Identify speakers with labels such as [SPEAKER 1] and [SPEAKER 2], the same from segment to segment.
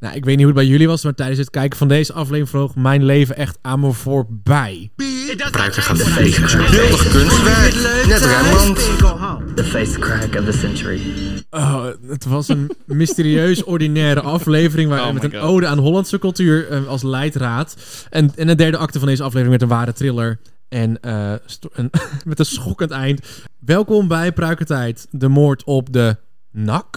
[SPEAKER 1] Nou, ik weet niet hoe het bij jullie was, maar tijdens het kijken van deze aflevering vloog mijn leven echt aan me voorbij.
[SPEAKER 2] Gebruiker gaat de feest. Beeldig kunstwerk. Net Rembrandt. The face crack of the century.
[SPEAKER 1] Oh, het was een mysterieus ordinaire aflevering waar,
[SPEAKER 3] Oh
[SPEAKER 1] met
[SPEAKER 3] my
[SPEAKER 1] een
[SPEAKER 3] God.
[SPEAKER 1] ode aan Hollandse cultuur eh, als leidraad. En, en de derde acte van deze aflevering met een ware thriller. En eh, sto- een- met een schokkend eind. Welkom bij Pruikertijd, de moord op de NAK.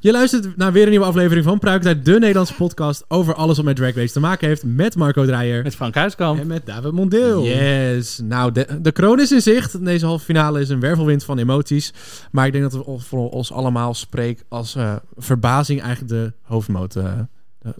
[SPEAKER 1] Je luistert naar weer een nieuwe aflevering van Pruikertijd, de Nederlandse podcast over alles wat met Drag Race te maken heeft. Met Marco Dreyer.
[SPEAKER 3] Met Frank Huiskamp.
[SPEAKER 4] En met David Mondeel.
[SPEAKER 1] Yes. Nou, de, de kroon is in zicht. Deze halve finale is een wervelwind van emoties. Maar ik denk dat we ons- voor ons allemaal spreekt als eh, verbazing eigenlijk de hoofdmoot. eh.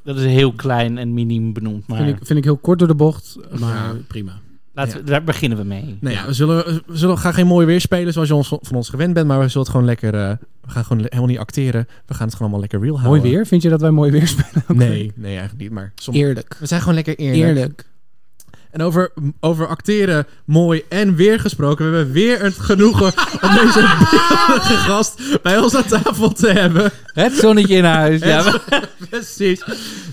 [SPEAKER 3] Dat is heel klein en miniem benoemd, maar
[SPEAKER 4] Vind ik, vind ik heel kort door de bocht, maar prima.
[SPEAKER 3] laten we, daar beginnen we mee.
[SPEAKER 1] nou ja, we zullen, we zullen gaan geen mooi weer spelen zoals je ons, van ons gewend bent. Maar we zullen het gewoon lekker... eh, we gaan gewoon le- helemaal niet acteren. We gaan het gewoon allemaal lekker real
[SPEAKER 4] Mooi
[SPEAKER 1] houden.
[SPEAKER 4] weer? Vind je dat wij mooi weer spelen? Ook weer?
[SPEAKER 1] Nee, nee, eigenlijk niet. Maar soms...
[SPEAKER 4] Eerlijk.
[SPEAKER 1] We zijn gewoon lekker eerlijk.
[SPEAKER 4] Eerlijk.
[SPEAKER 1] En over, over acteren, mooi en weer gesproken. We hebben weer het genoegen om deze beeldige gast bij ons aan tafel te hebben.
[SPEAKER 3] Het zonnetje in huis. ja, maar-
[SPEAKER 1] Precies.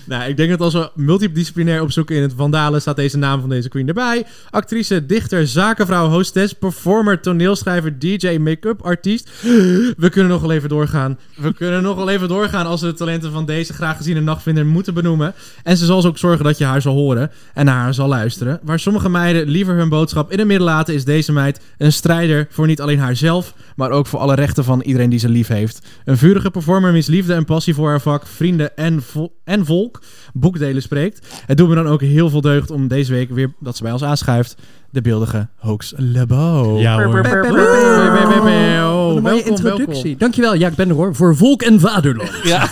[SPEAKER 1] Nou, ik denk dat als we multidisciplinair opzoeken in het Vandalen, staat deze naam van deze queen erbij. Actrice, dichter, zakenvrouw, hostess, performer, toneelschrijver, DJ, make-up artiest. We kunnen nog wel even doorgaan. We kunnen nog wel even doorgaan als we de talenten van deze graag geziene nachtvinder moeten benoemen. En ze zal ook zorgen dat je haar zal horen en naar haar zal luisteren. Waar sommige meiden liever hun boodschap in het midden laten, is deze meid een strijder voor niet alleen haarzelf, maar ook voor alle rechten van iedereen die ze lief heeft. Een vurige performer met liefde en passie voor haar vak, vrienden en, vo- en volk, boekdelen spreekt. Het doet me dan ook heel veel deugd om deze week weer dat ze bij ons aanschuift. De beeldige Hoax Lebo.
[SPEAKER 5] Ja hoor.
[SPEAKER 4] Wat een mooie
[SPEAKER 1] Welkom,
[SPEAKER 4] introductie.
[SPEAKER 1] welkom.
[SPEAKER 4] Dankjewel. Ja, ik ben er hoor. Voor volk en vaderland.
[SPEAKER 3] ja.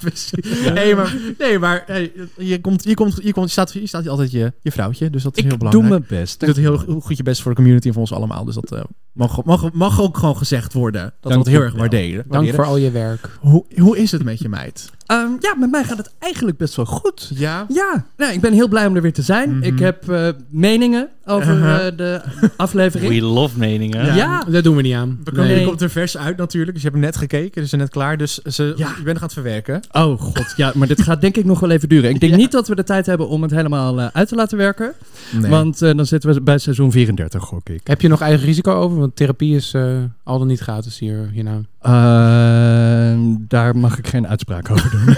[SPEAKER 1] Precies. Nee, maar, nee, maar hey, je, komt, je, komt, je, komt, je, staat, je staat altijd je, je vrouwtje, dus dat is heel
[SPEAKER 5] Ik doe
[SPEAKER 1] belangrijk.
[SPEAKER 5] mijn best.
[SPEAKER 1] Je doet heel go- goed je best voor de community en voor ons allemaal. Dus dat eh, mag, mag, mag ook gewoon gezegd worden. Dat we
[SPEAKER 5] Dank
[SPEAKER 1] dat heel
[SPEAKER 5] je
[SPEAKER 1] erg
[SPEAKER 5] wel.
[SPEAKER 1] waarderen.
[SPEAKER 4] Dank
[SPEAKER 1] waarderen.
[SPEAKER 4] voor al je werk.
[SPEAKER 1] Hoe, hoe is het met je meid?
[SPEAKER 5] Ehm, ja, met mij gaat het eigenlijk best wel goed.
[SPEAKER 1] Ja?
[SPEAKER 5] Ja, nou, ik ben heel blij om er weer te zijn.
[SPEAKER 1] Mhm.
[SPEAKER 5] Ik heb eh, meningen over
[SPEAKER 1] Uh-huh.
[SPEAKER 5] eh, de aflevering.
[SPEAKER 3] We love meningen.
[SPEAKER 5] Ja.
[SPEAKER 4] Dat Ah, doen we niet aan.
[SPEAKER 1] We komen,
[SPEAKER 5] Nee.
[SPEAKER 1] Er komt er vers uit natuurlijk. Dus je hebt hem net gekeken. Dus ze net klaar. Dus ze,
[SPEAKER 5] Ja.
[SPEAKER 1] je bent gaan het verwerken.
[SPEAKER 5] Oh god, ja, maar dit gaat denk ik nog wel even duren. Ik denk
[SPEAKER 1] Ja.
[SPEAKER 5] niet dat we de tijd hebben om het helemaal eh, uit te laten werken.
[SPEAKER 1] Nee.
[SPEAKER 5] Want eh, dan zitten we bij seizoen 34, gok ik.
[SPEAKER 4] Heb je nog eigen risico over? Want therapie is eh, al dan niet gratis hier, hierna.
[SPEAKER 5] Ehm, daar mag ik geen uitspraak over doen.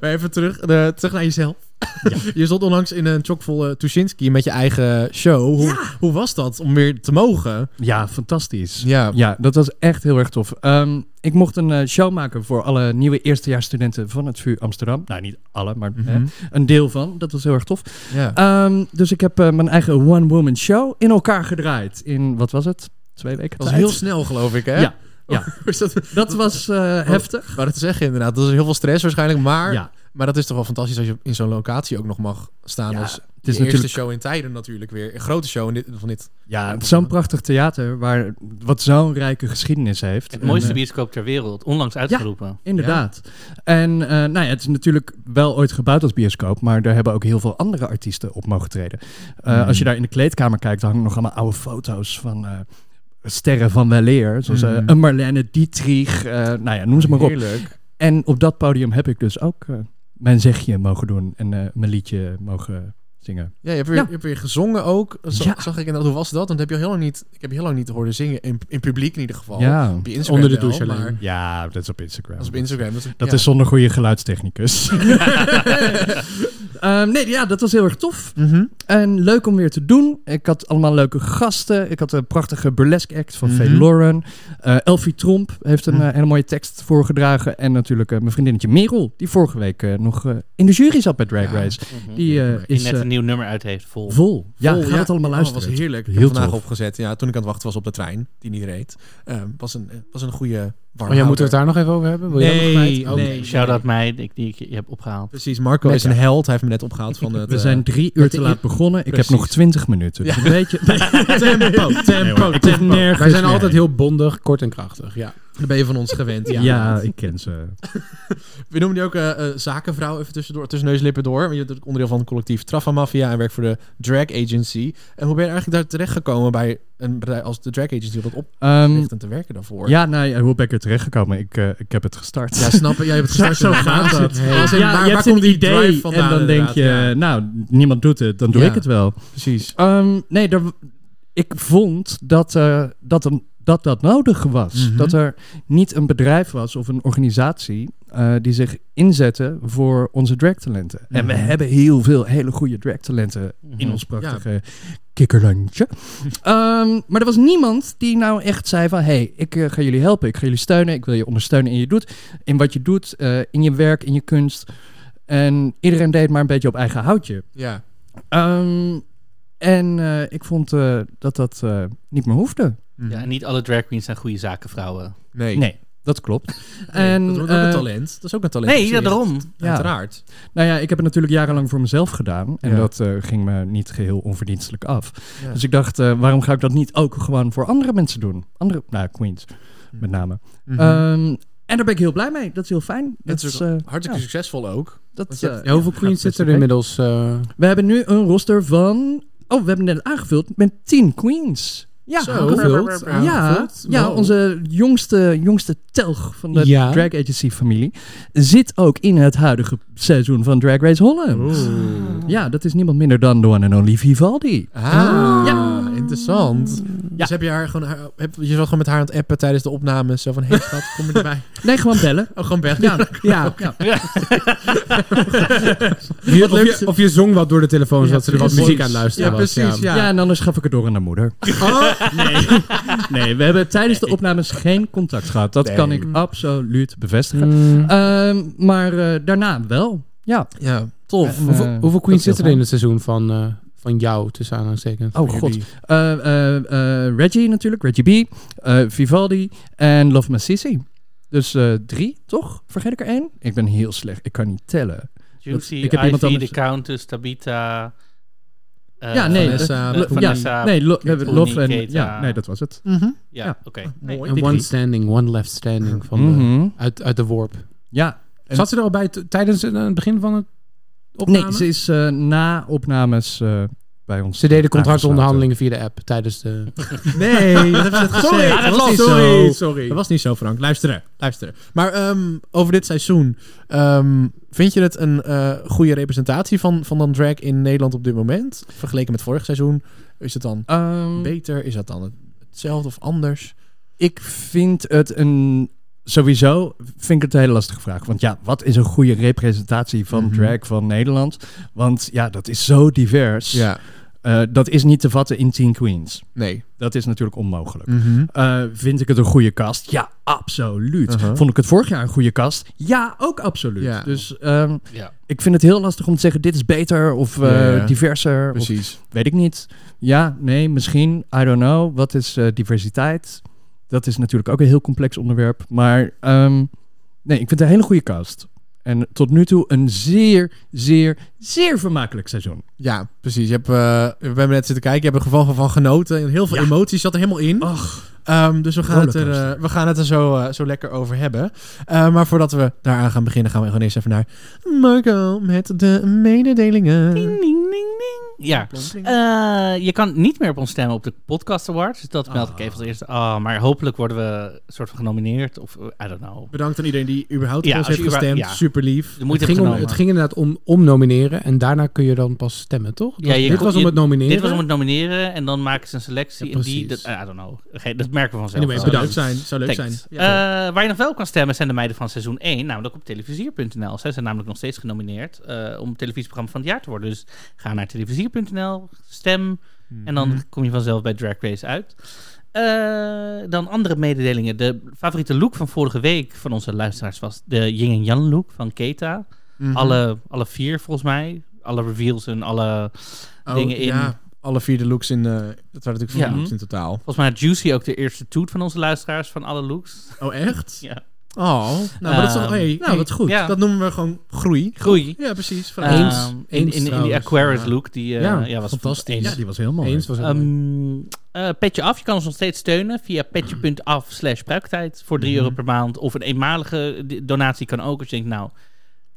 [SPEAKER 1] Maar even terug, eh, terug naar jezelf. je stond onlangs in een chockvolle Tuschinski met je eigen show. Hoe, hoe was dat om weer te mogen?
[SPEAKER 5] ja, fantastisch.
[SPEAKER 1] Ja.
[SPEAKER 5] Ja, dat was echt heel erg tof. Ehm, ik mocht een eh, show maken voor alle nieuwe eerstejaarsstudenten van het VU Amsterdam. Nou, niet alle, maar eh,
[SPEAKER 1] Mhm.
[SPEAKER 5] een deel van. Dat was heel erg tof.
[SPEAKER 1] ja.
[SPEAKER 5] Ehm, dus ik heb eh, mijn eigen one-woman show in elkaar gedraaid. In, wat was het? Twee weken
[SPEAKER 1] Dat was
[SPEAKER 5] tijd.
[SPEAKER 1] heel snel, geloof ik, hè?
[SPEAKER 5] Ja, ja.
[SPEAKER 1] Is dat,
[SPEAKER 5] Dat was eh, heftig.
[SPEAKER 1] maar dat te zeggen, inderdaad. Dat is heel veel stress waarschijnlijk. Maar,
[SPEAKER 5] Ja,
[SPEAKER 1] maar dat is toch wel fantastisch als je in zo'n locatie ook nog mag staan.
[SPEAKER 5] Ja,
[SPEAKER 1] als
[SPEAKER 5] het is
[SPEAKER 1] je eerste
[SPEAKER 5] natuurlijk-
[SPEAKER 1] show in tijden natuurlijk weer. Een grote show in dit, van dit.
[SPEAKER 5] ja het is zo'n prachtig theater waar, wat zo'n rijke geschiedenis heeft.
[SPEAKER 3] Het
[SPEAKER 5] En,
[SPEAKER 3] mooiste
[SPEAKER 5] eh,
[SPEAKER 3] bioscoop ter wereld, onlangs uitgeroepen.
[SPEAKER 5] Inderdaad. En eh, nou ja, het is natuurlijk wel ooit gebouwd als bioscoop, maar daar hebben ook heel veel andere artiesten op mogen treden. Eh,
[SPEAKER 1] Mm.
[SPEAKER 5] Als je daar in de kleedkamer kijkt, hangen nog allemaal oude foto's van eh, sterren van weleer. Zoals eh,
[SPEAKER 1] Mm.
[SPEAKER 5] een Marlene Dietrich, eh, nou ja, noem ze maar op.
[SPEAKER 1] Heerlijk.
[SPEAKER 5] En op dat podium heb ik dus ook eh, mijn zegje mogen doen en eh, mijn liedje mogen zingen.
[SPEAKER 1] Ja, je hebt weer,
[SPEAKER 5] Ja.
[SPEAKER 1] Je hebt weer gezongen ook. Zo-
[SPEAKER 5] Ja.
[SPEAKER 1] Zag ik inderdaad. Hoe was dat? Want heb je al heel lang niet, ik heb je heel lang niet horen zingen. In, in publiek in ieder geval.
[SPEAKER 5] Ja.
[SPEAKER 1] Op je Instagram
[SPEAKER 4] Onder de
[SPEAKER 1] wel,
[SPEAKER 4] douche alleen.
[SPEAKER 1] maar
[SPEAKER 5] ja, dat is op
[SPEAKER 1] Dat
[SPEAKER 5] Instagram.
[SPEAKER 1] is op Instagram. Dat,
[SPEAKER 5] Dat
[SPEAKER 1] ja.
[SPEAKER 5] is zonder goede geluidstechnicus. Ehm, nee, ja, dat was heel erg tof.
[SPEAKER 1] Mhm.
[SPEAKER 5] En leuk om weer te doen. Ik had allemaal leuke gasten. Ik had een prachtige burlesque act van
[SPEAKER 1] Mhm.
[SPEAKER 5] Faye Lauren. Eh, Elfie Tromp heeft een
[SPEAKER 1] Mhm.
[SPEAKER 5] eh, hele mooie tekst voorgedragen. En natuurlijk eh, mijn vriendinnetje Merel, die vorige week eh, nog eh, in de jury zat bij Drag
[SPEAKER 1] Ja.
[SPEAKER 5] Race.
[SPEAKER 3] Mhm.
[SPEAKER 5] Die eh,
[SPEAKER 3] die
[SPEAKER 5] is
[SPEAKER 3] net
[SPEAKER 5] eh,
[SPEAKER 3] een nieuw nummer uit heeft, vol.
[SPEAKER 5] vol. Ja,
[SPEAKER 1] Vol,
[SPEAKER 5] gaat het allemaal
[SPEAKER 1] Oh,
[SPEAKER 5] luisteren.
[SPEAKER 1] was heerlijk. Ik
[SPEAKER 5] Heel
[SPEAKER 1] heb vandaag
[SPEAKER 5] tof.
[SPEAKER 1] opgezet. Ja, toen ik aan het wachten was op de trein, die niet reed. Ehm, was, een, eh, was een goede warm.
[SPEAKER 4] Oh ja, moeten we het daar nog even over hebben? Wil je dat nog kwijt? Oh,
[SPEAKER 1] nee.
[SPEAKER 3] Shout-out mij, die, die ik je heb opgehaald.
[SPEAKER 1] Precies, Marco
[SPEAKER 5] Met
[SPEAKER 1] is een held. Hij heeft me net opgehaald van het...
[SPEAKER 5] We
[SPEAKER 1] eh,
[SPEAKER 5] zijn drie uur
[SPEAKER 1] met
[SPEAKER 5] te
[SPEAKER 1] de-
[SPEAKER 5] laat begonnen. Ik heb
[SPEAKER 1] Precies.
[SPEAKER 5] nog twintig minuten. Dus
[SPEAKER 1] Ja.
[SPEAKER 5] een beetje...
[SPEAKER 1] tempo, tempo,
[SPEAKER 5] hoor, ik hoef
[SPEAKER 1] tempo.
[SPEAKER 5] nergens
[SPEAKER 4] Wij zijn
[SPEAKER 5] meer
[SPEAKER 4] altijd
[SPEAKER 5] heen.
[SPEAKER 4] heel bondig, kort en krachtig. Ja.
[SPEAKER 1] Dat ben je van ons gewend.
[SPEAKER 5] Ja,
[SPEAKER 1] Ja.
[SPEAKER 5] ik ken ze.
[SPEAKER 1] We noemen die ook eh, eh, zakenvrouw even tussendoor, tussen neus en lippen door. Want Je bent ook onderdeel van het collectief Traffa Mafia en werkt voor de Drag Agency. En hoe ben je eigenlijk daar terechtgekomen bij een bedrijf als de Drag Agency? Wat op
[SPEAKER 5] Ehm,
[SPEAKER 1] en te werken daarvoor?
[SPEAKER 5] ja, nou, ja, hoe ben ik er terechtgekomen? Ik, eh, ik heb het gestart.
[SPEAKER 1] Ja, snap je? Jij hebt het gestart
[SPEAKER 5] Zo
[SPEAKER 1] in de
[SPEAKER 5] gaat
[SPEAKER 1] gaten.
[SPEAKER 5] het.
[SPEAKER 1] Als Dus in, waar,
[SPEAKER 5] Ja, je
[SPEAKER 1] waar
[SPEAKER 5] hebt
[SPEAKER 1] komt
[SPEAKER 5] een
[SPEAKER 1] die
[SPEAKER 5] idee
[SPEAKER 1] drive vandaan?
[SPEAKER 5] en dan denk
[SPEAKER 1] inderdaad?
[SPEAKER 5] je,
[SPEAKER 1] Ja,
[SPEAKER 5] nou, niemand doet het, dan doe
[SPEAKER 1] Ja.
[SPEAKER 5] ik het wel.
[SPEAKER 1] precies.
[SPEAKER 5] Ehm, nee, daar- ik vond dat, eh, dat, een- dat dat nodig was.
[SPEAKER 1] Mhm.
[SPEAKER 5] Dat er niet een bedrijf was of een organisatie eh, die zich inzette voor onze dragtalenten. En we
[SPEAKER 1] Mhm.
[SPEAKER 5] hebben heel veel hele goede dragtalenten in
[SPEAKER 3] Mhm.
[SPEAKER 5] ons prachtige kikkerlandje. Ehm, maar er was niemand die nou echt zei van... hé, hey, ik eh, ga jullie helpen, ik ga jullie steunen, ik wil je ondersteunen in je doet. In wat je doet, eh, in je werk, in je kunst. En iedereen deed maar een beetje op eigen houtje.
[SPEAKER 1] Ja.
[SPEAKER 5] Ehm, en eh, ik vond eh, dat dat eh, niet meer hoefde.
[SPEAKER 1] Hm.
[SPEAKER 3] Ja, en niet alle drag queens zijn goede zakenvrouwen.
[SPEAKER 1] Nee.
[SPEAKER 5] Nee, dat klopt.
[SPEAKER 1] Nee,
[SPEAKER 5] en,
[SPEAKER 1] dat wordt ook
[SPEAKER 5] eh,
[SPEAKER 1] een talent. Dat is ook een talent. op
[SPEAKER 3] Nee, ja,
[SPEAKER 1] zich.
[SPEAKER 3] daarom.
[SPEAKER 5] Ja.
[SPEAKER 1] Uiteraard.
[SPEAKER 5] Nou ja, ik heb het natuurlijk jarenlang voor mezelf gedaan. En
[SPEAKER 1] Ja.
[SPEAKER 5] dat eh, ging me niet geheel onverdienstelijk af.
[SPEAKER 1] Ja.
[SPEAKER 5] Dus ik dacht, eh, waarom ga ik dat niet ook gewoon voor andere mensen doen? Andere, nou, queens
[SPEAKER 1] Mm.
[SPEAKER 5] met name.
[SPEAKER 1] Mhm.
[SPEAKER 5] Ehm, en daar ben ik heel blij mee. Dat is heel fijn.
[SPEAKER 1] Dat
[SPEAKER 5] Dat
[SPEAKER 1] is
[SPEAKER 5] is, eh,
[SPEAKER 1] Hartstikke
[SPEAKER 5] ja,
[SPEAKER 1] succesvol ook.
[SPEAKER 5] dat,
[SPEAKER 1] je
[SPEAKER 5] eh,
[SPEAKER 1] hebt-
[SPEAKER 4] Ja, hoeveel
[SPEAKER 5] best
[SPEAKER 4] queens zitten er
[SPEAKER 5] oké.
[SPEAKER 4] inmiddels? eh,
[SPEAKER 5] We hebben nu een roster van... Oh, we hebben net aangevuld met 10 queens. Ja,
[SPEAKER 1] Zo.
[SPEAKER 4] aangevuld,
[SPEAKER 5] Ja,
[SPEAKER 1] aangevuld.
[SPEAKER 5] ja
[SPEAKER 1] Wow.
[SPEAKER 5] onze jongste, jongste telg van de
[SPEAKER 4] Ja.
[SPEAKER 5] Drag Agency familie zit ook in het huidige seizoen van Drag Race Holland. Ja, dat is niemand minder dan de one and only Vivaldi.
[SPEAKER 1] Ah,
[SPEAKER 4] Ah.
[SPEAKER 1] ja, interessant. Dus heb je haar gewoon, haar- heb, je zat gewoon met haar aan het appen tijdens de opnames. Zo van, hey schat, kom er erbij.
[SPEAKER 5] Nee, gewoon bellen.
[SPEAKER 1] Oh, gewoon bellen.
[SPEAKER 5] Ja, ja, ja.
[SPEAKER 4] of, je, of je zong wat door de telefoon,
[SPEAKER 1] Ja,
[SPEAKER 4] zodat ze er wat
[SPEAKER 1] precies.
[SPEAKER 4] muziek aan het luisteren
[SPEAKER 1] Ja,
[SPEAKER 4] was.
[SPEAKER 1] precies, ja.
[SPEAKER 5] Ja, en anders gaf ik het door aan haar moeder.
[SPEAKER 1] Oh,
[SPEAKER 5] Nee, we hebben tijdens de opnames geen contact gehad. Dat
[SPEAKER 1] Nee.
[SPEAKER 5] kan ik absoluut bevestigen.
[SPEAKER 4] Mm.
[SPEAKER 5] Ehm, maar eh, daarna wel. Ja.
[SPEAKER 1] ja, tof.
[SPEAKER 5] En,
[SPEAKER 4] hoeveel,
[SPEAKER 5] eh,
[SPEAKER 4] hoeveel
[SPEAKER 5] dat is
[SPEAKER 4] queens zitten er
[SPEAKER 5] heel
[SPEAKER 4] in het seizoen van, eh, van jou, tussen aanhalingstekens?
[SPEAKER 5] Oh,
[SPEAKER 4] Van
[SPEAKER 5] god.
[SPEAKER 4] jullie?
[SPEAKER 5] Eh, eh, eh, Reggie natuurlijk, Reggie B, eh, Vivaldi en Love Massisi. Dus eh, drie, toch? Vergeet ik er één? Ik ben heel slecht, ik kan niet tellen.
[SPEAKER 3] Juicy,
[SPEAKER 5] ik heb
[SPEAKER 3] Ivy,
[SPEAKER 5] iemand anders-
[SPEAKER 3] de Countess, Tabita... eh,
[SPEAKER 5] ja, nee.
[SPEAKER 1] Vanessa,
[SPEAKER 5] eh, Lo-
[SPEAKER 3] Vanessa,
[SPEAKER 5] ja, nee, Lo- eh,
[SPEAKER 3] Tony,
[SPEAKER 5] Love en...
[SPEAKER 3] Keita.
[SPEAKER 5] Ja, nee, dat was het.
[SPEAKER 1] eh,
[SPEAKER 3] Ja,
[SPEAKER 5] Ja. Ah,
[SPEAKER 3] oké.
[SPEAKER 1] Mooi.
[SPEAKER 3] Nee,
[SPEAKER 4] En
[SPEAKER 3] die
[SPEAKER 4] one
[SPEAKER 3] drie.
[SPEAKER 4] standing, one left standing van de-
[SPEAKER 5] Mhm.
[SPEAKER 4] uit, uit de worp.
[SPEAKER 5] Ja. En-
[SPEAKER 4] Zat ze er al bij t- tijdens het eh, begin van het opname?
[SPEAKER 5] Nee, ze is eh, na opnames eh, bij ons.
[SPEAKER 4] Ze deden
[SPEAKER 5] aangesloten.
[SPEAKER 4] contractonderhandelingen via de app tijdens de...
[SPEAKER 1] Nee, dat hebben ze net gezegd.
[SPEAKER 4] Sorry,
[SPEAKER 1] dat, was niet
[SPEAKER 4] sorry,
[SPEAKER 1] zo.
[SPEAKER 4] sorry.
[SPEAKER 1] Dat was niet zo, Frank. Luisteren, luisteren. Maar ehm, over dit seizoen, ehm, vind je het een eh, goede representatie van, van dan drag in Nederland op dit moment? Vergeleken met vorig seizoen, is het dan
[SPEAKER 5] Ehm,
[SPEAKER 1] beter? Is dat dan hetzelfde of anders?
[SPEAKER 5] ik vind het een... Sowieso vind ik het een hele lastige vraag. Want ja, wat is een goede representatie van
[SPEAKER 1] Mhm.
[SPEAKER 5] drag van Nederland? Want ja, dat is zo divers. Eh, dat is niet te vatten in Teen Queens.
[SPEAKER 1] nee.
[SPEAKER 5] Dat is natuurlijk onmogelijk.
[SPEAKER 1] Mhm.
[SPEAKER 5] Eh, vind ik het een goede kast? Ja, absoluut.
[SPEAKER 1] Uh-huh.
[SPEAKER 5] Vond ik het vorig jaar een goede kast? Ja, ook absoluut.
[SPEAKER 1] Ja.
[SPEAKER 5] Dus ehm,
[SPEAKER 3] Ja.
[SPEAKER 5] ik vind het heel lastig om te zeggen: dit is beter of eh,
[SPEAKER 1] Ja, ja.
[SPEAKER 5] diverser. Of,
[SPEAKER 1] Precies.
[SPEAKER 5] weet ik niet. Ja, nee, misschien. I don't know. Wat is eh, diversiteit? Dat is natuurlijk ook een heel complex onderwerp. Maar ehm, nee, ik vind het een hele goede kast. En tot nu toe een zeer, zeer, zeer vermakelijk seizoen.
[SPEAKER 1] Ja, precies. Je hebt, eh, we hebben net zitten kijken. Je hebt er geval van genoten. En heel veel emoties zat er helemaal in.
[SPEAKER 5] Ach,
[SPEAKER 1] Ehm, dus we gaan, het er,
[SPEAKER 5] Rollercoaster.
[SPEAKER 1] eh, we gaan het er zo, eh, zo lekker over hebben. Eh, maar voordat we daaraan gaan beginnen, gaan we gewoon eerst even naar Marco met de mededelingen.
[SPEAKER 3] Ding, ding, ding, ding. Ja. Eh, je kan niet meer op ons stemmen op de Podcast Awards. Dus dat meld ik even als eerste. Ah, maar hopelijk worden we soort van genomineerd. Of eh, I don't know.
[SPEAKER 1] Bedankt aan iedereen die überhaupt
[SPEAKER 3] Ja,
[SPEAKER 1] op ons
[SPEAKER 3] als
[SPEAKER 1] heeft
[SPEAKER 3] je überhaupt-
[SPEAKER 1] gestemd.
[SPEAKER 3] ja.
[SPEAKER 1] Super lief.
[SPEAKER 3] De moeite
[SPEAKER 4] het, ging om,
[SPEAKER 3] genomen.
[SPEAKER 4] het ging inderdaad om, om nomineren en daarna kun je dan pas stemmen, toch? Het
[SPEAKER 3] Ja,
[SPEAKER 4] was-
[SPEAKER 3] je
[SPEAKER 4] dit
[SPEAKER 3] kon-
[SPEAKER 4] was om
[SPEAKER 3] je-
[SPEAKER 4] het nomineren.
[SPEAKER 3] Dit was om het nomineren. En dan maken ze een selectie.
[SPEAKER 4] Ja,
[SPEAKER 3] en die, dat,
[SPEAKER 4] precies.
[SPEAKER 3] I don't know. Ge- Dat merken we vanzelf.
[SPEAKER 1] Anyway,
[SPEAKER 3] wel.
[SPEAKER 1] bedankt. Zou leuk zijn. Zou leuk
[SPEAKER 3] Thanks.
[SPEAKER 1] zijn.
[SPEAKER 3] Eh, waar je nog wel kan stemmen zijn de meiden van seizoen 1, namelijk op televisier.nl. Zij zijn namelijk nog steeds genomineerd eh, om televisieprogramma van het jaar te worden. Dus ga naar televisier.nl, stem en dan kom je vanzelf bij Drag Race uit. Eh, dan andere mededelingen. De favoriete look van vorige week van onze luisteraars was de Ying en Yang look van Keta.
[SPEAKER 1] Mhm.
[SPEAKER 3] alle, alle vier volgens mij. Alle reveals en alle...
[SPEAKER 1] Oh,
[SPEAKER 3] dingen in.
[SPEAKER 1] Ja, alle vier de looks in... eh, dat waren natuurlijk vier
[SPEAKER 3] Ja.
[SPEAKER 1] looks in totaal.
[SPEAKER 3] Volgens mij had Juicy ook de eerste toet van onze luisteraars van alle looks.
[SPEAKER 1] Oh, echt?
[SPEAKER 3] Ja.
[SPEAKER 1] Oh, nou, maar dat is toch...
[SPEAKER 3] Ehm,
[SPEAKER 1] hey,
[SPEAKER 3] nee,
[SPEAKER 1] hey, wat goed.
[SPEAKER 3] ja.
[SPEAKER 1] Dat noemen we gewoon groei.
[SPEAKER 3] Groei.
[SPEAKER 1] Ja, precies.
[SPEAKER 3] Ehm,
[SPEAKER 1] Vooruit.
[SPEAKER 3] in, in,
[SPEAKER 4] eens
[SPEAKER 3] in die
[SPEAKER 4] trouwens.
[SPEAKER 3] Aquarius look. Die, eh,
[SPEAKER 4] Ja,
[SPEAKER 3] ja, was
[SPEAKER 4] fantastisch.
[SPEAKER 3] eens.
[SPEAKER 4] Ja,
[SPEAKER 5] Ja, die was heel mooi.
[SPEAKER 4] Eens was het.
[SPEAKER 3] Ehm, eh, petje af. Je kan ons nog steeds steunen via petje.af slash pruiktijd voor
[SPEAKER 1] Mhm.
[SPEAKER 3] 3 euro per maand. Of een eenmalige di- donatie kan ook. Als je denkt, nou,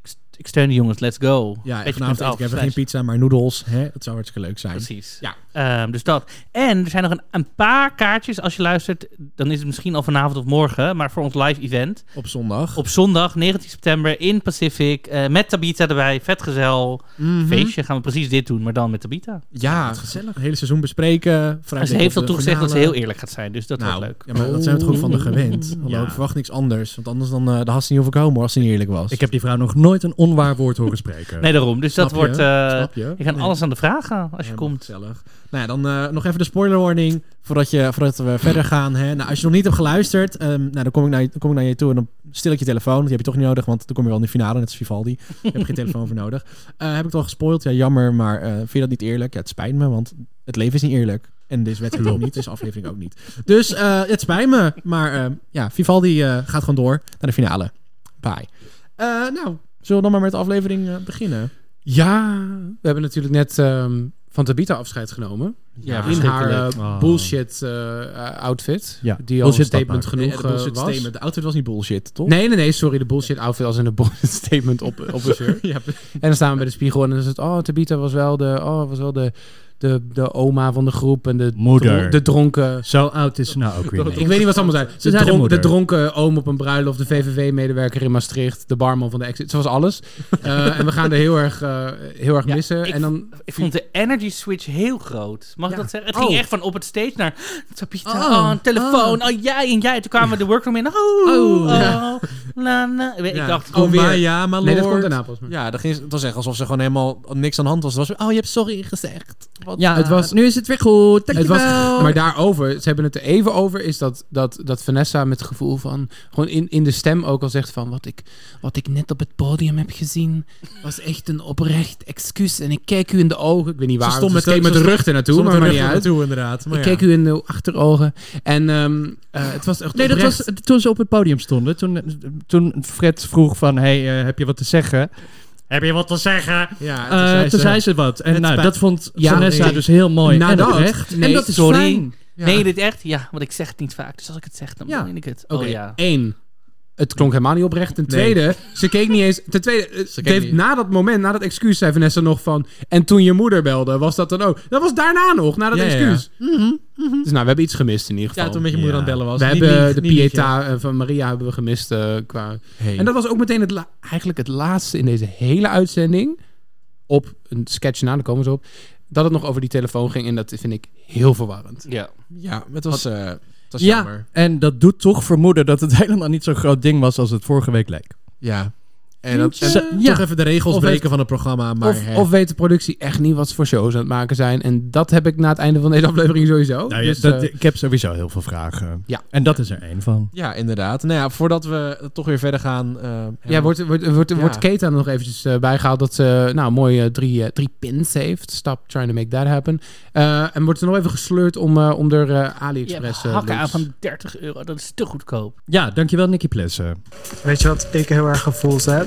[SPEAKER 3] ik st- ik steun de jongens, let's go.
[SPEAKER 1] Ja, en
[SPEAKER 3] Petje
[SPEAKER 1] vanavond
[SPEAKER 3] punt
[SPEAKER 1] eet
[SPEAKER 3] af
[SPEAKER 1] ik even
[SPEAKER 3] slash-
[SPEAKER 1] geen pizza, maar noedels. Hè? Dat zou hartstikke leuk zijn.
[SPEAKER 3] Precies.
[SPEAKER 1] Ja.
[SPEAKER 3] Ehm, dus dat. En er zijn nog een, een paar kaartjes. Als je luistert, dan is het misschien al vanavond of morgen. Maar voor ons live event.
[SPEAKER 1] Op zondag.
[SPEAKER 3] Op zondag 19 september in Pacific. eh, met Tabita erbij. Vetgezel.
[SPEAKER 1] Mhm.
[SPEAKER 3] Feestje. Gaan we precies dit doen, maar dan met Tabita.
[SPEAKER 1] Ja, gezellig. Het hele seizoen bespreken.
[SPEAKER 3] En
[SPEAKER 1] Vrijdag
[SPEAKER 3] ze heeft al
[SPEAKER 1] op de
[SPEAKER 3] toegezegd dat ze
[SPEAKER 1] finale.
[SPEAKER 3] heel eerlijk gaat zijn. Dus dat
[SPEAKER 1] nou,
[SPEAKER 3] wordt leuk. Oh.
[SPEAKER 1] Ja, maar dat zijn we het gewoon van de gewend. Hallo,
[SPEAKER 5] Ja.
[SPEAKER 1] ik verwacht niks anders. Want anders dan, eh dan had ze niet hoeven komen als ze niet eerlijk was.
[SPEAKER 5] Ik heb die vrouw nog nooit een onwaar woord horen spreken.
[SPEAKER 3] Nee, daarom. Dus
[SPEAKER 1] Snap
[SPEAKER 3] dat
[SPEAKER 1] je?
[SPEAKER 3] wordt... eh,
[SPEAKER 1] Snap je?
[SPEAKER 3] je kan
[SPEAKER 1] Nee.
[SPEAKER 3] alles aan de vragen als je
[SPEAKER 1] Helemaal
[SPEAKER 3] komt.
[SPEAKER 1] Gezellig. Nou ja, dan eh, nog even de spoiler warning voordat, je, voordat we verder gaan. Hè. Nou, als je nog niet hebt geluisterd, ehm, nou, dan, kom ik naar je, dan kom ik naar je toe en dan stil ik je telefoon. Want die heb je toch niet nodig, want dan kom je wel in de finale, net als Vivaldi. Je hebt geen telefoon voor nodig. Eh, heb ik het al gespoild? Ja, jammer, maar eh, vind je dat niet eerlijk? Ja, het spijt me, want het leven is niet eerlijk. En deze wedstrijd ook niet, deze aflevering ook niet. Dus eh, het spijt me, maar ehm, ja, Vivaldi eh, gaat gewoon door naar de finale. Bye. Eh, nou, zullen we dan maar met de aflevering eh, beginnen?
[SPEAKER 4] Ja, we hebben natuurlijk net ehm, van Tabita afscheid genomen.
[SPEAKER 3] Ja,
[SPEAKER 4] in haar
[SPEAKER 3] verschrikkelijk.
[SPEAKER 4] eh,
[SPEAKER 5] Oh.
[SPEAKER 4] bullshit eh, eh, outfit.
[SPEAKER 5] Ja,
[SPEAKER 4] Die al een
[SPEAKER 5] bullshit
[SPEAKER 4] statement
[SPEAKER 5] badpak.
[SPEAKER 4] genoeg
[SPEAKER 1] de
[SPEAKER 4] eh,
[SPEAKER 1] bullshit
[SPEAKER 4] was.
[SPEAKER 1] statement. De outfit was niet bullshit, toch?
[SPEAKER 4] Nee, nee, nee, sorry. De bullshit outfit als in een bullshit statement op, op een shirt.
[SPEAKER 1] Ja,
[SPEAKER 4] En dan staan we bij de spiegel en dan is het... Oh, Tabita was wel de, oh, was wel de, de, de oma van de groep en de,
[SPEAKER 5] Moeder.
[SPEAKER 4] dro- de dronken...
[SPEAKER 5] Zo oud is ze nou ook weer
[SPEAKER 4] Ik
[SPEAKER 5] niet.
[SPEAKER 4] weet niet wat ze allemaal zijn. Ze
[SPEAKER 5] De
[SPEAKER 4] de, dron-
[SPEAKER 5] moeder.
[SPEAKER 4] de dronken oom op een bruiloft, de VVV-medewerker in Maastricht, de barman van de exit. Ze was alles. Eh, en we gaan er heel erg, eh, heel erg
[SPEAKER 3] Ja,
[SPEAKER 4] missen.
[SPEAKER 3] ik-
[SPEAKER 4] En dan,
[SPEAKER 3] Ik vond de energy switch heel groot. Mag ik
[SPEAKER 4] Ja.
[SPEAKER 3] dat zeggen? Het
[SPEAKER 4] Oh.
[SPEAKER 3] ging echt van op het stage naar Tabitha,
[SPEAKER 1] Oh.
[SPEAKER 3] oh, een telefoon, oh. jij en jij. Toen kwamen we de workroom in. Oh, oh,
[SPEAKER 1] Ja.
[SPEAKER 3] la, la. Ik
[SPEAKER 1] Ja.
[SPEAKER 3] dacht,
[SPEAKER 1] oh,
[SPEAKER 4] oh,
[SPEAKER 1] maar
[SPEAKER 4] weer.
[SPEAKER 1] ja, maar
[SPEAKER 4] nee, dat
[SPEAKER 1] lord.
[SPEAKER 4] komt daarna pas. maar-
[SPEAKER 1] Ja, dat ging, het was echt alsof ze gewoon helemaal niks aan de hand was. Het was oh, je hebt sorry gezegd. Wat-
[SPEAKER 5] Ja,
[SPEAKER 4] het was-
[SPEAKER 1] nu is het weer goed.
[SPEAKER 4] Het was,
[SPEAKER 1] dankjewel.
[SPEAKER 4] maar daarover, ze hebben het er even over, is dat, dat, dat Vanessa met het gevoel van, gewoon in, in de stem ook al zegt van, wat ik, wat ik net op het podium heb gezien, was echt een oprecht excuus. En ik kijk u in de ogen, ik weet niet waar,
[SPEAKER 1] stond
[SPEAKER 4] want
[SPEAKER 1] met
[SPEAKER 4] ze keek
[SPEAKER 1] de-
[SPEAKER 4] met
[SPEAKER 1] ze
[SPEAKER 4] de rug ernaartoe, maar maakt niet uit.
[SPEAKER 1] Toe, inderdaad. Maar
[SPEAKER 4] ik
[SPEAKER 1] ja.
[SPEAKER 4] keek u in de achterogen en ehm, eh, het was echt
[SPEAKER 5] Nee, dat
[SPEAKER 4] oprecht-
[SPEAKER 5] was toen ze op het podium stonden. Toen, toen Fred vroeg van, hey, eh, heb je wat te zeggen? Heb je wat te zeggen?
[SPEAKER 1] ja,
[SPEAKER 5] Eh, toen, zei, ze wat. En
[SPEAKER 1] het
[SPEAKER 5] nou,
[SPEAKER 1] spijt-
[SPEAKER 5] dat vond
[SPEAKER 4] Ja,
[SPEAKER 5] Vanessa
[SPEAKER 4] nee.
[SPEAKER 5] dus heel mooi
[SPEAKER 4] Nou,
[SPEAKER 5] en
[SPEAKER 4] dat-
[SPEAKER 5] oprecht.
[SPEAKER 4] nee,
[SPEAKER 5] en dat is
[SPEAKER 3] sorry.
[SPEAKER 5] fijn.
[SPEAKER 3] nee, dit echt? Ja, want ik zeg het niet vaak. Dus als ik het zeg, dan
[SPEAKER 5] Ja.
[SPEAKER 3] meen ik het.
[SPEAKER 4] Oké,
[SPEAKER 3] Oh ja.
[SPEAKER 4] één. Het klonk helemaal niet oprecht. Ten
[SPEAKER 1] Nee.
[SPEAKER 4] tweede, ze keek niet eens... Ten tweede, eh,
[SPEAKER 1] Ze keek
[SPEAKER 4] heeft,
[SPEAKER 1] niet.
[SPEAKER 4] na dat moment, na dat excuus, zei Vanessa nog van... En toen je moeder belde, was dat dan ook? Dat was daarna nog, na dat
[SPEAKER 1] Ja, ja, ja.
[SPEAKER 4] excuus.
[SPEAKER 5] Mhm.
[SPEAKER 4] Dus nou, we hebben iets gemist in ieder geval.
[SPEAKER 1] Ja, toen met je moeder
[SPEAKER 5] Ja.
[SPEAKER 1] aan het bellen was.
[SPEAKER 4] we
[SPEAKER 1] Niet
[SPEAKER 4] hebben
[SPEAKER 1] lieg,
[SPEAKER 4] de
[SPEAKER 1] niet lieg,
[SPEAKER 4] Pieta eh, van Maria hebben we gemist. eh, qua...
[SPEAKER 1] ja. Hey.
[SPEAKER 4] En dat was ook meteen het la- eigenlijk het laatste in deze hele uitzending. Op een sketch na, daar komen ze op. Dat het nog over die telefoon ging. En dat vind ik heel verwarrend.
[SPEAKER 3] Ja.
[SPEAKER 1] Ja, het was, eh het was
[SPEAKER 5] Ja.
[SPEAKER 1] jammer.
[SPEAKER 5] En dat doet toch vermoeden dat het helemaal niet zo'n groot ding was als het vorige week leek.
[SPEAKER 1] Ja. En, dat, en
[SPEAKER 5] Ze-
[SPEAKER 1] toch
[SPEAKER 5] ja.
[SPEAKER 1] even de regels
[SPEAKER 4] Of
[SPEAKER 1] breken van het programma. Maar
[SPEAKER 4] Of,
[SPEAKER 1] hè.
[SPEAKER 4] of weet de productie echt niet wat ze voor shows aan het maken zijn. En dat heb ik na het einde van deze aflevering sowieso.
[SPEAKER 5] Nou, ja,
[SPEAKER 4] Dus,
[SPEAKER 5] dat,
[SPEAKER 4] eh,
[SPEAKER 5] ik heb sowieso heel veel vragen.
[SPEAKER 4] Ja.
[SPEAKER 5] En dat is er één van.
[SPEAKER 1] Ja, inderdaad. Nou ja, voordat we toch weer verder gaan. eh,
[SPEAKER 4] ja, wordt, wordt, wordt,
[SPEAKER 1] Ja.
[SPEAKER 4] wordt Kate er nog eventjes eh, bijgehaald dat ze nou, mooi drie, eh, drie pins heeft. Stop trying to make that happen. Eh, en wordt ze nog even gesleurd om, eh, om er eh,
[SPEAKER 3] Je hebt
[SPEAKER 4] AliExpress... eh,
[SPEAKER 3] hakken aan
[SPEAKER 4] links-
[SPEAKER 3] van 30 euro. Dat is te goedkoop.
[SPEAKER 5] Ja, dankjewel Nicky Plessen.
[SPEAKER 6] Weet je wat ik heel erg gevoeld heb?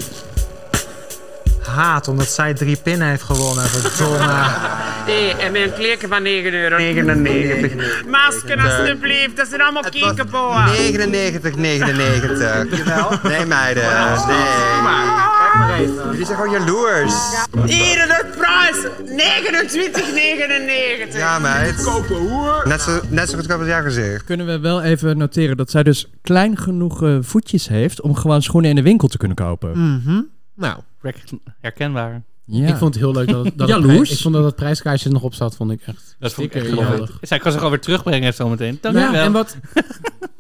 [SPEAKER 6] Haat, omdat zij drie pinnen heeft gewonnen. Verdomme.
[SPEAKER 7] Nee, en mijn kleren van 9 euro.
[SPEAKER 8] 99.
[SPEAKER 7] Masken alstublieft, dat zijn allemaal kinkerboa.
[SPEAKER 8] 99, 99. Nee, meiden. Nee.
[SPEAKER 7] Kijk maar eens.
[SPEAKER 8] Jullie zijn gewoon jaloers.
[SPEAKER 7] Hier de prijs, 29,99.
[SPEAKER 8] Ja, meid. Kopen hoer. Net zo, net zo goedkoop als jouw gezicht.
[SPEAKER 5] Kunnen we wel even noteren dat zij dus klein genoeg eh, voetjes heeft om gewoon schoenen in de winkel te kunnen kopen.
[SPEAKER 1] Mhm. Nou,
[SPEAKER 3] Herken- Herkenbaar.
[SPEAKER 5] Mm. Ja.
[SPEAKER 4] Ik vond het heel leuk dat, dat het
[SPEAKER 5] Jaloers.
[SPEAKER 4] prijs- ik vond dat dat prijskaartje er nog op zat, vond ik echt. Nou
[SPEAKER 3] Dat
[SPEAKER 1] vond ik echt geweldig.
[SPEAKER 3] Zij kan ze gewoon weer terugbrengen zometeen. Dank je wel.
[SPEAKER 4] en wat,
[SPEAKER 5] Ik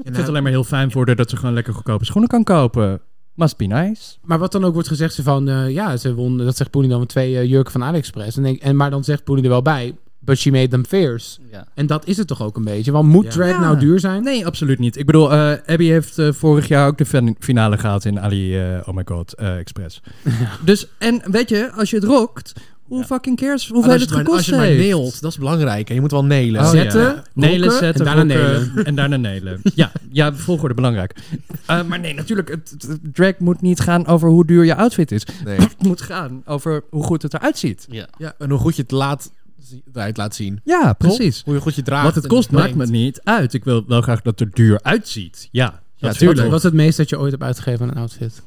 [SPEAKER 5] vind het alleen maar heel fijn voor haar dat ze gewoon lekker goedkope schoenen kan kopen. Must be nice.
[SPEAKER 4] maar wat dan ook wordt gezegd, ze van... eh, ja, ze won, dat zegt Poenie dan, met twee eh, jurken van AliExpress. En, denk- en, maar dan zegt Poenie er wel bij... But she made them fierce.
[SPEAKER 3] Ja.
[SPEAKER 4] En dat is het toch ook een beetje. Want moet
[SPEAKER 1] Ja.
[SPEAKER 4] Dread
[SPEAKER 5] Ja.
[SPEAKER 4] nou duur zijn?
[SPEAKER 5] Nee, absoluut niet. Ik bedoel, eh, Abby heeft eh, vorig jaar ook de fin- finale gehaald in Ali, eh, oh my god, eh, Express. dus, en weet je, als je het rockt, Who fucking cares hoeveel
[SPEAKER 1] Ah, Als je
[SPEAKER 5] het
[SPEAKER 1] maar-
[SPEAKER 5] gekost
[SPEAKER 1] Als je maar
[SPEAKER 5] heeft?
[SPEAKER 1] nailt, dat is belangrijk. En je moet wel nailen.
[SPEAKER 5] Oh, ja.
[SPEAKER 1] zetten.
[SPEAKER 5] Zetten, Nelen
[SPEAKER 1] rocken
[SPEAKER 5] zetten,
[SPEAKER 1] en daarna
[SPEAKER 5] rocken En daarna nelen. ja, ja, volgorde belangrijk. Eh, maar nee, natuurlijk, het, het- het drag moet niet gaan over hoe duur je outfit is.
[SPEAKER 1] Nee.
[SPEAKER 5] Het moet gaan over hoe goed het eruit ziet.
[SPEAKER 3] Ja.
[SPEAKER 1] Ja, en hoe goed je het laat, zi- eruit laat zien.
[SPEAKER 5] Ja,
[SPEAKER 1] Toch?
[SPEAKER 5] precies.
[SPEAKER 1] Hoe je goed je draagt.
[SPEAKER 5] Wat het
[SPEAKER 1] en
[SPEAKER 5] kost maakt
[SPEAKER 1] brengt.
[SPEAKER 5] me niet uit. Ik wil wel graag dat het er duur uitziet. Ja,
[SPEAKER 1] Ja,
[SPEAKER 5] dat
[SPEAKER 1] tuurlijk.
[SPEAKER 5] is
[SPEAKER 4] Wat is het meest dat je ooit hebt uitgegeven aan een outfit?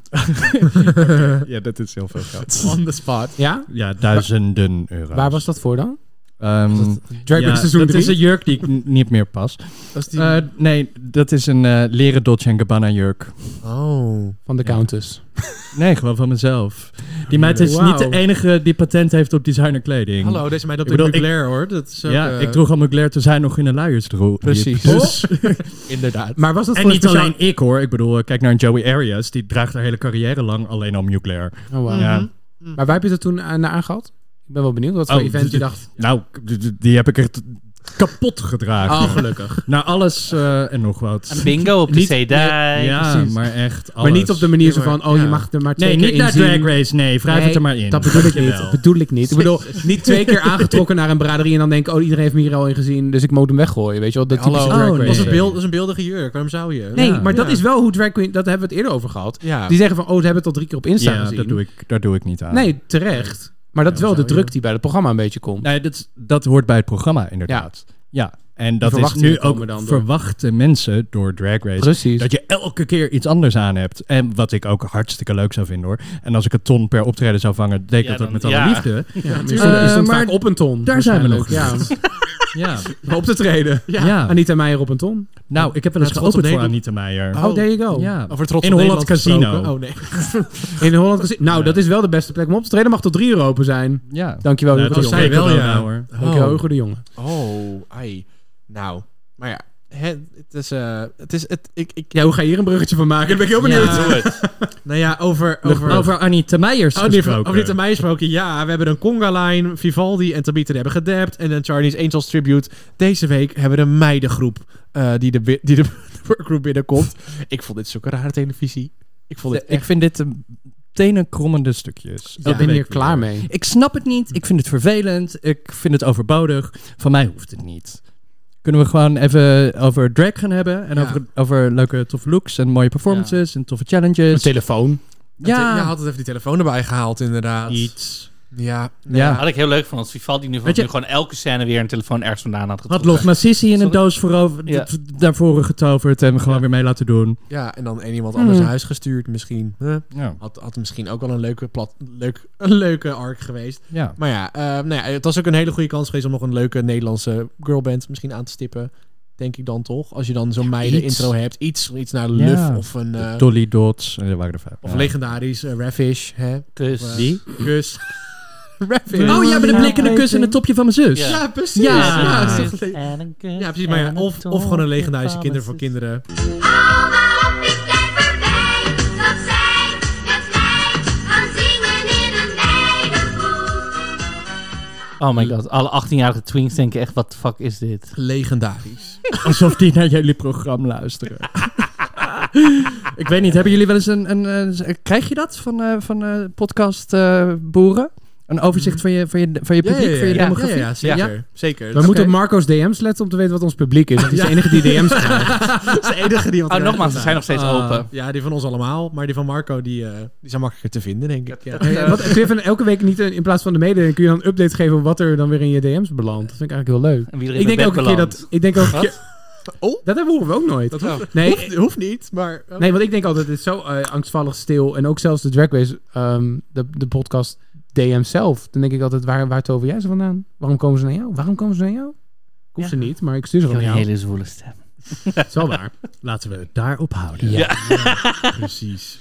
[SPEAKER 5] wel- Ja, dat is heel veel geld.
[SPEAKER 1] On the spot.
[SPEAKER 4] Ja?
[SPEAKER 5] Ja, duizenden euro.
[SPEAKER 4] Waar was dat voor dan?
[SPEAKER 5] Drag
[SPEAKER 1] Mm.
[SPEAKER 4] Drag Race seizoen
[SPEAKER 5] dat
[SPEAKER 4] 3?
[SPEAKER 5] is een jurk die ik n- niet meer pas.
[SPEAKER 1] Dat is die...
[SPEAKER 5] Eh, nee, dat is een eh, leren Dolce Gabbana jurk.
[SPEAKER 1] oh.
[SPEAKER 4] Van de
[SPEAKER 5] Ja.
[SPEAKER 4] Countess.
[SPEAKER 5] Nee, gewoon van mezelf. Die meid is
[SPEAKER 1] Wauw.
[SPEAKER 5] niet de enige die patent heeft op designerkleding.
[SPEAKER 1] Hallo, deze meid op
[SPEAKER 5] Ik
[SPEAKER 1] de
[SPEAKER 5] bedoel, ik-
[SPEAKER 1] nucleair hoor. Dat is ook,
[SPEAKER 5] Ja,
[SPEAKER 1] eh,
[SPEAKER 5] ik droeg al mijn Claire toen zij nog in een luiers droeg.
[SPEAKER 4] Precies.
[SPEAKER 5] Dus-
[SPEAKER 1] Inderdaad.
[SPEAKER 4] Maar was dat
[SPEAKER 5] En
[SPEAKER 4] voor
[SPEAKER 5] niet
[SPEAKER 4] een
[SPEAKER 5] alleen ik hoor. Ik bedoel, eh, kijk naar een Joey Arias. Die draagt haar hele carrière lang alleen al nuclear.
[SPEAKER 4] Oh, wow.
[SPEAKER 5] Ja.
[SPEAKER 4] Maar waar heb je dat toen aan- naar aangehad? Ik ben wel benieuwd wat voor
[SPEAKER 5] Oh,
[SPEAKER 4] event je
[SPEAKER 5] dit-
[SPEAKER 4] dacht.
[SPEAKER 5] Nou, d- d- die heb ik echt kapot gedragen.
[SPEAKER 4] Oh, gelukkig.
[SPEAKER 5] Nou, alles eh, en nog wat.
[SPEAKER 3] Een bingo op de
[SPEAKER 5] Niet-
[SPEAKER 3] C-dij.
[SPEAKER 5] ja,
[SPEAKER 4] precies.
[SPEAKER 5] maar echt alles.
[SPEAKER 4] Maar niet op de manier zo
[SPEAKER 1] Ja, maar-
[SPEAKER 4] van, oh,
[SPEAKER 1] ja.
[SPEAKER 4] je mag er maar twee
[SPEAKER 5] Nee,
[SPEAKER 4] keer
[SPEAKER 5] niet naar
[SPEAKER 4] in zien.
[SPEAKER 5] Drag Race. Nee, wrijf
[SPEAKER 4] Nee,
[SPEAKER 5] het er maar in.
[SPEAKER 4] Dat bedoel ik niet.
[SPEAKER 5] Dankjewel.
[SPEAKER 4] Dat bedoel ik niet. Ik bedoel, niet twee keer aangetrokken naar een braderie en dan denken, oh, iedereen heeft me hier al in gezien, dus ik moet hem weggooien. Weet je wel, dat
[SPEAKER 1] Hallo,
[SPEAKER 4] typische
[SPEAKER 5] oh,
[SPEAKER 4] drag
[SPEAKER 5] nee.
[SPEAKER 1] dat, is een
[SPEAKER 4] race.
[SPEAKER 1] beeld, dat is een beeldige jurk. Waarom zou je?
[SPEAKER 4] Nee,
[SPEAKER 5] Ja.
[SPEAKER 4] maar dat
[SPEAKER 1] Ja.
[SPEAKER 4] is wel hoe drag queen, dat hebben we het eerder over gehad.
[SPEAKER 1] Ja.
[SPEAKER 4] Die zeggen van, oh, dat hebben we tot drie keer op Insta
[SPEAKER 5] Ja,
[SPEAKER 4] gezien.
[SPEAKER 5] dat doe ik, daar doe ik niet aan.
[SPEAKER 4] Nee, terecht. Maar dat
[SPEAKER 1] Ja,
[SPEAKER 4] is wel
[SPEAKER 1] zou
[SPEAKER 4] de
[SPEAKER 1] je-
[SPEAKER 4] druk die bij het programma een beetje komt.
[SPEAKER 5] Nee, dat, is- dat hoort bij het programma inderdaad. Ja, en dat is
[SPEAKER 4] verwachtingen
[SPEAKER 5] nu ook
[SPEAKER 4] komen dan door.
[SPEAKER 5] verwachten mensen door Drag Race.
[SPEAKER 4] Precies.
[SPEAKER 5] Dat je elke keer iets anders aan hebt. En wat ik ook hartstikke leuk zou vinden hoor. En als ik een ton per optreden zou vangen, deed ik
[SPEAKER 3] Ja,
[SPEAKER 5] dat ook
[SPEAKER 3] dan-
[SPEAKER 5] met alle
[SPEAKER 3] ja.
[SPEAKER 5] liefde.
[SPEAKER 4] Ja, maar je
[SPEAKER 5] Eh,
[SPEAKER 4] stond, je stond
[SPEAKER 5] maar
[SPEAKER 4] vaak op een ton.
[SPEAKER 5] daar zijn we nog
[SPEAKER 4] waarschijnlijk.
[SPEAKER 5] Ja.
[SPEAKER 4] Ja, op te treden. Ja.
[SPEAKER 5] Ja.
[SPEAKER 4] Anita Meijer op een ton.
[SPEAKER 5] Nou, ik heb wel eens
[SPEAKER 1] Nou, trots op
[SPEAKER 5] geopend
[SPEAKER 1] Nederland.
[SPEAKER 5] voor Anita Meijer.
[SPEAKER 4] Oh, there you go.
[SPEAKER 5] Ja.
[SPEAKER 1] Over trots
[SPEAKER 5] In
[SPEAKER 1] op
[SPEAKER 5] Holland
[SPEAKER 1] Nederland gesproken.
[SPEAKER 5] Casino.
[SPEAKER 1] Oh nee.
[SPEAKER 4] In Holland gezien. Nou, dat is wel de beste plek om op te treden. Mag tot drie uur open zijn.
[SPEAKER 5] Ja.
[SPEAKER 4] Dankjewel,
[SPEAKER 5] Nou,
[SPEAKER 4] Hugo
[SPEAKER 5] dat
[SPEAKER 4] de
[SPEAKER 5] was
[SPEAKER 4] Jonge.
[SPEAKER 1] zij
[SPEAKER 5] zeker
[SPEAKER 1] wel, ja.
[SPEAKER 5] wel nou, hoor.
[SPEAKER 4] Dankjewel,
[SPEAKER 1] Oh.
[SPEAKER 4] Hugo de Jonge.
[SPEAKER 1] Oh, ai. Nou, maar ja. hè, het is, eh, het is, het, ik, ik,
[SPEAKER 4] Ja, hoe ga je hier een bruggetje van maken? Daar ben ik heel benieuwd.
[SPEAKER 1] Ja.
[SPEAKER 3] Doe het.
[SPEAKER 1] nou ja, over, over,
[SPEAKER 5] Over, over Anita Meijers
[SPEAKER 1] Oh, nee,
[SPEAKER 5] gesproken.
[SPEAKER 1] over dit aan mij gesproken. Ja, we hebben een Conga-line. Vivaldi en Tabitha die hebben gedapt. En een Charlie's Angels tribute. Deze week hebben we een meidengroep eh, die de, bi- die de workgroep binnenkomt. Ik vond dit zulke rare televisie. Ik vond dit
[SPEAKER 5] Ik vind dit een tenenkrommende stukjes.
[SPEAKER 4] Ik ben hier klaar mee.
[SPEAKER 5] Ik snap het niet. Ik vind het vervelend. Ik vind het overbodig. Van mij hoeft het niet. Kunnen we gewoon even over drag gaan hebben. En
[SPEAKER 1] Ja.
[SPEAKER 5] over, over leuke toffe looks en mooie performances en toffe challenges.
[SPEAKER 4] telefoon.
[SPEAKER 5] ja,
[SPEAKER 1] had het even die telefoon erbij gehaald, inderdaad.
[SPEAKER 5] iets.
[SPEAKER 1] Ja.
[SPEAKER 5] Ja.
[SPEAKER 3] Had ik heel leuk van als Vivaldi nu,
[SPEAKER 5] Weet
[SPEAKER 3] van
[SPEAKER 5] je-
[SPEAKER 3] nu gewoon elke scène weer een telefoon ergens vandaan had
[SPEAKER 5] Had
[SPEAKER 3] getrokken.
[SPEAKER 5] Log Massissi in een
[SPEAKER 3] Sorry.
[SPEAKER 5] doos voorover,
[SPEAKER 3] Ja.
[SPEAKER 5] d- naar voren getoverd en gewoon weer mee laten doen.
[SPEAKER 1] ja, en dan een iemand
[SPEAKER 5] Hmm.
[SPEAKER 4] anders naar
[SPEAKER 1] huis gestuurd misschien.
[SPEAKER 5] Ja.
[SPEAKER 1] Had, had misschien ook wel een leuke, plat, leuk, een leuke arc geweest.
[SPEAKER 5] ja.
[SPEAKER 1] Maar ja, eh, nou ja, het was ook een hele goede kans geweest om nog een leuke Nederlandse girlband misschien aan te stippen. Denk ik dan toch? Als je dan zo'n meiden
[SPEAKER 5] iets.
[SPEAKER 1] intro hebt. Iets, iets naar
[SPEAKER 5] Ja.
[SPEAKER 1] Luf of een... eh,
[SPEAKER 5] Dolly Dots. En er waren er vijf.
[SPEAKER 1] of
[SPEAKER 5] Ja.
[SPEAKER 1] legendarisch eh, Ravish. Hè?
[SPEAKER 3] Dus
[SPEAKER 1] Die? Kus. Ravish.
[SPEAKER 5] Oh ja, met een blikkende kus en een topje van mijn zus.
[SPEAKER 3] Ja.
[SPEAKER 1] Ja, precies.
[SPEAKER 5] Ja.
[SPEAKER 1] Ja, nou,
[SPEAKER 5] Ja.
[SPEAKER 1] is toch le- ja, precies. Maar ja, of, of gewoon een legendarische kinderen voor kinderen.
[SPEAKER 9] Allemaal op is tijd voorbij, dat zij het lijkt gaan zingen in een weidevoet.
[SPEAKER 3] Oh my god, alle 18-jarige twinks denken echt, wat de fuck is dit?
[SPEAKER 1] Legendarisch.
[SPEAKER 5] Alsof die naar jullie programma luisteren. ik weet niet, hebben jullie wel eens een... een, eh, krijg je dat van, eh, van eh, podcast eh, boeren? Een overzicht van je, van je, van je
[SPEAKER 1] Ja, ja,
[SPEAKER 5] publiek,
[SPEAKER 1] ja,
[SPEAKER 5] van je
[SPEAKER 1] ja,
[SPEAKER 5] demografie?
[SPEAKER 1] ja, ja, zeker. Zeker.
[SPEAKER 4] We moeten op Marco's DM's letten om te weten wat ons publiek is. Het is de enige die DM's krijgt.
[SPEAKER 1] Dat is de enige die... wat
[SPEAKER 3] Oh,
[SPEAKER 1] er-
[SPEAKER 3] nogmaals, ze zijn nog steeds open.
[SPEAKER 1] Ja, die van ons allemaal. Maar die van Marco, die, eh, die zijn makkelijker te vinden, denk ik. Ja.
[SPEAKER 4] Eh, Wat, kun je van elke week niet eh, in plaats van de mededeling kun je dan een update geven op wat er dan weer in je DM's belandt? Dat vind ik eigenlijk heel leuk.
[SPEAKER 3] En wie er in
[SPEAKER 4] Ik
[SPEAKER 3] de
[SPEAKER 4] denk ook
[SPEAKER 3] bed
[SPEAKER 4] een keer
[SPEAKER 3] belandt.
[SPEAKER 4] dat. Ik denk ook een
[SPEAKER 3] Wat?
[SPEAKER 4] keer-
[SPEAKER 1] Oh.
[SPEAKER 4] Dat horen we ook nooit.
[SPEAKER 1] Dat hoeft,
[SPEAKER 4] Nee,
[SPEAKER 1] hoeft, hoeft niet, maar... oh.
[SPEAKER 4] Nee, want ik denk altijd, het is zo eh, angstvallig stil. En ook zelfs de Drag Race, ehm, de, de podcast DM zelf. Dan denk ik altijd, waar, waar tover jij ze vandaan? Waarom komen ze naar jou? Waarom komen ze naar jou? Ik hoef
[SPEAKER 3] Ja.
[SPEAKER 4] ze niet, maar ik stuur ze
[SPEAKER 3] Ik
[SPEAKER 4] wel
[SPEAKER 3] heb
[SPEAKER 4] naar
[SPEAKER 3] een
[SPEAKER 4] jou.
[SPEAKER 3] hele zwoele stem.
[SPEAKER 4] Dat is wel waar.
[SPEAKER 5] Laten we het daarop houden.
[SPEAKER 4] Ja.
[SPEAKER 1] Precies.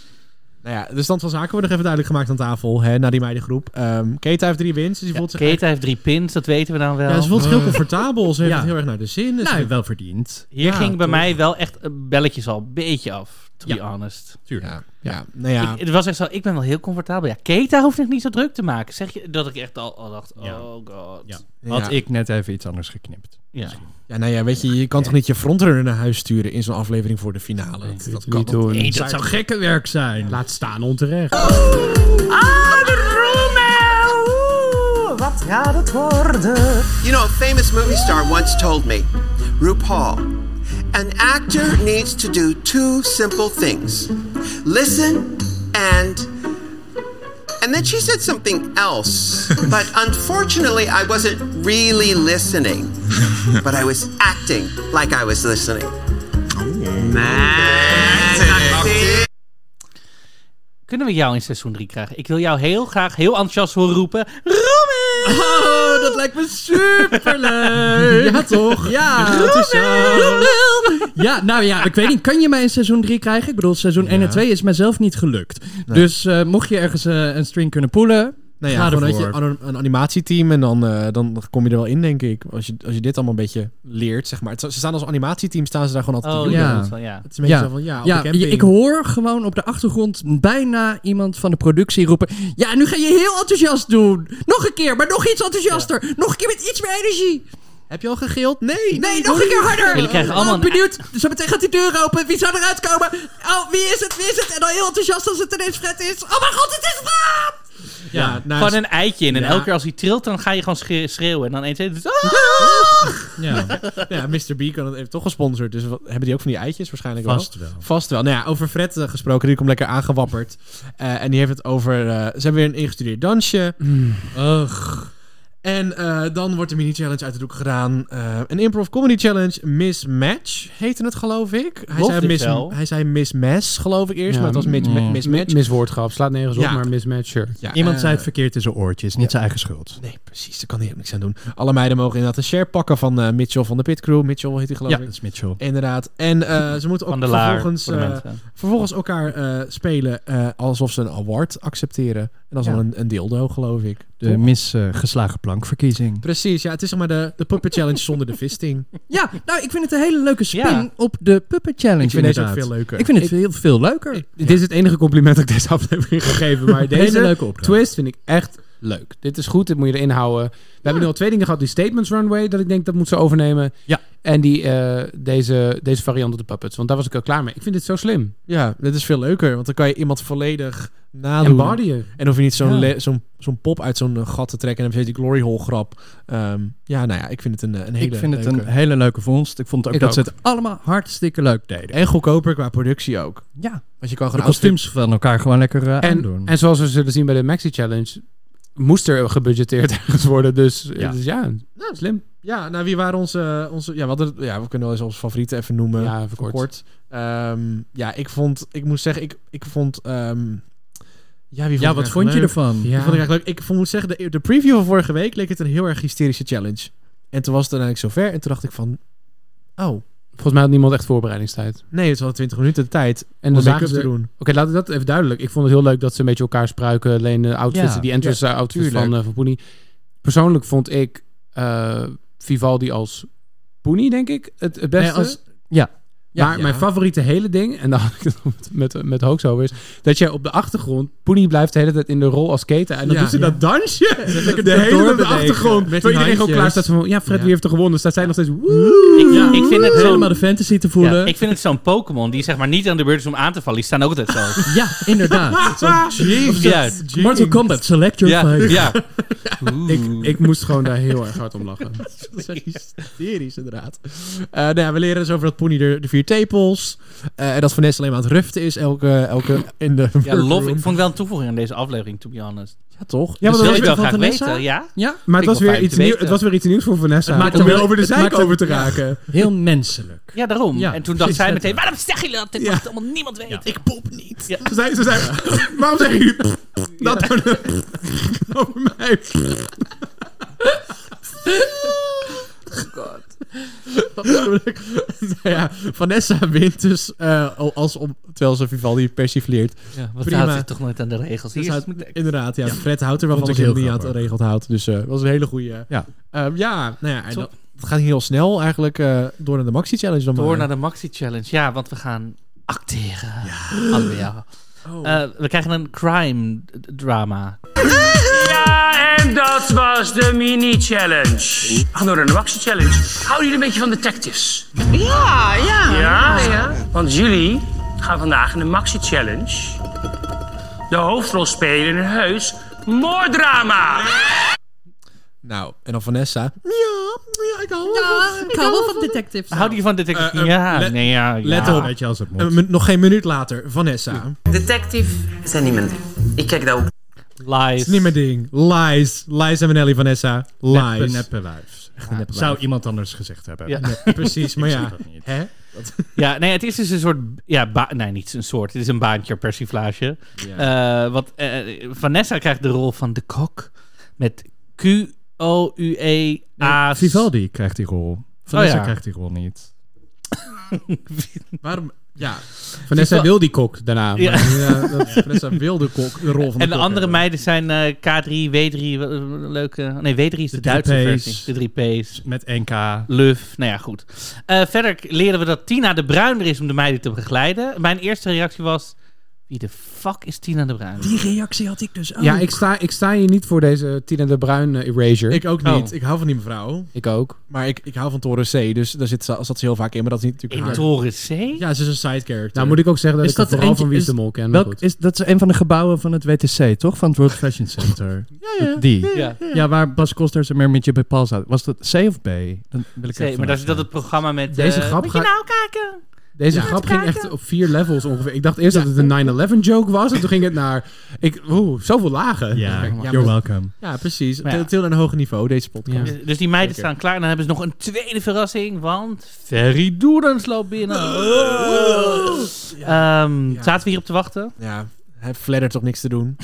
[SPEAKER 1] Nou ja, de stand van zaken wordt nog even duidelijk gemaakt aan tafel, hè, na die meidengroep. Ehm Keta heeft drie wins, dus die voelt zich...
[SPEAKER 3] Kate heeft drie pins, dat weten we dan wel.
[SPEAKER 1] Ja, ze voelt zich heel comfortabel. Ze heeft
[SPEAKER 5] Ja.
[SPEAKER 1] het heel erg naar de zin. dus- Ze
[SPEAKER 5] Nou,
[SPEAKER 1] heeft-
[SPEAKER 5] wel verdiend.
[SPEAKER 3] Hier
[SPEAKER 1] Ja,
[SPEAKER 3] ging bij
[SPEAKER 1] toch.
[SPEAKER 3] mij wel echt eh, belletjes al een beetje af, to be honest.
[SPEAKER 1] Ja, ja, nou ja.
[SPEAKER 3] Ik, het was echt zo, ik ben wel heel comfortabel. Ja, Keta hoeft zich niet zo druk te maken. Zeg je dat ik echt al, al dacht,
[SPEAKER 5] Ja.
[SPEAKER 3] oh god.
[SPEAKER 5] Ja.
[SPEAKER 1] ja.
[SPEAKER 5] Had ik net even iets anders geknipt.
[SPEAKER 3] Ja.
[SPEAKER 1] Ja, nou ja, weet je, je kan toch niet je frontrunner naar huis sturen in zo'n aflevering voor de finale? dat, dat kan
[SPEAKER 4] niet
[SPEAKER 1] toch
[SPEAKER 4] doen.
[SPEAKER 1] niet?
[SPEAKER 5] dat zou gekke werk zijn.
[SPEAKER 4] Laat staan onterecht.
[SPEAKER 10] Ah, de roemel!
[SPEAKER 11] gaat, gaat het worden.
[SPEAKER 12] You know, a famous movie star once told me, RuPaul, an actor needs to do two simple things listen and. And then she said something else, but unfortunately, I wasn't really listening, but I was acting like I was listening.
[SPEAKER 3] Kunnen we jou in seizoen 3 krijgen? Ik wil jou heel graag heel enthousiast horen roepen. Romy!
[SPEAKER 1] Oh, dat lijkt me superleuk. ja, toch? Ja, dat is zo.
[SPEAKER 5] Ja, nou ja, ik weet niet. Kan je mij in seizoen 3 krijgen? Ik bedoel, seizoen 1 en 2 is mijzelf niet gelukt. Dus eh, mocht je ergens eh, een string kunnen poelen,
[SPEAKER 1] Nou
[SPEAKER 5] Ga
[SPEAKER 1] ja, gewoon
[SPEAKER 5] ervoor.
[SPEAKER 1] weet je, an- een animatieteam en dan, eh, dan kom je er wel in, denk ik. Als je, als je dit allemaal een beetje leert, zeg maar. Het- Ze staan als animatieteam, staan ze daar gewoon altijd
[SPEAKER 3] Oh
[SPEAKER 1] te doen.
[SPEAKER 5] ja.
[SPEAKER 3] ja. dat is wel- ja.
[SPEAKER 1] Het is een beetje
[SPEAKER 5] Ja.
[SPEAKER 1] zo van, ja, op
[SPEAKER 5] Ja,
[SPEAKER 1] de camping.
[SPEAKER 5] je- ik hoor gewoon op de achtergrond bijna iemand van de productie roepen. Ja, nu ga je heel enthousiast doen. Nog een keer, maar nog iets enthousiaster. Nog een keer met iets meer energie.
[SPEAKER 1] Heb je al gegild? Nee!
[SPEAKER 5] Nee, nog een keer harder.
[SPEAKER 3] Jullie krijgen allemaal
[SPEAKER 5] Oh,
[SPEAKER 3] een-
[SPEAKER 5] benieuwd. Zo meteen gaat die deur open. Wie zou eruit komen? Oh, wie is het? Wie is het? En dan heel enthousiast als het ineens Fred is. Oh mijn god, het is Fred!
[SPEAKER 1] Ja, nou,
[SPEAKER 3] Gewoon een eitje in. En
[SPEAKER 1] Ja.
[SPEAKER 3] elke keer als hij trilt, dan ga je gewoon schre- schreeuwen. En dan Ah! eens...
[SPEAKER 1] Ja. ja, Mr. B kan het, heeft toch gesponsord. Dus wat- hebben die ook van die eitjes waarschijnlijk
[SPEAKER 5] Vast
[SPEAKER 1] wel? Vast wel. Nou ja, over Fred eh, gesproken. Die komt lekker aangewapperd. Eh, en die heeft het over... eh, ze hebben weer een ingestudeerd dansje.
[SPEAKER 5] Mm.
[SPEAKER 1] Ugh. En eh, dan wordt de mini-challenge uit de doek gedaan. Eh, een improv comedy challenge. Mismatch heette het, geloof ik. Hij
[SPEAKER 3] Klopt
[SPEAKER 1] zei,
[SPEAKER 3] dit
[SPEAKER 1] mis,
[SPEAKER 3] wel?
[SPEAKER 1] hij zei mismatch, geloof ik eerst.
[SPEAKER 4] Ja,
[SPEAKER 1] maar het was mis-
[SPEAKER 5] mm.
[SPEAKER 1] mismatch.
[SPEAKER 4] Miswoordgrap, slaat nergens op,
[SPEAKER 1] Ja.
[SPEAKER 4] maar mismatch shirt.
[SPEAKER 1] Ja,
[SPEAKER 5] Iemand
[SPEAKER 1] eh,
[SPEAKER 5] zei het verkeerd in zijn oortjes. Niet zijn eigen schuld.
[SPEAKER 1] Nee, precies. Daar kan hij ook niks aan doen. Alle meiden mogen inderdaad een share pakken van eh, Mitchell van de Pit Crew. Mitchell heet hij, geloof
[SPEAKER 5] Ja,
[SPEAKER 1] ik.
[SPEAKER 5] dat is Mitchell.
[SPEAKER 1] Inderdaad. En eh, ze moeten ook
[SPEAKER 3] Van de laar.
[SPEAKER 1] vervolgens,
[SPEAKER 3] voor de
[SPEAKER 1] eh,
[SPEAKER 3] mensen.
[SPEAKER 1] vervolgens elkaar eh, spelen eh, alsof ze een award accepteren. En dat is
[SPEAKER 5] Ja.
[SPEAKER 1] dan een, een dildo, geloof ik.
[SPEAKER 5] De misgeslagen plankverkiezing.
[SPEAKER 1] Precies, ja. Het is zeg maar de, de puppet challenge zonder de fisting.
[SPEAKER 5] Ja, nou, ik vind het een hele leuke spin
[SPEAKER 3] Ja.
[SPEAKER 5] op de Puppet Challenge.
[SPEAKER 1] Ik vind deze ook
[SPEAKER 5] inderdaad.
[SPEAKER 1] veel leuker.
[SPEAKER 5] Ik vind het heel veel leuker.
[SPEAKER 4] Dit is het enige compliment dat ik deze aflevering ga geven. Maar
[SPEAKER 5] Hele
[SPEAKER 4] deze
[SPEAKER 5] leuke opdracht.
[SPEAKER 4] twist vind ik echt leuk. Dit is goed, dit moet je erin houden. We hebben nu al twee dingen gehad. Die Statements Runway, dat ik denk dat moet ze overnemen.
[SPEAKER 5] Ja.
[SPEAKER 4] En die, eh, deze, deze variant op de puppets. Want daar was ik al klaar mee. Ik vind dit zo slim.
[SPEAKER 1] Ja, dit is veel leuker. Want dan kan je iemand volledig nadoen.
[SPEAKER 4] En bodyen.
[SPEAKER 1] En hoef je niet
[SPEAKER 5] Ja.
[SPEAKER 1] zo'n le- zo'n zo'n pop uit zo'n eh, gat te trekken. En dan heb je die glory hole grap. Ehm, ja, nou ja, ik vind het een, eh, een hele
[SPEAKER 5] ik vind het
[SPEAKER 1] leuke.
[SPEAKER 5] een hele leuke vondst. Ik vond ook
[SPEAKER 4] Ik
[SPEAKER 5] dat
[SPEAKER 4] ook.
[SPEAKER 5] ze het allemaal hartstikke leuk deden.
[SPEAKER 1] En goedkoper qua productie ook.
[SPEAKER 5] Ja,
[SPEAKER 1] Want je kan gewoon
[SPEAKER 5] de
[SPEAKER 1] outfit-
[SPEAKER 5] kostuums van elkaar gewoon lekker eh
[SPEAKER 4] En,
[SPEAKER 5] aandoen.
[SPEAKER 4] en zoals we zullen zien bij de Maxi Challenge, moest er gebudgeteerd ergens worden. Dus eh,
[SPEAKER 5] Ja.
[SPEAKER 4] dus ja, slim.
[SPEAKER 1] Ja, nou wie waren onze... onze ja, we hadden- ja, we kunnen wel eens onze favorieten even noemen.
[SPEAKER 4] ja, even
[SPEAKER 1] kort.
[SPEAKER 4] kort.
[SPEAKER 1] Ehm, ja, ik vond... Ik moest zeggen, ik, ik vond... ehm, ja, wie vond
[SPEAKER 5] ja,
[SPEAKER 1] ik
[SPEAKER 5] wat
[SPEAKER 1] eigenlijk
[SPEAKER 5] vond je
[SPEAKER 1] leuk?
[SPEAKER 5] ervan?
[SPEAKER 1] Die vond ik eigenlijk leuk. Ik vond- moet zeggen, de, de preview van vorige week leek het een heel erg hysterische challenge. En toen was het uiteindelijk zover. En toen dacht ik van... Oh,
[SPEAKER 4] Volgens mij had niemand echt voorbereidingstijd.
[SPEAKER 1] nee, het was al 20 minuten de tijd
[SPEAKER 4] En
[SPEAKER 1] om
[SPEAKER 4] dan
[SPEAKER 1] de
[SPEAKER 4] zagen
[SPEAKER 1] make-up
[SPEAKER 4] ze...
[SPEAKER 1] te
[SPEAKER 4] Oké,
[SPEAKER 1] doen.
[SPEAKER 4] laat ik dat even duidelijk. Ik vond het heel leuk dat ze een beetje elkaar spruiken. Alleen de outfits,
[SPEAKER 5] Ja,
[SPEAKER 4] die entrance outfits
[SPEAKER 1] tuurlijk.
[SPEAKER 4] van, eh van Poenie. Persoonlijk vond ik eh, Vivaldi als Poenie, denk ik, het, het beste.
[SPEAKER 5] Nee, als- ja. Ja,
[SPEAKER 4] maar
[SPEAKER 1] ja.
[SPEAKER 4] mijn favoriete hele ding, en dan had ik het met, met, met Hoax over, is dat jij op de achtergrond, Poenie blijft de hele tijd in de rol als keten. En dan
[SPEAKER 1] Ja,
[SPEAKER 4] doet ze
[SPEAKER 1] ja.
[SPEAKER 4] dat dansje de
[SPEAKER 1] dat
[SPEAKER 4] hele tijd op de
[SPEAKER 1] doorbewegen.
[SPEAKER 4] achtergrond.
[SPEAKER 1] Met die
[SPEAKER 4] Terwijl iedereen gewoon
[SPEAKER 1] handjes.
[SPEAKER 4] klaar staat van, ja, Fred,
[SPEAKER 1] Ja.
[SPEAKER 4] wie heeft er gewonnen? Staat zij nog steeds, woe.
[SPEAKER 3] Ik, ik vind het
[SPEAKER 5] Helemaal
[SPEAKER 3] zo'n...
[SPEAKER 5] de fantasy te voelen. Ja,
[SPEAKER 3] Ik vind het zo'n Pokémon die zeg maar niet aan de beurt is om aan te vallen. Die staan ook altijd zo.
[SPEAKER 5] inderdaad.
[SPEAKER 4] Ah,
[SPEAKER 3] Ja,
[SPEAKER 5] Mortal Kombat, select your
[SPEAKER 3] ja,
[SPEAKER 5] fight.
[SPEAKER 3] ja.
[SPEAKER 4] Ik, ik moest gewoon daar heel erg hard om lachen.
[SPEAKER 1] Dat is echt hysterisch, inderdaad. Eh, nou ja, we leren dus over dat Pony de, de vier tepels. eh, en dat Vanessa alleen maar aan het ruften is elke, elke in de
[SPEAKER 3] Ja, lof. Ik
[SPEAKER 1] workroom.
[SPEAKER 3] vond het wel een toevoeging aan deze aflevering, to be honest.
[SPEAKER 1] Ja, toch? Dus
[SPEAKER 4] Ja, maar
[SPEAKER 3] wil
[SPEAKER 4] dat
[SPEAKER 3] je wel
[SPEAKER 4] was
[SPEAKER 5] van
[SPEAKER 3] graag
[SPEAKER 5] Vanessa?
[SPEAKER 3] weten, ja?
[SPEAKER 5] Ja,
[SPEAKER 4] Maar
[SPEAKER 3] Vind
[SPEAKER 4] het
[SPEAKER 3] ik wel
[SPEAKER 4] was, weer
[SPEAKER 3] fijn
[SPEAKER 4] iets
[SPEAKER 3] te
[SPEAKER 4] nieuw,
[SPEAKER 3] weten.
[SPEAKER 4] het was weer iets nieuws voor Vanessa.
[SPEAKER 5] maakt
[SPEAKER 4] om
[SPEAKER 5] hem
[SPEAKER 4] weer
[SPEAKER 5] wel-
[SPEAKER 4] over de
[SPEAKER 5] het
[SPEAKER 4] zeik
[SPEAKER 5] maakt hem-
[SPEAKER 4] over te raken.
[SPEAKER 5] heel menselijk.
[SPEAKER 3] Ja, daarom.
[SPEAKER 5] Ja,
[SPEAKER 3] en toen
[SPEAKER 5] precies,
[SPEAKER 3] dacht zij meteen,
[SPEAKER 5] letterlijk.
[SPEAKER 3] waarom zeggen jullie dat? Dit mag allemaal niemand weten. Ik pop niet. Ja.
[SPEAKER 4] Ze zei, ze zei, waarom zeggen jullie pff, dat dan, over mij?
[SPEAKER 1] Nou ja, Vanessa wint dus eh, al- als om, terwijl ze Vivaldi persifleert.
[SPEAKER 3] wat
[SPEAKER 1] Prima.
[SPEAKER 3] houdt zich toch nooit aan de regels? Hier
[SPEAKER 1] Dus
[SPEAKER 3] is
[SPEAKER 1] houdt-
[SPEAKER 3] het met-
[SPEAKER 1] inderdaad, ja, Fred houdt er wel van
[SPEAKER 5] Vond
[SPEAKER 1] als hij
[SPEAKER 5] ik
[SPEAKER 1] hem
[SPEAKER 5] heel
[SPEAKER 1] niet aan het
[SPEAKER 5] grappig.
[SPEAKER 1] regeld houdt. Dus eh, dat was een hele goede.
[SPEAKER 5] Ja.
[SPEAKER 1] Ehm, ja, nou ja, en
[SPEAKER 3] Zo.
[SPEAKER 1] dat, het gaat heel snel eigenlijk eh, door naar de Maxi Challenge dan
[SPEAKER 3] Door
[SPEAKER 1] maar.
[SPEAKER 3] naar de Maxi Challenge. Ja, want we gaan acteren. Halleluja.
[SPEAKER 1] Oh.
[SPEAKER 3] Eh, we krijgen een crime d- drama.
[SPEAKER 9] Ja, en dat was de mini-challenge. Hallo, de Maxi-challenge. Houden jullie een beetje van detectives? Ja, ja. Ja? Want jullie gaan vandaag in de Maxi-challenge de hoofdrol spelen in een heus moorddrama.
[SPEAKER 1] Nou, en dan Vanessa. Ja, ja ik hou
[SPEAKER 5] Ah,
[SPEAKER 1] ervan.
[SPEAKER 13] ik hou wel van detectives.
[SPEAKER 3] Houdt je van detective?
[SPEAKER 1] Eh, eh,
[SPEAKER 3] ja,
[SPEAKER 1] let-
[SPEAKER 3] nee, ja.
[SPEAKER 1] Let
[SPEAKER 3] ja.
[SPEAKER 1] op.
[SPEAKER 5] Weet je als het moet.
[SPEAKER 1] Een minu- nog geen minuut later, Vanessa.
[SPEAKER 12] Detective zijn niet mijn ding. Ik kijk daar ook
[SPEAKER 3] Lies.
[SPEAKER 1] Is niet mijn ding. Lies. Lies en Manelli, Vanessa. Lies.
[SPEAKER 5] Neppe, neppe wijf. Zou iemand anders gezegd hebben.
[SPEAKER 3] Ja.
[SPEAKER 1] Precies, maar
[SPEAKER 5] Ik zeg
[SPEAKER 1] ja.
[SPEAKER 5] dat niet.
[SPEAKER 1] Hè?
[SPEAKER 3] Ja, nee, het is dus een soort... Ja, ba- nee, niet een soort. Het is een baantje persiflage. Eh, wat, eh, Vanessa krijgt de rol van de kok. Met E Q-O-U-E-A...
[SPEAKER 5] Vivaldi krijgt die
[SPEAKER 1] Oh
[SPEAKER 5] rol. Vanessa
[SPEAKER 3] ja.
[SPEAKER 5] krijgt die rol niet.
[SPEAKER 1] Waarom? Ja.
[SPEAKER 4] Vanessa
[SPEAKER 3] wel-
[SPEAKER 4] wil die kok daarna.
[SPEAKER 3] Ja.
[SPEAKER 4] maar-
[SPEAKER 1] ja dat, Vanessa wil de, kok, de rol van de
[SPEAKER 3] En de
[SPEAKER 1] kok
[SPEAKER 3] andere
[SPEAKER 1] hebben.
[SPEAKER 3] meiden zijn eh, K3, W3, wat een leuke... Nee, W3 is
[SPEAKER 5] drie
[SPEAKER 3] de, Duitse
[SPEAKER 5] P's.
[SPEAKER 3] versie. De 3P's.
[SPEAKER 5] Met NK.
[SPEAKER 3] Luf, nou ja, goed. Eh, verder k- leren we dat Tina de Bruin er is om de meiden te begeleiden. Mijn eerste reactie was... Wie de fuck is Tina de Bruin?
[SPEAKER 5] Die reactie had ik dus ook.
[SPEAKER 4] Ja, ik sta, ik sta hier niet voor deze Tina de Bruin eh, erasure. Ik,
[SPEAKER 1] Ik ook niet. Ik hou van die mevrouw.
[SPEAKER 4] ook.
[SPEAKER 1] Maar ik, ik hou van Toren C. Dus daar zit, ze- zat ze heel vaak in. Maar dat is niet natuurlijk
[SPEAKER 3] In
[SPEAKER 1] haar-
[SPEAKER 3] Toren C?
[SPEAKER 1] Ja, ze is een side character.
[SPEAKER 4] Nou moet ik ook zeggen dat
[SPEAKER 5] Is
[SPEAKER 4] ik
[SPEAKER 5] dat
[SPEAKER 4] het vooral
[SPEAKER 5] eentje-
[SPEAKER 4] van Wie is
[SPEAKER 5] is-
[SPEAKER 4] de Mol ken. maar
[SPEAKER 5] Welk
[SPEAKER 4] goed.
[SPEAKER 5] is, dat is een van de gebouwen van het WTC, toch? Van het World Fashion Center. ja, ja. Die.
[SPEAKER 3] Ja.
[SPEAKER 5] Ja, waar Bas Kosters en Mermitje bij Paul zaten. Was dat C of B? Dan wil ik
[SPEAKER 3] Nee, maar dat is dat het programma met...
[SPEAKER 4] Deze
[SPEAKER 3] eh,
[SPEAKER 4] grap
[SPEAKER 3] moet je
[SPEAKER 4] gaat-
[SPEAKER 3] nou kijken?
[SPEAKER 4] Deze grap ging echt op vier levels ongeveer. Ik dacht eerst dat het een 9-11 joke was. En toen ging het naar... Ik, oeh, zoveel lagen.
[SPEAKER 5] Ja,
[SPEAKER 4] Ja, maar-
[SPEAKER 5] you're welcome.
[SPEAKER 1] Ja, precies.
[SPEAKER 3] Maar ja.
[SPEAKER 1] Het heel een hoger niveau, deze podcast.
[SPEAKER 4] Ja.
[SPEAKER 3] Dus die meiden staan klaar en dan hebben ze nog een tweede verrassing, want Ferry Doedens loopt binnen. Oh. Ehm, Zaten we hierop te wachten?
[SPEAKER 1] Ja, hij fladdert toch niks te doen.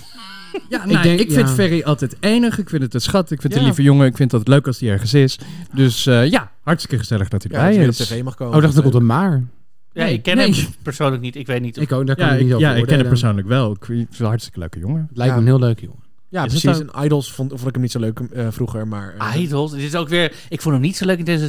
[SPEAKER 5] Ja,
[SPEAKER 4] Ik
[SPEAKER 5] ik,
[SPEAKER 4] denk-
[SPEAKER 5] ik vind
[SPEAKER 4] ja.
[SPEAKER 5] Ferry altijd enig. Ik vind het een schat. Ik vind het
[SPEAKER 1] Ja.
[SPEAKER 5] een lieve jongen. Ik vind dat het leuk als hij ergens is. Dus eh, ja, hartstikke gezellig dat hij
[SPEAKER 1] Ja, dat je
[SPEAKER 5] erbij
[SPEAKER 1] op
[SPEAKER 5] is.
[SPEAKER 1] tv mag komen.
[SPEAKER 4] Oh, ik dacht ik op de maar.
[SPEAKER 3] Ja, ik ken
[SPEAKER 4] nee.
[SPEAKER 3] hem persoonlijk niet. Ik weet niet of...
[SPEAKER 4] Ik ook, daar kan
[SPEAKER 5] Ja,
[SPEAKER 4] ik niet
[SPEAKER 5] ik,
[SPEAKER 4] over
[SPEAKER 5] ja, ik ken hem
[SPEAKER 4] oordelen.
[SPEAKER 5] persoonlijk wel. Ik vind het een hartstikke leuke jongen.
[SPEAKER 4] Het lijkt
[SPEAKER 1] Ja.
[SPEAKER 4] me heel leuk, jongen.
[SPEAKER 1] Ja,
[SPEAKER 5] Is het
[SPEAKER 1] precies. En Idols vond, vond ik hem niet zo leuk eh, vroeger, maar... eh,
[SPEAKER 3] Idols. Dit is ook weer... Ik vond hem niet zo leuk in deze...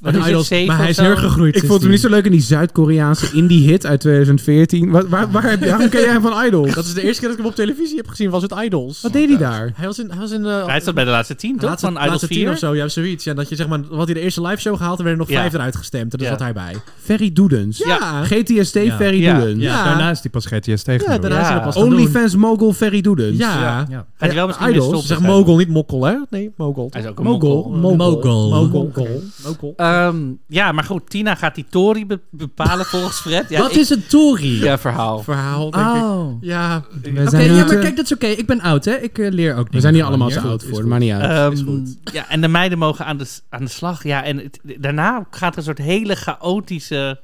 [SPEAKER 3] Wat is
[SPEAKER 1] Idols,
[SPEAKER 3] het,
[SPEAKER 1] maar hij is
[SPEAKER 3] heel
[SPEAKER 1] hergegroeid.
[SPEAKER 4] Ik vond hem niet zo leuk in die Zuid-Koreaanse indie-hit uit 2014. Waar, waar, waar, waarom ken jij hem van Idol?
[SPEAKER 1] Dat is de eerste keer dat ik hem op televisie heb gezien, was het Idols.
[SPEAKER 4] Wat deed hij daar?
[SPEAKER 1] Hij was in... Hij was in eh,
[SPEAKER 3] Hij staat bij de laatste tien, toch?
[SPEAKER 1] laatste,
[SPEAKER 3] Van Idols
[SPEAKER 1] laatste
[SPEAKER 3] 4?
[SPEAKER 1] tien of zo, ja, zoiets. Ja, dat je zeg maar, wat hij de eerste live show gehaald en werden nog
[SPEAKER 3] Ja.
[SPEAKER 1] vijf eruit gestemd. En daar
[SPEAKER 3] Ja.
[SPEAKER 1] zat hij bij.
[SPEAKER 4] Ferry Doedens.
[SPEAKER 1] Ja.
[SPEAKER 4] GTST
[SPEAKER 5] Ja.
[SPEAKER 4] Ferry
[SPEAKER 3] Ja.
[SPEAKER 4] Doedens.
[SPEAKER 5] Ja, daarna is hij pas GTS tegen.
[SPEAKER 1] Ja, daarna is hij dat pas gaan doen.
[SPEAKER 4] Onlyfans mogul Ferry Doedens.
[SPEAKER 1] Ja. ja.
[SPEAKER 5] ja.
[SPEAKER 3] Gaat hij wel misschien weer
[SPEAKER 1] Idols.
[SPEAKER 3] stoppen?
[SPEAKER 1] Zeg mogol, niet mokkel, hè? Nee, mogol.
[SPEAKER 3] Hij is ook een
[SPEAKER 1] Mogol.
[SPEAKER 3] mogol.
[SPEAKER 1] Mogol.
[SPEAKER 4] Mogol.
[SPEAKER 1] Mogol. Mogol.
[SPEAKER 3] Ehm, ja, maar goed. Tina gaat die Tory be- bepalen volgens Fred. Ja,
[SPEAKER 5] Wat
[SPEAKER 3] ik-
[SPEAKER 5] is een Tory?
[SPEAKER 3] Ja, verhaal.
[SPEAKER 1] Verhaal, denk ik.
[SPEAKER 5] Oh.
[SPEAKER 1] Ja,
[SPEAKER 4] Ah. We
[SPEAKER 5] Oké,
[SPEAKER 4] zijn,
[SPEAKER 5] ja,
[SPEAKER 4] niet,
[SPEAKER 5] maar
[SPEAKER 4] eh,
[SPEAKER 5] kijk, dat is oké. Ik ben oud, hè. Ik eh, leer ook niet.
[SPEAKER 4] we zijn hier allemaal zo
[SPEAKER 1] goed,
[SPEAKER 4] oud
[SPEAKER 1] is
[SPEAKER 4] voor,
[SPEAKER 1] goed.
[SPEAKER 4] maar niet uit.
[SPEAKER 1] is
[SPEAKER 3] Ehm,
[SPEAKER 1] goed.
[SPEAKER 3] ja, en de meiden mogen aan de, s- aan de slag. Ja, en het- daarna gaat er een soort hele chaotische...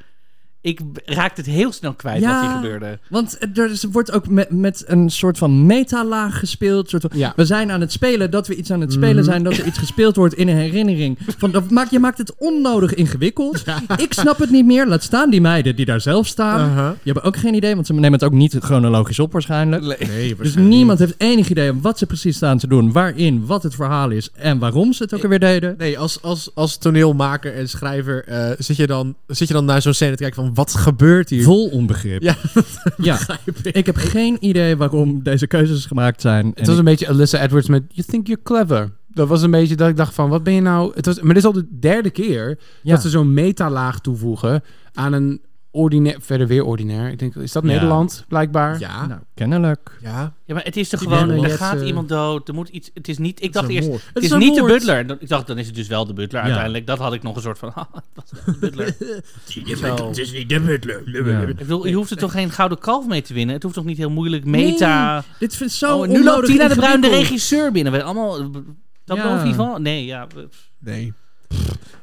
[SPEAKER 3] Ik b- raakte het heel snel kwijt
[SPEAKER 5] Ja.
[SPEAKER 3] wat hier gebeurde.
[SPEAKER 5] Want eh, er is- wordt ook met, met een soort van metalaag gespeeld. Soort van,
[SPEAKER 4] Ja.
[SPEAKER 5] We zijn aan het spelen dat we iets aan het spelen
[SPEAKER 1] Mhm.
[SPEAKER 5] zijn. Dat er iets gespeeld wordt in een herinnering. Van, dat maakt, je maakt het onnodig ingewikkeld. Ik snap het niet meer. Laat staan die meiden die daar zelf staan. Die hebben ook geen idee, want ze nemen het ook niet chronologisch op waarschijnlijk.
[SPEAKER 1] Nee,
[SPEAKER 5] Dus niemand heeft enig idee wat ze precies staan te doen. Waarin, wat het verhaal is en waarom ze het ook alweer deden.
[SPEAKER 1] Nee, als, als, als toneelmaker en schrijver eh, zit, je dan, zit je dan naar zo'n scène te kijken van wat gebeurt hier?
[SPEAKER 5] Vol onbegrip.
[SPEAKER 1] Ja,
[SPEAKER 5] Ja. Ik heb geen idee waarom deze keuzes gemaakt zijn. En
[SPEAKER 4] Het was een beetje Alyssa Edwards met You Think You're Clever. Dat was een beetje dat ik dacht van, wat ben je nou... Het was, maar dit is al de derde keer
[SPEAKER 5] Ja.
[SPEAKER 4] dat ze zo'n metalaag toevoegen aan een ordinair... Verder weer ordinair. Ik denk, is dat
[SPEAKER 5] Ja.
[SPEAKER 4] Nederland blijkbaar?
[SPEAKER 1] Ja.
[SPEAKER 5] ik- nou, kennelijk.
[SPEAKER 1] Ja.
[SPEAKER 3] Ja, maar het is toch
[SPEAKER 4] Die
[SPEAKER 3] gewoon...
[SPEAKER 4] mannen,
[SPEAKER 3] Er
[SPEAKER 4] je hebt,
[SPEAKER 3] gaat
[SPEAKER 4] eh,
[SPEAKER 3] iemand dood. Er moet iets... Het is niet...
[SPEAKER 1] Dat
[SPEAKER 3] Ik dacht
[SPEAKER 1] is een
[SPEAKER 3] eerst...
[SPEAKER 1] moord.
[SPEAKER 3] Het is,
[SPEAKER 5] een
[SPEAKER 3] niet de
[SPEAKER 5] moord.
[SPEAKER 3] butler. Dat- Ik dacht, dan is het dus wel de butler uiteindelijk. Dat had ik nog een soort van... haha, het was wel de butler. Zo.
[SPEAKER 1] Het is niet de butler.
[SPEAKER 5] Ja.
[SPEAKER 3] Ik bedoel, je hoeft er toch geen gouden kalf mee te winnen? Het hoeft toch niet heel moeilijk meta...
[SPEAKER 5] Nee, dit vindt zo
[SPEAKER 3] oh, nu loopt
[SPEAKER 5] onnodig
[SPEAKER 3] Tina de Bruin de
[SPEAKER 5] ingewikkeld.
[SPEAKER 3] regisseur binnen. We allemaal... Dat
[SPEAKER 5] Ja.
[SPEAKER 3] Vivant? Nee, ja...
[SPEAKER 1] Nee.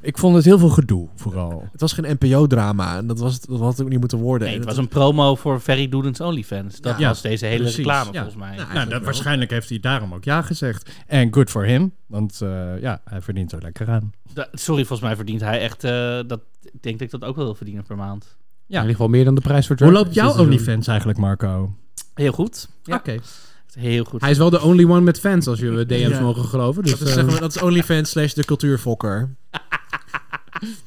[SPEAKER 5] Ik vond het heel veel gedoe, vooral.
[SPEAKER 1] Het was geen NPO-drama en dat, was, het- dat had het ook niet moeten worden.
[SPEAKER 3] Nee,
[SPEAKER 1] En
[SPEAKER 3] het was een promo voor Ferry Doedens OnlyFans. Dat
[SPEAKER 5] Ja,
[SPEAKER 3] was deze hele
[SPEAKER 5] precies, ja.
[SPEAKER 3] reclame, volgens mij.
[SPEAKER 1] Nou,
[SPEAKER 5] Nou,
[SPEAKER 1] eigenlijk
[SPEAKER 5] dat,
[SPEAKER 1] wel.
[SPEAKER 5] waarschijnlijk heeft hij daarom ook ja gezegd. En good for him, want eh, ja, hij verdient er lekker aan.
[SPEAKER 3] Da- sorry, volgens mij verdient hij echt... eh, dat, ik denk dat ik dat ook wel wil verdienen per maand.
[SPEAKER 4] In ieder geval meer dan de prijs voor
[SPEAKER 5] Hoe
[SPEAKER 4] Drag
[SPEAKER 5] loopt
[SPEAKER 4] Race dit
[SPEAKER 5] jouw
[SPEAKER 4] seizoen.
[SPEAKER 5] OnlyFans eigenlijk, Marco?
[SPEAKER 3] Heel goed. Ja,
[SPEAKER 5] Oké.
[SPEAKER 3] heel goed.
[SPEAKER 4] Hij is wel de only one met fans, als jullie DM's
[SPEAKER 1] Ja.
[SPEAKER 4] mogen geloven. Dus,
[SPEAKER 1] Dat is,
[SPEAKER 4] eh,
[SPEAKER 1] zeg maar, dat is OnlyFans slash de cultuurfokker.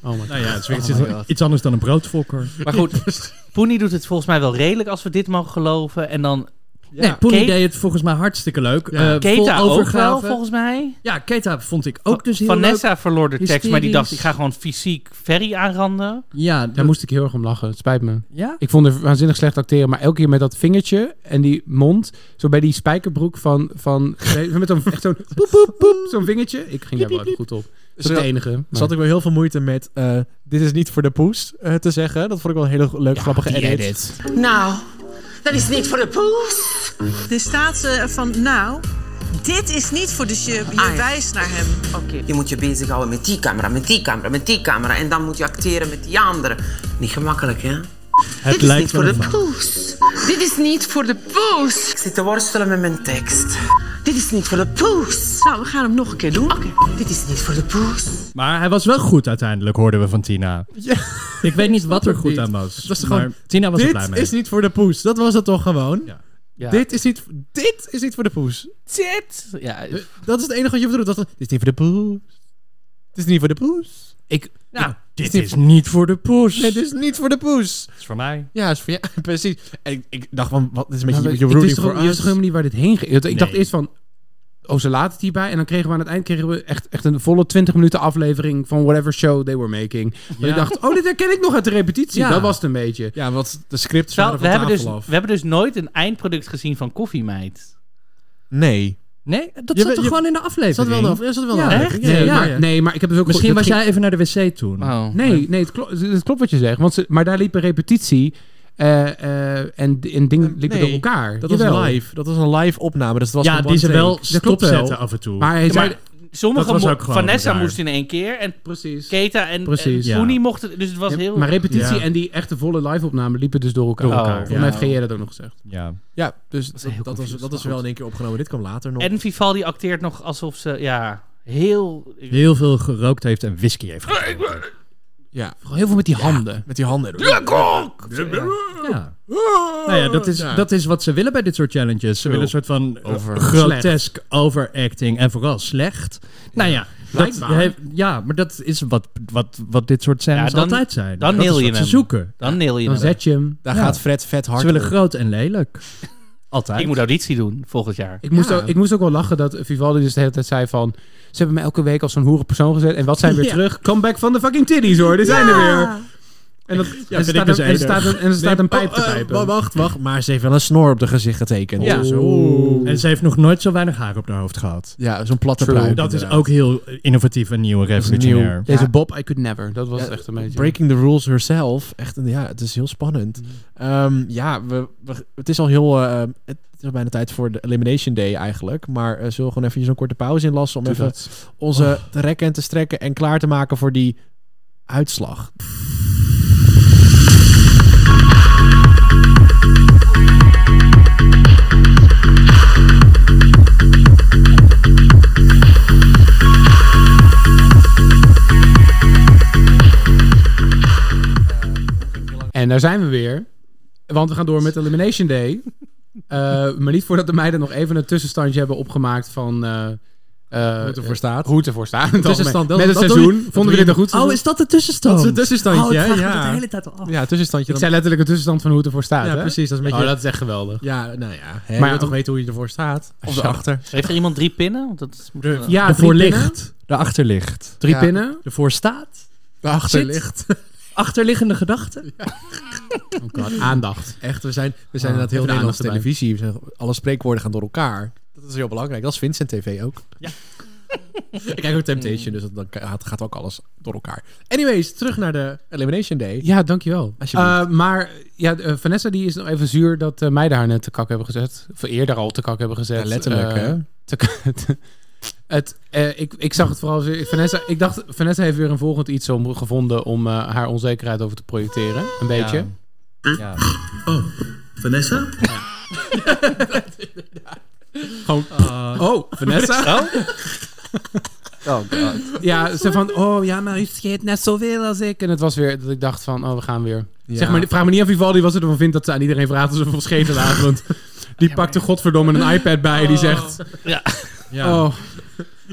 [SPEAKER 4] oh my god.
[SPEAKER 5] Nou ja, het is
[SPEAKER 4] Oh
[SPEAKER 5] weer
[SPEAKER 4] my
[SPEAKER 5] iets,
[SPEAKER 4] god.
[SPEAKER 5] iets anders dan een broodfokker.
[SPEAKER 3] Maar goed, Poenie doet het volgens mij wel redelijk als we dit mogen geloven. En dan
[SPEAKER 5] Nee, Poenie
[SPEAKER 3] Kate-
[SPEAKER 5] deed het volgens mij hartstikke leuk.
[SPEAKER 1] Ja.
[SPEAKER 5] Eh, vol
[SPEAKER 3] Keta ook wel,
[SPEAKER 5] overgave.
[SPEAKER 3] volgens mij.
[SPEAKER 5] Ja, Keta vond ik ook dus heel
[SPEAKER 3] Vanessa verloor de tekst, maar die dacht, ik
[SPEAKER 5] Hysterisch.
[SPEAKER 3] ga gewoon fysiek Ferry aanranden.
[SPEAKER 5] leuk. Ja,
[SPEAKER 4] Daar
[SPEAKER 5] dat-
[SPEAKER 4] moest ik heel erg om lachen. Het spijt me.
[SPEAKER 5] ja?
[SPEAKER 4] Ik vond haar waanzinnig slecht acteren, maar elke keer met dat vingertje en die mond, zo bij die spijkerbroek van, van met zo'n echt zo'n poep, poep, poep, zo'n vingertje. Ik ging daar wel even goed op. Dat is
[SPEAKER 1] Zo-
[SPEAKER 4] het enige. maar-
[SPEAKER 1] Zat ik wel heel veel moeite met eh, dit is niet voor de poes eh, te zeggen. Dat vond ik wel een hele leuk, grappige edit.
[SPEAKER 12] Nou, dat is niet voor de poes.
[SPEAKER 14] Er staat ze van, nou, dit is niet voor de je, je
[SPEAKER 12] Ah, ja.
[SPEAKER 14] wijst naar hem.
[SPEAKER 12] Je moet je bezighouden met die camera, met die camera, met die camera. En dan moet je acteren met die andere. Niet gemakkelijk, hè?
[SPEAKER 1] Het
[SPEAKER 12] Dit is niet
[SPEAKER 1] lijkt
[SPEAKER 12] voor
[SPEAKER 1] wel
[SPEAKER 12] de
[SPEAKER 1] een va-
[SPEAKER 12] poes. Dit is niet voor de poes. Ik zit te worstelen met mijn tekst. Dit is niet voor de poes.
[SPEAKER 14] Nou, we gaan hem nog een keer doen.
[SPEAKER 12] Dit is niet voor de poes.
[SPEAKER 5] Maar hij was wel goed uiteindelijk, hoorden we van Tina. Ik weet niet wat er goed
[SPEAKER 1] niet.
[SPEAKER 5] aan was.
[SPEAKER 1] Het was
[SPEAKER 5] maar
[SPEAKER 1] gewoon,
[SPEAKER 5] Tina was er blij
[SPEAKER 1] Dit
[SPEAKER 5] mee.
[SPEAKER 1] is niet voor de poes. Dat was het toch gewoon?
[SPEAKER 3] Ja.
[SPEAKER 1] Dit, is niet, dit is niet voor de poes.
[SPEAKER 3] Dit! Ja,
[SPEAKER 1] Dat is het enige wat je hoeft te doen. Dat, is- dit is niet voor de poes. Het is niet voor de poes.
[SPEAKER 3] nou,
[SPEAKER 5] Dit is niet voor de poes.
[SPEAKER 1] Nee, dit is niet voor de poes.
[SPEAKER 5] is voor mij.
[SPEAKER 1] Ja, is voor jou. Precies. En ik, ik dacht van, wat dit is een beetje
[SPEAKER 4] Maar
[SPEAKER 1] je
[SPEAKER 4] het is
[SPEAKER 1] rooting
[SPEAKER 4] toch,
[SPEAKER 1] voor
[SPEAKER 4] ook- je weet toch
[SPEAKER 1] us.
[SPEAKER 4] helemaal niet waar dit heen ging. Ik dacht
[SPEAKER 5] Nee.
[SPEAKER 4] eerst van, oh, ze laten het hierbij. En dan kregen we aan het eind kregen we echt, echt een volle 20 minuten aflevering van whatever show they were making. Maar ik dacht, oh, dit herken ik nog uit de repetitie.
[SPEAKER 1] Ja.
[SPEAKER 4] Dat was het een beetje.
[SPEAKER 1] Ja, want de scripts
[SPEAKER 3] Terwijl,
[SPEAKER 1] waren
[SPEAKER 3] we,
[SPEAKER 1] van
[SPEAKER 3] hebben
[SPEAKER 1] tafel
[SPEAKER 3] dus,
[SPEAKER 1] af.
[SPEAKER 3] we hebben dus nooit een eindproduct gezien van Koffiemeid.
[SPEAKER 1] Nee.
[SPEAKER 5] Nee, dat
[SPEAKER 1] Je
[SPEAKER 5] zat
[SPEAKER 1] weet-
[SPEAKER 5] toch
[SPEAKER 1] je-
[SPEAKER 5] gewoon in de aflevering?
[SPEAKER 1] Zat wel een af- ja, zat wel een
[SPEAKER 5] Ja,
[SPEAKER 1] aflevering.
[SPEAKER 5] echt?
[SPEAKER 4] Nee,
[SPEAKER 5] Ja,
[SPEAKER 4] maar,
[SPEAKER 5] ja.
[SPEAKER 4] nee, maar ik heb dus ook...
[SPEAKER 5] Misschien
[SPEAKER 4] dat
[SPEAKER 5] was
[SPEAKER 4] ging-
[SPEAKER 5] jij even naar de wc toen.
[SPEAKER 4] Nee, nee het, klo- het klopt wat je zegt. Want ze, maar daar liep een repetitie eh, eh, en, en dingen liepen
[SPEAKER 1] Nee,
[SPEAKER 4] door elkaar.
[SPEAKER 1] Dat was
[SPEAKER 4] Jawel.
[SPEAKER 1] live. Dat was een live opname. Dus het was
[SPEAKER 5] Ja,
[SPEAKER 1] een
[SPEAKER 5] die ze
[SPEAKER 1] one take.
[SPEAKER 5] wel
[SPEAKER 1] Dat klopt wel.
[SPEAKER 5] stopzetten af en toe.
[SPEAKER 4] Maar hij
[SPEAKER 3] Ja,
[SPEAKER 4] zei...
[SPEAKER 3] maar sommige
[SPEAKER 5] dat was
[SPEAKER 3] mo-
[SPEAKER 5] ook gewoon
[SPEAKER 3] Vanessa
[SPEAKER 5] raar.
[SPEAKER 3] moest in één keer en
[SPEAKER 4] Precies.
[SPEAKER 3] Keta en,
[SPEAKER 4] Precies,
[SPEAKER 3] en
[SPEAKER 5] ja.
[SPEAKER 3] Poenie mochten... Dus het was heel...
[SPEAKER 4] Maar repetitie
[SPEAKER 1] Ja.
[SPEAKER 4] en die echte volle live-opname liepen dus door elkaar.
[SPEAKER 5] Door elkaar,
[SPEAKER 4] Volgens mij
[SPEAKER 5] ja.
[SPEAKER 4] heeft GJ dat ook nog gezegd.
[SPEAKER 5] Ja.
[SPEAKER 1] Ja, dus dat,
[SPEAKER 3] heel
[SPEAKER 1] dat was,
[SPEAKER 3] confused,
[SPEAKER 1] dat was
[SPEAKER 3] maar
[SPEAKER 1] wel in één keer opgenomen. Dit kwam later nog.
[SPEAKER 3] en Vivaldi acteert nog alsof ze... Ja, heel...
[SPEAKER 5] Heel veel gerookt heeft en whisky heeft gedronken.
[SPEAKER 1] ja,
[SPEAKER 4] Vooral heel veel met die handen.
[SPEAKER 1] met die handen.
[SPEAKER 5] Ja. Nou ja, dat is,
[SPEAKER 1] Ja.
[SPEAKER 5] dat is wat ze willen bij dit soort challenges. Ze willen een soort van eh, grotesk overacting en vooral slecht. Nou ja, dat
[SPEAKER 4] Blijkbaar.
[SPEAKER 5] heeft- ja maar dat is wat, wat, wat dit soort scènes
[SPEAKER 3] Ja, dan-
[SPEAKER 5] altijd zijn.
[SPEAKER 3] dan
[SPEAKER 5] dat is
[SPEAKER 3] nail je
[SPEAKER 5] wat ze
[SPEAKER 3] hem.
[SPEAKER 5] zoeken.
[SPEAKER 3] Dan neel je
[SPEAKER 4] Dan
[SPEAKER 3] hem.
[SPEAKER 4] zet je hem.
[SPEAKER 1] Daar
[SPEAKER 5] Ja.
[SPEAKER 1] gaat Fred vet hard
[SPEAKER 5] Ze willen
[SPEAKER 1] op.
[SPEAKER 5] groot en lelijk. Altijd.
[SPEAKER 3] Ik moet auditie doen volgend jaar.
[SPEAKER 4] Ik moest,
[SPEAKER 1] Ja.
[SPEAKER 4] ook, ik moest ook wel lachen dat Vivaldi dus de hele tijd zei van... Ze hebben mij elke week als zo'n hoeren persoon gezet. En wat zijn we weer
[SPEAKER 1] Ja.
[SPEAKER 4] terug? Comeback van de fucking titties hoor. Die zijn er weer. En, dat, en er
[SPEAKER 5] vind ik
[SPEAKER 4] staat
[SPEAKER 5] dus
[SPEAKER 4] een- en er
[SPEAKER 5] enig.
[SPEAKER 4] staat een- en er staat een
[SPEAKER 1] Nee,
[SPEAKER 4] pijp te
[SPEAKER 1] oh, eh,
[SPEAKER 4] pijpen.
[SPEAKER 1] wa- wacht, wacht. Maar ze heeft wel een snor op de gezicht getekend.
[SPEAKER 5] Ja.
[SPEAKER 1] Dus,
[SPEAKER 4] Oeh.
[SPEAKER 5] En ze heeft nog nooit zo weinig haar op haar hoofd gehad.
[SPEAKER 1] ja zo'n platte
[SPEAKER 4] True.
[SPEAKER 1] pruik.
[SPEAKER 4] Ja,
[SPEAKER 5] Dat is
[SPEAKER 1] inderdaad.
[SPEAKER 5] ook heel innovatief en nieuw en
[SPEAKER 1] is nieuw.
[SPEAKER 5] revolutionair.
[SPEAKER 4] Deze Bob, I could never. Dat was
[SPEAKER 1] Ja,
[SPEAKER 4] echt een beetje...
[SPEAKER 1] Breaking the rules herself. Echt, een- ja, het is heel spannend. Ehm, ja, we, we- het is al heel... eh, het is al bijna tijd voor de Elimination Day eigenlijk. Maar eh, zullen we gewoon even zo'n korte pauze inlassen... om
[SPEAKER 4] Doe
[SPEAKER 1] even
[SPEAKER 4] dat.
[SPEAKER 1] onze te rekken en te strekken... en klaar te maken voor die uitslag.
[SPEAKER 4] En daar zijn we weer. Want we gaan door met Elimination Day. Eh, maar niet voordat de meiden nog even een tussenstandje hebben opgemaakt van... eh, eh,
[SPEAKER 1] Hoe het ervoor staat.
[SPEAKER 4] Hoe het ervoor staat. in het
[SPEAKER 1] Tussenstand,
[SPEAKER 4] algemeen.
[SPEAKER 1] dat-
[SPEAKER 4] Met het
[SPEAKER 1] dat doe je-
[SPEAKER 4] seizoen.
[SPEAKER 1] dat
[SPEAKER 4] Vonden we
[SPEAKER 1] doe
[SPEAKER 4] dit
[SPEAKER 1] je-
[SPEAKER 4] een goed
[SPEAKER 5] Oh,
[SPEAKER 4] seizoen?
[SPEAKER 5] is dat een tussenstand?
[SPEAKER 1] Dat is een tussenstandje,
[SPEAKER 5] Oh, ik vraag
[SPEAKER 1] ja.
[SPEAKER 5] me dat de hele tijd al af.
[SPEAKER 1] Ja, tussenstandje dan.
[SPEAKER 4] Ik zei letterlijk een tussenstand van hoe het ervoor staat.
[SPEAKER 1] ja,
[SPEAKER 4] hè?
[SPEAKER 1] precies. Dat is een
[SPEAKER 4] Oh,
[SPEAKER 1] beetje...
[SPEAKER 4] dat is echt geweldig.
[SPEAKER 1] Ja, nou ja. Hè, je
[SPEAKER 4] Maar- oh.
[SPEAKER 1] wilt toch weten hoe je ervoor staat? Of erachter.
[SPEAKER 3] Heeft er iemand drie pinnen? Want Dat is,
[SPEAKER 5] de
[SPEAKER 4] Ja, drie pinnen.
[SPEAKER 5] voorlicht. De achterlicht.
[SPEAKER 4] Drie
[SPEAKER 1] Ja.
[SPEAKER 4] pinnen.
[SPEAKER 5] Ervoor staat.
[SPEAKER 1] Daarachter
[SPEAKER 5] Shit.
[SPEAKER 1] ligt.
[SPEAKER 5] Achterliggende gedachten.
[SPEAKER 4] Oh, Aandacht.
[SPEAKER 1] Echt, we zijn, we zijn
[SPEAKER 4] Oh,
[SPEAKER 1] inderdaad heel
[SPEAKER 4] even de aandacht
[SPEAKER 1] Nederlandse televisie. We zijn- alle spreekwoorden gaan door elkaar. Dat is heel belangrijk. Dat is Vincent TV ook. Ja. Ik kijk ook Temptation, dus dat- dan gaat gaat ook alles door elkaar. Anyways, terug naar de Elimination Day.
[SPEAKER 4] Ja, dankjewel.
[SPEAKER 1] Alsjeblieft.
[SPEAKER 4] Eh, maar ja, eh, Vanessa die is nog even zuur dat eh, meiden haar net te kak hebben gezet. Of eerder al te kak hebben gezet.
[SPEAKER 1] Ja, letterlijk,
[SPEAKER 4] Eh,
[SPEAKER 1] hè?
[SPEAKER 4] te k- te- het, eh, ik, ik zag het vooral... als- Vanessa, ik dacht, Vanessa heeft weer een volgend iets om, gevonden om eh, haar onzekerheid over te projecteren. Een beetje.
[SPEAKER 5] Ja.
[SPEAKER 15] Vanessa?
[SPEAKER 4] Oh, Vanessa? Oh, Ja, ze van, oh ja, maar u scheet net zoveel als ik. En het was weer dat ik dacht van, oh, we gaan weer. Zeg maar, vraag me niet af Vivaldi was ervan vindt dat ze aan iedereen vraagt of ze van scheten lagen. Want die pakt er godverdomme een iPad bij die zegt,
[SPEAKER 3] ja.
[SPEAKER 5] Ja.
[SPEAKER 4] oh,
[SPEAKER 1] Ja,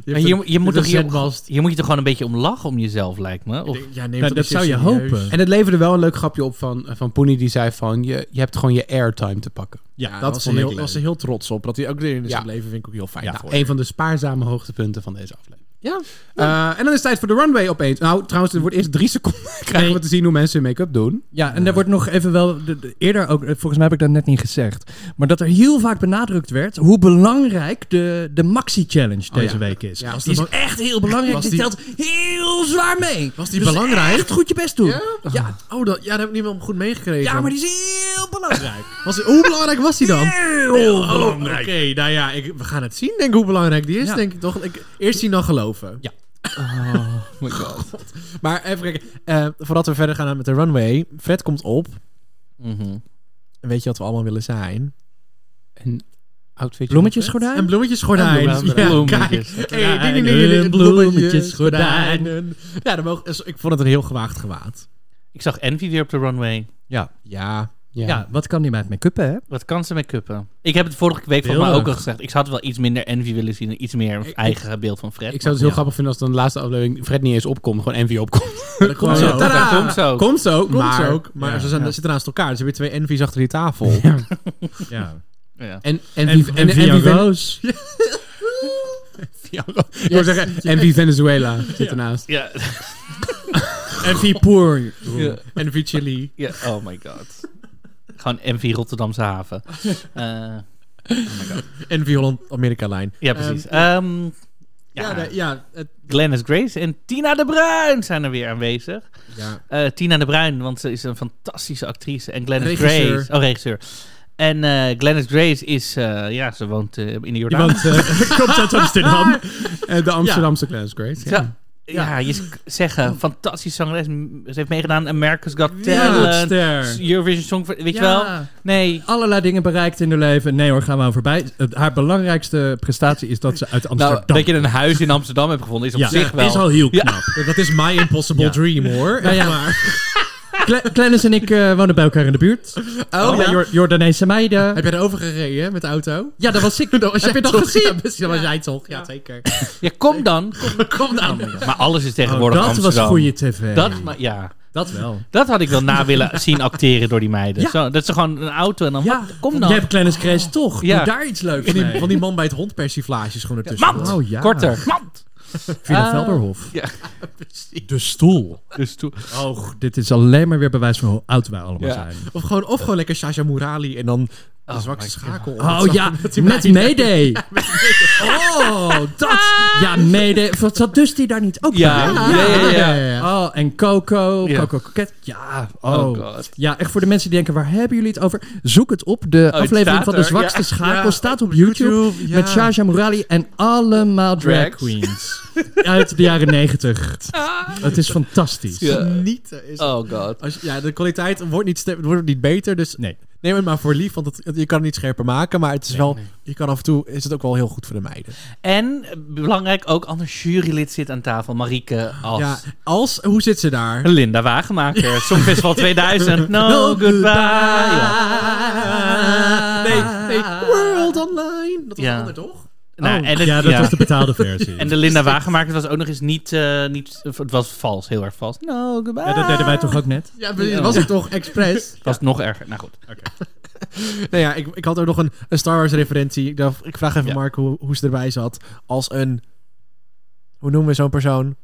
[SPEAKER 1] Je
[SPEAKER 3] maar
[SPEAKER 1] hebt
[SPEAKER 3] hier,
[SPEAKER 1] een-
[SPEAKER 3] je moet
[SPEAKER 1] hebt
[SPEAKER 3] toch
[SPEAKER 1] een
[SPEAKER 3] hier,
[SPEAKER 1] zendmast.
[SPEAKER 3] hier moet je toch gewoon een beetje om lachen om jezelf, lijkt me. Of...
[SPEAKER 1] Ja,
[SPEAKER 4] Nou, En het leverde wel een leuk grapje op van, eh, van Poenie, die zei van... Je, je hebt gewoon je airtime te pakken.
[SPEAKER 1] Ja,
[SPEAKER 4] dat
[SPEAKER 1] dat was,
[SPEAKER 4] vond ik
[SPEAKER 1] heel,
[SPEAKER 4] leuk.
[SPEAKER 1] was ze heel trots op. Dat hij ook erin is
[SPEAKER 4] Ja.
[SPEAKER 1] gebleven, vind ik ook heel fijn. Oh,
[SPEAKER 4] Ja,
[SPEAKER 1] voor
[SPEAKER 4] een van de spaarzame hoogtepunten van deze aflevering. Ja. Eh, en dan is het tijd voor de runway opeens. Nou, trouwens, het wordt eerst drie seconden. krijgen we te zien hoe mensen hun make-up doen.
[SPEAKER 5] Ja, en daar wordt nog even wel de- de- eerder ook, eh, volgens mij heb ik dat net niet gezegd, maar dat er heel vaak benadrukt werd hoe belangrijk de, de Maxi Challenge
[SPEAKER 1] Oh, ja.
[SPEAKER 5] deze week is.
[SPEAKER 1] Ja, was
[SPEAKER 5] die
[SPEAKER 1] de
[SPEAKER 5] is
[SPEAKER 1] ma-
[SPEAKER 5] echt heel belangrijk.
[SPEAKER 1] Was
[SPEAKER 5] Die
[SPEAKER 1] die-
[SPEAKER 5] telt heel zwaar mee.
[SPEAKER 1] Was die
[SPEAKER 5] Dus
[SPEAKER 1] belangrijk?
[SPEAKER 5] Echt goed je best doen. Ja,
[SPEAKER 1] Ja. Oh, dat, ja, daar heb ik niet meer goed meegekregen.
[SPEAKER 5] Ja, maar die is heel belangrijk.
[SPEAKER 1] Was, hoe belangrijk was die dan?
[SPEAKER 5] Heel
[SPEAKER 1] Oh,
[SPEAKER 5] belangrijk.
[SPEAKER 1] Oké, nou ja, ik, we gaan het zien, denk ik, hoe belangrijk die is.
[SPEAKER 5] Ja.
[SPEAKER 1] Denk ik toch. Ik, eerst zien, dan geloven.
[SPEAKER 5] Ja.
[SPEAKER 1] Oh my god. Maar even kijken. eh, voordat we verder gaan met de runway. Fred komt op.
[SPEAKER 3] Mhm.
[SPEAKER 1] En weet je wat we allemaal willen zijn?
[SPEAKER 4] Een outfitje.
[SPEAKER 5] Bloemetjesgordijn?
[SPEAKER 1] Een bloemetjesgordijn.
[SPEAKER 5] Een bloem-
[SPEAKER 1] Ja,
[SPEAKER 5] bloemetjes.
[SPEAKER 1] kijk.
[SPEAKER 5] Ja,
[SPEAKER 1] Hey, ding, ding,
[SPEAKER 5] een
[SPEAKER 1] ding, ding,
[SPEAKER 5] bloemetjesgordijn.
[SPEAKER 1] bloemetjesgordijn. Ja, dan mogen, ik vond het een heel gewaagd gewaad.
[SPEAKER 3] Ik zag Envy weer op de runway.
[SPEAKER 5] Ja.
[SPEAKER 1] Ja.
[SPEAKER 5] Ja. wat kan die meid make-uppen, hè?
[SPEAKER 3] Wat kan ze met uppen? Ik heb het vorige week van mij
[SPEAKER 5] Beeldig.
[SPEAKER 3] ook al gezegd. Ik zou het wel iets minder Envy willen zien en iets meer een eigen beeld van Fred.
[SPEAKER 4] Ik zou het heel grappig vinden als dan de laatste aflevering Fred niet eens opkomt. Gewoon Envy opkomt.
[SPEAKER 1] Dat komt zo.
[SPEAKER 4] Tadaa!
[SPEAKER 1] Komt zo.
[SPEAKER 4] Komt zo.
[SPEAKER 1] Komt
[SPEAKER 4] maar,
[SPEAKER 1] zo ook. Maar
[SPEAKER 4] Ja.
[SPEAKER 1] ze zijn,
[SPEAKER 4] Ja.
[SPEAKER 1] zitten naast elkaar. Dus er weer twee envies achter die tafel.
[SPEAKER 5] Ja.
[SPEAKER 4] En, en, wie- en, en, wie- Ja, ik wil zeggen, MV Venezuela zit ernaast.
[SPEAKER 3] Ja.
[SPEAKER 1] Envy Poor.
[SPEAKER 3] Ja.
[SPEAKER 1] Envy Chili.
[SPEAKER 3] Ja, oh my god. Gewoon Envy Rotterdamse haven. Eh, oh my god.
[SPEAKER 1] Envy Holland-Amerika-lijn.
[SPEAKER 3] Ja, precies.
[SPEAKER 1] Ehm,
[SPEAKER 3] Ehm, ja,
[SPEAKER 1] ja, nee, ja, het-
[SPEAKER 3] Glennis Grace en Tina de Bruin zijn er weer aanwezig.
[SPEAKER 1] Ja.
[SPEAKER 3] Eh, Tina de Bruin, want ze is een fantastische actrice. En Glennis
[SPEAKER 1] Regisseur.
[SPEAKER 3] Grace... Oh, regisseur. En eh Glennis Grace is... eh, ja, ze woont eh, in de
[SPEAKER 1] Die
[SPEAKER 3] Jordaan.
[SPEAKER 1] woont, eh, komt uit Amsterdam.
[SPEAKER 4] Eh, de Amsterdamse Class Grace.
[SPEAKER 3] Ja. Ja. je z-
[SPEAKER 5] Oh.
[SPEAKER 3] zeggen, fantastisch zangeres. M- Ze heeft meegedaan aan America's Got Talent,
[SPEAKER 5] Wereldster.
[SPEAKER 3] Eurovision Songfestival, weet je
[SPEAKER 5] Ja.
[SPEAKER 3] wel? Nee.
[SPEAKER 5] Allerlei dingen bereikt in haar leven. Nee hoor, gaan we aan voorbij. Het- Haar belangrijkste prestatie is dat ze uit Amsterdam...
[SPEAKER 3] dat je een huis in Amsterdam hebt gevonden is op
[SPEAKER 5] Ja.
[SPEAKER 3] zich wel...
[SPEAKER 5] Is al heel knap.
[SPEAKER 1] Dat is my impossible
[SPEAKER 5] Ja.
[SPEAKER 1] dream, hoor.
[SPEAKER 5] Nou ja.
[SPEAKER 1] Echt waar.
[SPEAKER 5] Cle- Clennis en ik eh, wonen bij elkaar in de buurt.
[SPEAKER 1] Oh, ja.
[SPEAKER 5] Jor- Jordaanese meiden.
[SPEAKER 1] Heb jij erover gereden met de auto?
[SPEAKER 5] Ja, dat was ik.
[SPEAKER 1] was
[SPEAKER 5] Heb
[SPEAKER 1] jij
[SPEAKER 5] je dat
[SPEAKER 1] toch?
[SPEAKER 5] gezien?
[SPEAKER 1] Ja, precies, dat was jij toch? Ja, zeker.
[SPEAKER 3] Ja, kom dan.
[SPEAKER 1] Kom, kom dan.
[SPEAKER 3] Maar alles is tegenwoordig
[SPEAKER 5] Oh, dat was
[SPEAKER 3] Amsterdam.
[SPEAKER 5] goede tv.
[SPEAKER 3] Dat, maar, ja.
[SPEAKER 5] Dat wel.
[SPEAKER 3] Dat had ik wel na willen zien acteren door die meiden.
[SPEAKER 5] Ja.
[SPEAKER 3] Zo, dat ze gewoon een auto en dan...
[SPEAKER 5] Ja,
[SPEAKER 3] wat, kom
[SPEAKER 5] Je
[SPEAKER 3] dan.
[SPEAKER 5] hebt Clennis Grace toch.
[SPEAKER 3] Ja.
[SPEAKER 5] Doe daar iets leuks
[SPEAKER 1] En die,
[SPEAKER 5] mee.
[SPEAKER 1] van die man bij het hondpersiflage is gewoon ertussen.
[SPEAKER 3] Mand!
[SPEAKER 5] Oh, ja.
[SPEAKER 3] Korter. Mand!
[SPEAKER 5] Villa
[SPEAKER 3] Ah.
[SPEAKER 5] Velderhof.
[SPEAKER 3] Ja.
[SPEAKER 5] De stoel.
[SPEAKER 3] Dus toen...
[SPEAKER 5] Oh, dit is alleen maar weer bewijs van hoe oud wij allemaal
[SPEAKER 3] Ja.
[SPEAKER 5] zijn.
[SPEAKER 1] Of gewoon, of gewoon lekker Sasha Murali en dan de zwakste schakel.
[SPEAKER 5] Oh ja, met Mayday. Oh, dat. Ja, Mayday. Wat zat Dusty daar niet ook
[SPEAKER 3] Ja,
[SPEAKER 5] bij?
[SPEAKER 3] ja, ja, ja.
[SPEAKER 5] Oh, en Coco.
[SPEAKER 3] Ja.
[SPEAKER 5] Coco Coquette. Ja, oh.
[SPEAKER 3] Oh god.
[SPEAKER 5] Ja, echt voor de mensen die denken, waar hebben jullie het over? Zoek het op. De
[SPEAKER 3] het
[SPEAKER 5] aflevering
[SPEAKER 3] Oh, staat
[SPEAKER 5] van De
[SPEAKER 3] er,
[SPEAKER 5] Zwakste
[SPEAKER 3] ja.
[SPEAKER 5] Schakel
[SPEAKER 1] Ja,
[SPEAKER 5] staat op YouTube.
[SPEAKER 1] YouTube, ja.
[SPEAKER 5] Met Shaja Morali en allemaal drag,
[SPEAKER 3] Drags.
[SPEAKER 5] queens. Uit de jaren negentig. Het is fantastisch.
[SPEAKER 3] Ja.
[SPEAKER 1] Genieten is
[SPEAKER 3] Oh god.
[SPEAKER 1] Als, je- ja, de kwaliteit wordt niet, ste- wordt niet beter, dus
[SPEAKER 5] Nee.
[SPEAKER 1] neem het maar voor lief, want het, het- je kan het niet scherper maken, maar het is wel, je kan af en toe, is het ook wel heel goed voor de meiden.
[SPEAKER 3] En, eh, belangrijk ook, anders jurylid zit aan tafel. Marieke als...
[SPEAKER 1] Ja, als, hoe zit ze daar?
[SPEAKER 3] Linda Wagenmaker, Songfestival 2000. No goodbye. Ja.
[SPEAKER 1] Nee, nee, World Online. Dat was
[SPEAKER 3] Ja.
[SPEAKER 1] een ander, toch?
[SPEAKER 3] Nou,
[SPEAKER 5] Oh,
[SPEAKER 3] en het-
[SPEAKER 5] ja, dat
[SPEAKER 3] ja.
[SPEAKER 5] was de betaalde versie.
[SPEAKER 3] En de Linda Wagenmaker was ook nog eens niet, eh, niet... Het was vals, heel erg vals. No goodbye.
[SPEAKER 5] Ja, dat deden wij toch ook net?
[SPEAKER 1] Ja, maar dat was het toch, expres?
[SPEAKER 3] was nog erger. Nou goed.
[SPEAKER 1] Nou ja, ik, ik had ook nog een, een Star Wars referentie. Ik, dacht, ik vraag even
[SPEAKER 3] Ja.
[SPEAKER 1] Mark hoe, hoe ze erbij zat. Als een... Hoe noemen we zo'n persoon?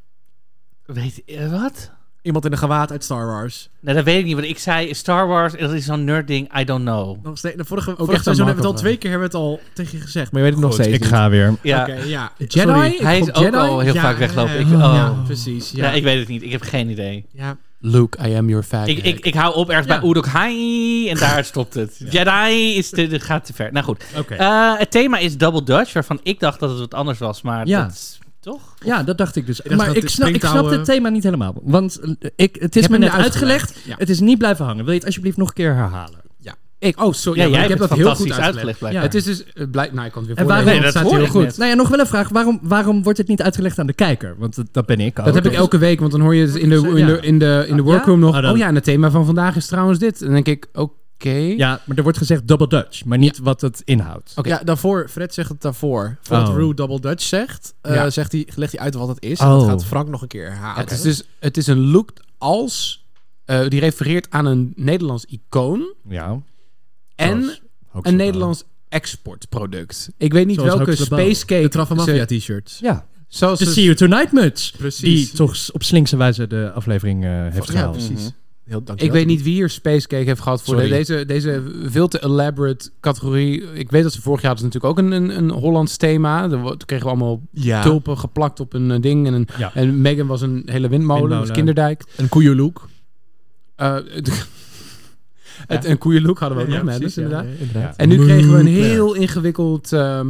[SPEAKER 3] Weet je wat?
[SPEAKER 1] Iemand in een gewaad uit Star Wars.
[SPEAKER 3] Nou, dat weet ik niet. Want ik zei Star Wars, dat is zo'n nerd ding. I don't know.
[SPEAKER 1] Nog steeds, de vorige,
[SPEAKER 5] echt
[SPEAKER 1] vorige
[SPEAKER 5] aan
[SPEAKER 1] seizoen hebben we
[SPEAKER 5] Mark
[SPEAKER 1] het al
[SPEAKER 5] of-
[SPEAKER 1] twee keer hebben we het al tegen je gezegd. Maar je weet het nog
[SPEAKER 5] Goed,
[SPEAKER 1] steeds
[SPEAKER 5] ik ga weer.
[SPEAKER 3] Ja.
[SPEAKER 1] Oké, ja.
[SPEAKER 4] Jedi?
[SPEAKER 1] Sorry.
[SPEAKER 3] Hij is
[SPEAKER 4] Op
[SPEAKER 3] ook
[SPEAKER 4] Jedi?
[SPEAKER 3] al heel
[SPEAKER 1] Ja,
[SPEAKER 3] vaak weglopen. Ik,
[SPEAKER 1] ja,
[SPEAKER 3] oh.
[SPEAKER 1] ja, precies. Ja.
[SPEAKER 3] Ja, ik weet het niet. Ik heb geen idee.
[SPEAKER 1] ja.
[SPEAKER 4] Luke, I am your fag.
[SPEAKER 3] Ik, ik, ik hou op ergens bij Uruk Hai en daar stopt het. Jedi is te, dat gaat te ver. Nou goed.
[SPEAKER 5] Oké.
[SPEAKER 3] Eh, het thema is Double Dutch, waarvan ik dacht dat het wat anders was, maar
[SPEAKER 5] Ja.
[SPEAKER 3] dat is toch?
[SPEAKER 5] Ja, dat dacht ik dus.
[SPEAKER 1] dacht
[SPEAKER 5] maar
[SPEAKER 1] dat
[SPEAKER 5] ik
[SPEAKER 1] de
[SPEAKER 5] snap, ik snap
[SPEAKER 1] springtouwen-
[SPEAKER 5] het thema niet helemaal. Want eh, ik, het is
[SPEAKER 1] hebt
[SPEAKER 5] me
[SPEAKER 1] hem
[SPEAKER 5] net
[SPEAKER 1] net uitgelegd.
[SPEAKER 5] uitgelegd.
[SPEAKER 1] Ja.
[SPEAKER 5] Het is niet blijven hangen. Wil je het alsjeblieft nog een keer herhalen?
[SPEAKER 4] Ik, oh, sorry.
[SPEAKER 3] Ja,
[SPEAKER 4] maar
[SPEAKER 3] jij
[SPEAKER 4] ik
[SPEAKER 3] hebt
[SPEAKER 4] heb
[SPEAKER 3] het
[SPEAKER 4] dat heel goed
[SPEAKER 3] fantastisch
[SPEAKER 4] uitgelegd.
[SPEAKER 3] uitgelegd,
[SPEAKER 4] Ja.
[SPEAKER 3] blijkbaar.
[SPEAKER 4] Het is dus... eh, blij, nou, ik kan het weer
[SPEAKER 5] En
[SPEAKER 4] voorlezen.
[SPEAKER 5] waarom,
[SPEAKER 3] nee, dat
[SPEAKER 5] staat
[SPEAKER 3] hoor
[SPEAKER 5] heel
[SPEAKER 3] ik
[SPEAKER 5] goed.
[SPEAKER 3] net.
[SPEAKER 5] Nou ja, nog wel een vraag. Waarom, waarom wordt het niet uitgelegd aan de kijker? Want dat, dat ben ik ook.
[SPEAKER 4] Dat Oh, heb ik elke week, want dan hoor je het dus in de, in de, in de, in de
[SPEAKER 5] Ah,
[SPEAKER 4] workroom
[SPEAKER 5] ja?
[SPEAKER 4] nog.
[SPEAKER 5] Ah, dan-
[SPEAKER 4] Oh ja, en het thema van vandaag is trouwens dit. En dan denk ik, oké,
[SPEAKER 5] Ja, maar er wordt gezegd double Dutch, maar niet wat het inhoudt.
[SPEAKER 4] Ja, daarvoor, Fred zegt het daarvoor. Voordat
[SPEAKER 5] Oh.
[SPEAKER 4] Rue Double Dutch zegt, eh,
[SPEAKER 5] Ja.
[SPEAKER 4] zegt hij, legt hij uit wat het is.
[SPEAKER 5] Oh.
[SPEAKER 4] En dat gaat Frank nog een keer herhalen.
[SPEAKER 5] Oké.
[SPEAKER 4] Het, is dus, het is een look als, eh, die refereert aan een Nederlands icoon.
[SPEAKER 5] Ja.
[SPEAKER 4] En
[SPEAKER 5] Zoals
[SPEAKER 4] een Nederlands exportproduct. Ik weet niet
[SPEAKER 5] Zoals
[SPEAKER 4] welke
[SPEAKER 5] Hoax Lebouw.
[SPEAKER 4] Space Cake...
[SPEAKER 5] De Travamafia
[SPEAKER 4] ze-
[SPEAKER 16] t-shirts.
[SPEAKER 5] Ja.
[SPEAKER 4] Zoals
[SPEAKER 5] de
[SPEAKER 4] ze-
[SPEAKER 5] See You Tonight muts.
[SPEAKER 4] Precies.
[SPEAKER 5] Die toch s- op slinkse wijze de aflevering eh, heeft
[SPEAKER 4] Ja,
[SPEAKER 5] gehaald.
[SPEAKER 4] precies.
[SPEAKER 16] Heel, dankjewel.
[SPEAKER 4] Ik weet niet wie hier Space Cake heeft gehad voor de-
[SPEAKER 5] Sorry.
[SPEAKER 4] deze, deze veel te elaborate categorie. Ik weet dat ze vorig jaar hadden ze natuurlijk ook een, een, een Hollands thema. Er wo- Toen kregen we allemaal
[SPEAKER 16] Ja.
[SPEAKER 4] tulpen geplakt op een eh, ding. En, een,
[SPEAKER 5] Ja.
[SPEAKER 4] en Megan was een hele windmolen,
[SPEAKER 5] Windmolen.
[SPEAKER 4] was kinderdijk.
[SPEAKER 16] Een koeienlook.
[SPEAKER 4] het, het- een koeienlook hadden we ook
[SPEAKER 16] Ja,
[SPEAKER 4] nog net,
[SPEAKER 16] precies,
[SPEAKER 4] dus
[SPEAKER 16] ja,
[SPEAKER 4] inderdaad.
[SPEAKER 16] ja, inderdaad.
[SPEAKER 4] En nu kregen we een
[SPEAKER 16] Moonflare.
[SPEAKER 4] heel ingewikkeld... ehm,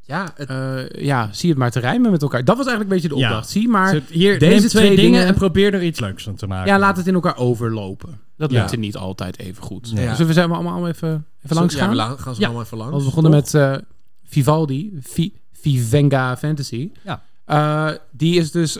[SPEAKER 4] ja, eh, ja, zie het maar te rijmen met elkaar. Dat was eigenlijk een beetje de
[SPEAKER 5] Ja.
[SPEAKER 4] opdracht. Zie maar
[SPEAKER 5] Dus het- hier, neem twee dingen en probeer er iets leuks aan te maken.
[SPEAKER 4] Ja, laat het in elkaar overlopen. Dat
[SPEAKER 5] Ja.
[SPEAKER 4] lukt er niet altijd even goed.
[SPEAKER 5] Nee.
[SPEAKER 4] Dus we zijn allemaal allemaal even, even
[SPEAKER 1] Zo-
[SPEAKER 4] langs
[SPEAKER 1] ja,
[SPEAKER 4] gaan.
[SPEAKER 1] we la- gaan ze allemaal even langs.
[SPEAKER 4] Want we begonnen
[SPEAKER 1] Toch?
[SPEAKER 4] met eh, Vivaldi, Vi- Vivenga Fantasy.
[SPEAKER 5] Ja.
[SPEAKER 4] Eh, die is dus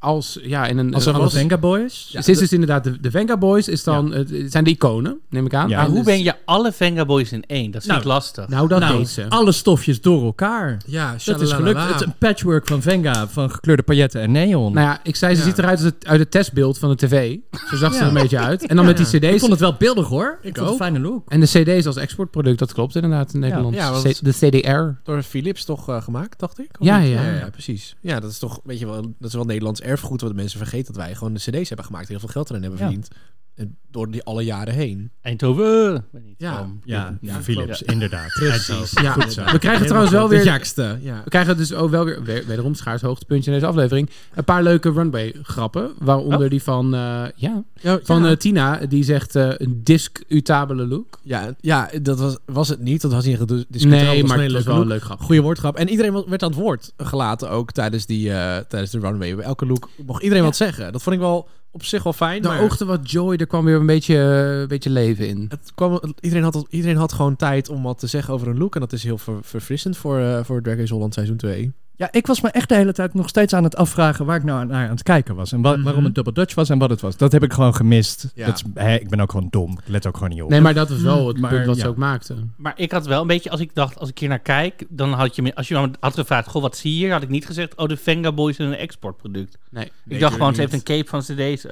[SPEAKER 4] als ja in een
[SPEAKER 5] Als een
[SPEAKER 4] alles-
[SPEAKER 5] Venga Boys?
[SPEAKER 4] Ja, ze is dus inderdaad de, de Venga Boys is dan het het zijn de iconen neem ik aan.
[SPEAKER 3] Maar hoe ben je alle Venga Boys in één? Dat is
[SPEAKER 5] Nou, Ah.
[SPEAKER 3] niet lastig.
[SPEAKER 4] Dus- nou, dat deed ze.
[SPEAKER 5] Alle stofjes door elkaar.
[SPEAKER 4] Ja,
[SPEAKER 5] dat is
[SPEAKER 4] shalalala.
[SPEAKER 5] gelukt. Het is een patchwork van Venga, van gekleurde pailletten en neon.
[SPEAKER 4] Nou ja, ik zei ze
[SPEAKER 5] Ja.
[SPEAKER 4] ziet eruit als het, uit het testbeeld van de tv. Zo zag ze
[SPEAKER 5] Ja.
[SPEAKER 4] er een beetje uit. En dan met die
[SPEAKER 5] Ja.
[SPEAKER 4] CD's.
[SPEAKER 5] Ik vond het wel beeldig hoor.
[SPEAKER 4] Ik
[SPEAKER 5] vond het
[SPEAKER 4] ook.
[SPEAKER 5] een fijne look.
[SPEAKER 4] En de CD's als exportproduct, dat klopt inderdaad in Nederland.
[SPEAKER 1] Ja, want-
[SPEAKER 4] C- de CDR.
[SPEAKER 1] Door Philips toch eh, gemaakt, dacht ik? Of
[SPEAKER 4] Ja,
[SPEAKER 1] niet?
[SPEAKER 4] ja.
[SPEAKER 1] precies. Ja, dat is toch, weet je wel, dat is wel Nederlands erfgoed wat mensen vergeten dat wij gewoon de CD's hebben gemaakt, en heel veel geld erin hebben
[SPEAKER 3] Ja.
[SPEAKER 1] verdiend. En door die alle jaren heen.
[SPEAKER 3] Eindhoven. Weet niet,
[SPEAKER 1] Ja.
[SPEAKER 3] van-
[SPEAKER 5] Ja,
[SPEAKER 1] Ja,
[SPEAKER 5] Philips,
[SPEAKER 1] klopt.
[SPEAKER 5] inderdaad.
[SPEAKER 1] Precies.
[SPEAKER 5] Eindhoven.
[SPEAKER 4] Ja,
[SPEAKER 5] Goed zo.
[SPEAKER 4] we krijgen
[SPEAKER 5] Helemaal
[SPEAKER 4] trouwens wel
[SPEAKER 5] goed.
[SPEAKER 4] weer...
[SPEAKER 5] Het jaarste, ja.
[SPEAKER 4] We krijgen dus ook wel weer, weer- wederom schaars hoogtepuntje in deze aflevering, een paar leuke runway-grappen. Waaronder
[SPEAKER 1] Oh.
[SPEAKER 4] die van, eh, ja,
[SPEAKER 1] Ja,
[SPEAKER 4] van
[SPEAKER 1] ja.
[SPEAKER 4] eh, Tina, die zegt eh, een discutabele look.
[SPEAKER 1] Ja, ja dat was, was het niet. Dat was niet gediscussieerd.
[SPEAKER 4] Nee, maar het was wel een leuk grap.
[SPEAKER 1] Goede woordgrap. En iedereen wa- werd aan het woord gelaten ook tijdens, die, eh, tijdens de runway. Bij elke look mocht iedereen
[SPEAKER 4] Ja.
[SPEAKER 1] wat zeggen. Dat vond ik wel op zich wel fijn.
[SPEAKER 4] Daar
[SPEAKER 1] maar
[SPEAKER 4] oogde wat joy, er kwam weer een beetje, eh, een beetje leven in.
[SPEAKER 1] het kwam, iedereen, had, iedereen had gewoon tijd om wat te zeggen over een look. En dat is heel ver- verfrissend voor, eh voor Drag Race Holland seizoen 2.
[SPEAKER 5] Ja, ik was me echt de hele tijd nog steeds aan het afvragen waar ik nou aan- naar aan het kijken was. En wa-
[SPEAKER 4] Mhm.
[SPEAKER 5] waarom het Double Dutch was en wat het was. Dat heb ik gewoon gemist.
[SPEAKER 3] Ja.
[SPEAKER 5] Dat is, hè, ik ben ook gewoon dom. Ik let ook gewoon niet op.
[SPEAKER 4] Nee, maar dat was wel het
[SPEAKER 5] Maar,
[SPEAKER 4] punt wat
[SPEAKER 5] ja.
[SPEAKER 4] ze ook maakte.
[SPEAKER 3] Maar ik had wel een beetje, als ik dacht, als ik hier naar kijk, dan had je me, als je me had gevraagd, goh, wat zie je hier? Had ik niet gezegd, oh, de Venga Boys zijn een exportproduct.
[SPEAKER 4] Nee.
[SPEAKER 3] ik
[SPEAKER 4] Nee,
[SPEAKER 3] dacht gewoon,
[SPEAKER 4] tuurlijk
[SPEAKER 3] ze heeft een
[SPEAKER 4] niet.
[SPEAKER 3] cape van CD's.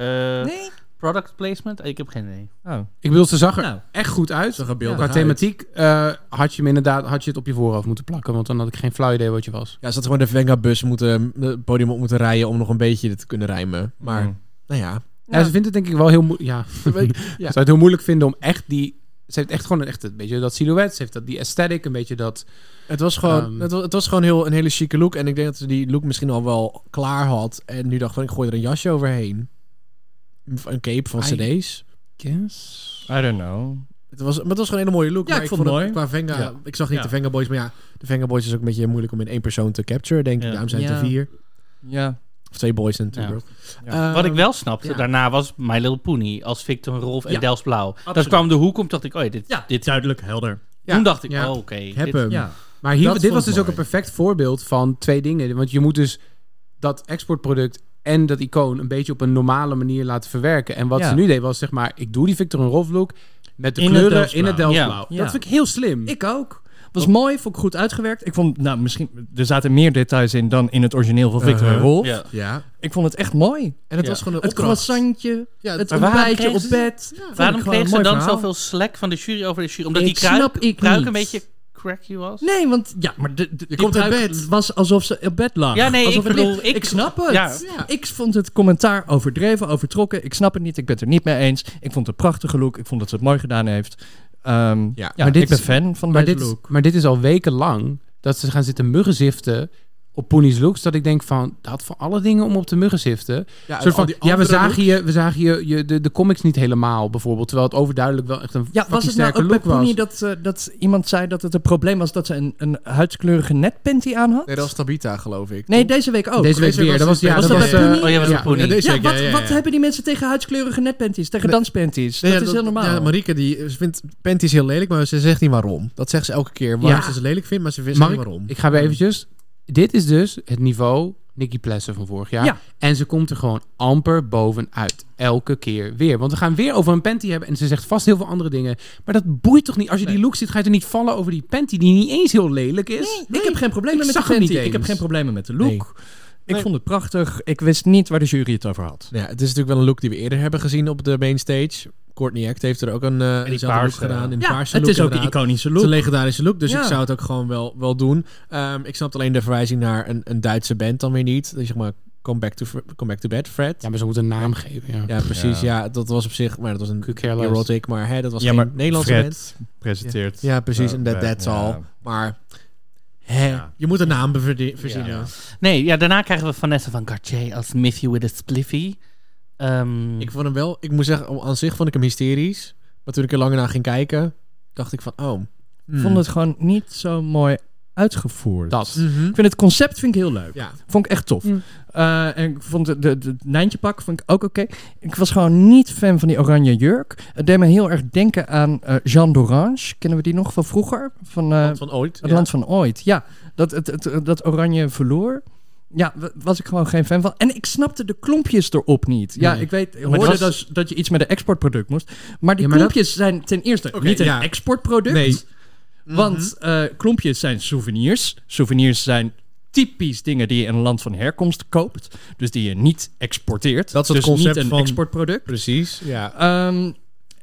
[SPEAKER 3] nee. Product placement? Ik heb geen idee.
[SPEAKER 5] Oh.
[SPEAKER 4] Ik bedoel, ze zag er
[SPEAKER 3] Nou.
[SPEAKER 4] echt goed uit.
[SPEAKER 3] Zag er
[SPEAKER 4] Qua
[SPEAKER 3] beeldig uit.
[SPEAKER 4] thematiek eh, had je hem inderdaad had je het op je voorhoofd moeten plakken, want dan had ik geen flauw idee wat je was.
[SPEAKER 1] Ja, ze had gewoon de Venga-bus moeten, het podium op moeten rijden om nog een beetje dit te kunnen rijmen. Maar,
[SPEAKER 5] Hmm.
[SPEAKER 4] Mm.
[SPEAKER 1] nou ja.
[SPEAKER 4] Ja, ze vindt het denk ik wel heel moeilijk. Ja.
[SPEAKER 1] weet-
[SPEAKER 4] Ze
[SPEAKER 1] ja.
[SPEAKER 4] zou het heel moeilijk vinden om echt die. Ze heeft echt gewoon een, echt een beetje dat silhouet. Ze heeft dat, die aesthetic, een beetje dat.
[SPEAKER 1] Het was gewoon,
[SPEAKER 4] Ehm,
[SPEAKER 1] het was, het was gewoon heel, een hele chique look. En ik denk dat ze die look misschien al wel klaar had. En nu dacht van, ik gooi er een jasje overheen. Een cape van
[SPEAKER 5] I
[SPEAKER 1] cd's.
[SPEAKER 4] Yes.
[SPEAKER 5] I don't know.
[SPEAKER 1] Het was, maar het was gewoon een hele mooie look.
[SPEAKER 5] Ja,
[SPEAKER 1] maar
[SPEAKER 5] ik vond het mooi.
[SPEAKER 1] Qua Venga,
[SPEAKER 5] Ja.
[SPEAKER 1] Ik zag niet
[SPEAKER 5] Ja.
[SPEAKER 1] de Venga Boys, maar ja, de Venga Boys is ook een beetje moeilijk om in één persoon te capturen, denk ik.
[SPEAKER 5] Ja.
[SPEAKER 1] Daarom zijn het
[SPEAKER 5] Ja.
[SPEAKER 1] er vier.
[SPEAKER 5] Ja.
[SPEAKER 1] Of twee boys en two
[SPEAKER 3] Ja.
[SPEAKER 1] girls. Eh,
[SPEAKER 3] Ja. Wat ik wel snapte
[SPEAKER 1] Ehm, ja.
[SPEAKER 3] daarna was My Little Pony als Victor Rolf en
[SPEAKER 1] Ja.
[SPEAKER 3] Dels Blauw. Dat
[SPEAKER 1] Absoluut.
[SPEAKER 3] kwam de hoek om, dacht ik, oh ja, dit,
[SPEAKER 5] Ja,
[SPEAKER 3] dit
[SPEAKER 5] duidelijk helder. eh,
[SPEAKER 3] Toen dacht ik,
[SPEAKER 4] Ja.
[SPEAKER 3] oh, oké.
[SPEAKER 4] Ik
[SPEAKER 3] dit-
[SPEAKER 4] Maar hier,
[SPEAKER 5] Dat
[SPEAKER 4] dit
[SPEAKER 5] vond
[SPEAKER 4] was
[SPEAKER 5] ik
[SPEAKER 4] dus ook
[SPEAKER 5] mooi.
[SPEAKER 4] een perfect voorbeeld van twee dingen. Want je moet dus dat exportproduct en dat icoon een beetje op een normale manier laten verwerken. En wat
[SPEAKER 5] Ja.
[SPEAKER 4] ze nu deed was zeg maar, ik doe die Victor en Rolf look met de
[SPEAKER 5] In het
[SPEAKER 4] kleuren
[SPEAKER 5] Delfts
[SPEAKER 4] in het
[SPEAKER 5] blauw.
[SPEAKER 4] Delftsblauw.
[SPEAKER 5] Ja.
[SPEAKER 4] Dat
[SPEAKER 5] Ja.
[SPEAKER 4] vind ik heel slim.
[SPEAKER 5] Ik ook. Was mooi, vond ik goed uitgewerkt. Ik vond, nou, misschien, er zaten meer details in dan in het origineel van Victor
[SPEAKER 1] Uh-huh.
[SPEAKER 5] en Rolf.
[SPEAKER 1] Ja. Ja.
[SPEAKER 5] Ik vond het echt mooi.
[SPEAKER 1] En het was gewoon een
[SPEAKER 5] Het
[SPEAKER 1] opdracht.
[SPEAKER 5] croissantje,
[SPEAKER 1] Ja,
[SPEAKER 5] het
[SPEAKER 1] maar waarom
[SPEAKER 5] ontbijtje
[SPEAKER 3] kregen
[SPEAKER 5] op
[SPEAKER 3] ze-
[SPEAKER 5] bed. Vond ik
[SPEAKER 3] Waarom
[SPEAKER 5] gewoon
[SPEAKER 3] kreeg
[SPEAKER 5] een
[SPEAKER 3] ze
[SPEAKER 5] mooi
[SPEAKER 3] dan
[SPEAKER 5] verhaal.
[SPEAKER 3] zoveel slack van de jury over de jury? Omdat
[SPEAKER 5] Ik
[SPEAKER 3] die kruip,
[SPEAKER 5] snap ik
[SPEAKER 3] pruik
[SPEAKER 5] niet.
[SPEAKER 3] een beetje cracky was?
[SPEAKER 5] Nee, want ja, maar de, de, die
[SPEAKER 3] komt uit
[SPEAKER 5] pruik
[SPEAKER 3] bed.
[SPEAKER 5] was alsof ze op bed lag.
[SPEAKER 3] Ja, nee,
[SPEAKER 5] Alsof
[SPEAKER 3] ik
[SPEAKER 5] er
[SPEAKER 3] bedoel,
[SPEAKER 5] niet-
[SPEAKER 3] ik-
[SPEAKER 5] ik snap het.
[SPEAKER 3] Ja.
[SPEAKER 5] Ik vond het commentaar overdreven, overtrokken. Ik snap het niet. Ik ben het er niet mee eens. Ik vond het een prachtige look. Ik vond dat ze het mooi gedaan heeft. Ehm, ja,
[SPEAKER 4] Maar dit
[SPEAKER 5] ik ben
[SPEAKER 4] is-
[SPEAKER 5] fan van
[SPEAKER 4] maar
[SPEAKER 5] deze
[SPEAKER 4] dit,
[SPEAKER 5] look.
[SPEAKER 4] Maar dit is al wekenlang dat ze gaan zitten muggenziften op Pony's looks. Dat ik denk van, dat voor alle dingen om op te muggenziften.
[SPEAKER 1] Ja,
[SPEAKER 4] Ja, soort
[SPEAKER 1] al
[SPEAKER 4] van,
[SPEAKER 1] die
[SPEAKER 4] ja we
[SPEAKER 1] andere
[SPEAKER 4] zagen, je, we zagen je, je de, de comics niet helemaal bijvoorbeeld. Terwijl het overduidelijk wel echt een
[SPEAKER 5] Ja, was
[SPEAKER 4] fucking
[SPEAKER 5] het nou
[SPEAKER 4] sterke
[SPEAKER 5] ook bij
[SPEAKER 4] look was.
[SPEAKER 5] Pony dat, eh, dat iemand zei dat het een probleem was dat ze een, een huidskleurige netpanty aan had?
[SPEAKER 1] Nee, dat was Tabita, geloof ik.
[SPEAKER 5] Nee, deze week ook.
[SPEAKER 4] Deze week weer. Dat was- ja,
[SPEAKER 5] was
[SPEAKER 4] dat
[SPEAKER 5] dat
[SPEAKER 4] was,
[SPEAKER 5] bij
[SPEAKER 4] eh,
[SPEAKER 5] Pony?
[SPEAKER 4] oh, jij was bij Pony.
[SPEAKER 5] Ja,
[SPEAKER 1] deze week,
[SPEAKER 5] wat,
[SPEAKER 1] ja, ja, ja.
[SPEAKER 5] wat hebben die mensen tegen huidskleurige netpanties? Tegen danspanties?
[SPEAKER 1] Nee,
[SPEAKER 5] dat
[SPEAKER 1] ja,
[SPEAKER 5] is heel normaal.
[SPEAKER 1] Ja, Marieke die eh, ze vindt panties heel lelijk, maar ze zegt niet waarom. Dat zegt ze elke keer, waarom
[SPEAKER 4] Ja.
[SPEAKER 1] ze ze lelijk vindt, maar ze wist
[SPEAKER 4] Mag
[SPEAKER 1] niet
[SPEAKER 4] ik-
[SPEAKER 1] waarom.
[SPEAKER 4] Ik ga weer eventjes. Dit is dus het niveau Nicky Plessen van vorig jaar.
[SPEAKER 5] Ja.
[SPEAKER 4] En ze komt er gewoon amper bovenuit. Elke keer weer. Want we gaan weer over een panty hebben. En ze zegt vast heel veel andere dingen. Maar dat boeit toch niet? Als je die look ziet, ga je er niet vallen over die panty die niet eens heel lelijk is.
[SPEAKER 5] Ik heb geen
[SPEAKER 4] Ik
[SPEAKER 5] problemen met de
[SPEAKER 4] zag hem
[SPEAKER 5] panty.
[SPEAKER 4] niet
[SPEAKER 5] Ik heb
[SPEAKER 4] eens.
[SPEAKER 5] geen problemen met de look. Ik
[SPEAKER 4] Nee.
[SPEAKER 5] vond het prachtig. Ik wist niet waar de jury het over had.
[SPEAKER 1] Ja, het is natuurlijk wel een look die we eerder hebben gezien op de main stage. Courtney Act heeft er ook een eh dezelfde look
[SPEAKER 5] paarse,
[SPEAKER 1] gedaan. In
[SPEAKER 5] ja,
[SPEAKER 1] paarse
[SPEAKER 5] het
[SPEAKER 1] look,
[SPEAKER 5] is ook een
[SPEAKER 1] inderdaad.
[SPEAKER 5] iconische
[SPEAKER 1] Het is een
[SPEAKER 5] look.
[SPEAKER 1] legendarische look, dus
[SPEAKER 5] Ja.
[SPEAKER 1] ik zou het ook gewoon wel, wel doen. Ehm, ik snap alleen de verwijzing naar een, een Duitse band dan weer niet. Dus zeg maar, come back, to, come back to bed, Fred.
[SPEAKER 4] Ja, maar ze moeten een naam geven. Ja,
[SPEAKER 1] precies. Ja. dat was op zich... Maar dat was een
[SPEAKER 4] careless.
[SPEAKER 1] erotic, maar hè, dat was
[SPEAKER 5] Ja,
[SPEAKER 1] geen
[SPEAKER 5] maar
[SPEAKER 1] Nederlandse
[SPEAKER 5] Fred
[SPEAKER 1] band.
[SPEAKER 5] presenteert.
[SPEAKER 1] Ja, Hmm. ja, precies.
[SPEAKER 5] Eh,
[SPEAKER 1] En that,
[SPEAKER 5] bij-
[SPEAKER 1] that's
[SPEAKER 5] ja.
[SPEAKER 1] all. Maar hè, je moet een naam beverde- verzinnen.
[SPEAKER 3] Nee, ja, daarna krijgen we Vanessa van Cartier als Miss You With A Spliffy. Ehm,
[SPEAKER 1] Ik vond hem wel... Ik moet zeggen, aan zich vond ik hem hysterisch. Maar toen ik er langer naar ging kijken, dacht ik van... Oh,
[SPEAKER 5] Ik vond het gewoon niet zo mooi uitgevoerd.
[SPEAKER 1] Dat.
[SPEAKER 5] Ik vind het concept vind ik heel leuk.
[SPEAKER 1] Mhm. Ja.
[SPEAKER 5] Vond ik echt tof.
[SPEAKER 1] Mm.
[SPEAKER 5] Eh, en ik vond de, de, de- het nijntjepak vond ik ook oké. Ik was gewoon niet fan van die oranje jurk. Het deed me heel erg denken aan eh Jean d'Orange. Kennen we die nog van vroeger? Van, eh,
[SPEAKER 1] Land van ooit,
[SPEAKER 5] Het
[SPEAKER 1] ja.
[SPEAKER 5] land van ooit, ja. Dat, het, het, dat oranje verloor. Ja, wa- was ik gewoon geen fan van. En ik snapte de klompjes erop niet. Ja,
[SPEAKER 1] Nee.
[SPEAKER 5] ik weet,
[SPEAKER 1] Maar
[SPEAKER 5] hoorde
[SPEAKER 1] dat was-
[SPEAKER 5] dat, dat je iets met een exportproduct moest. Maar die
[SPEAKER 1] Ja, maar dat-
[SPEAKER 5] klompjes zijn ten eerste
[SPEAKER 1] Oké,
[SPEAKER 5] niet een
[SPEAKER 1] ja.
[SPEAKER 5] exportproduct.
[SPEAKER 1] Nee. Mhm.
[SPEAKER 5] Want eh, klompjes zijn souvenirs. Souvenirs zijn typisch dingen die je in een land van herkomst koopt. Dus die je niet exporteert.
[SPEAKER 1] Dat is het
[SPEAKER 5] dus
[SPEAKER 1] concept
[SPEAKER 5] niet een
[SPEAKER 1] van-
[SPEAKER 5] exportproduct.
[SPEAKER 1] Precies, ja.
[SPEAKER 5] Ehm,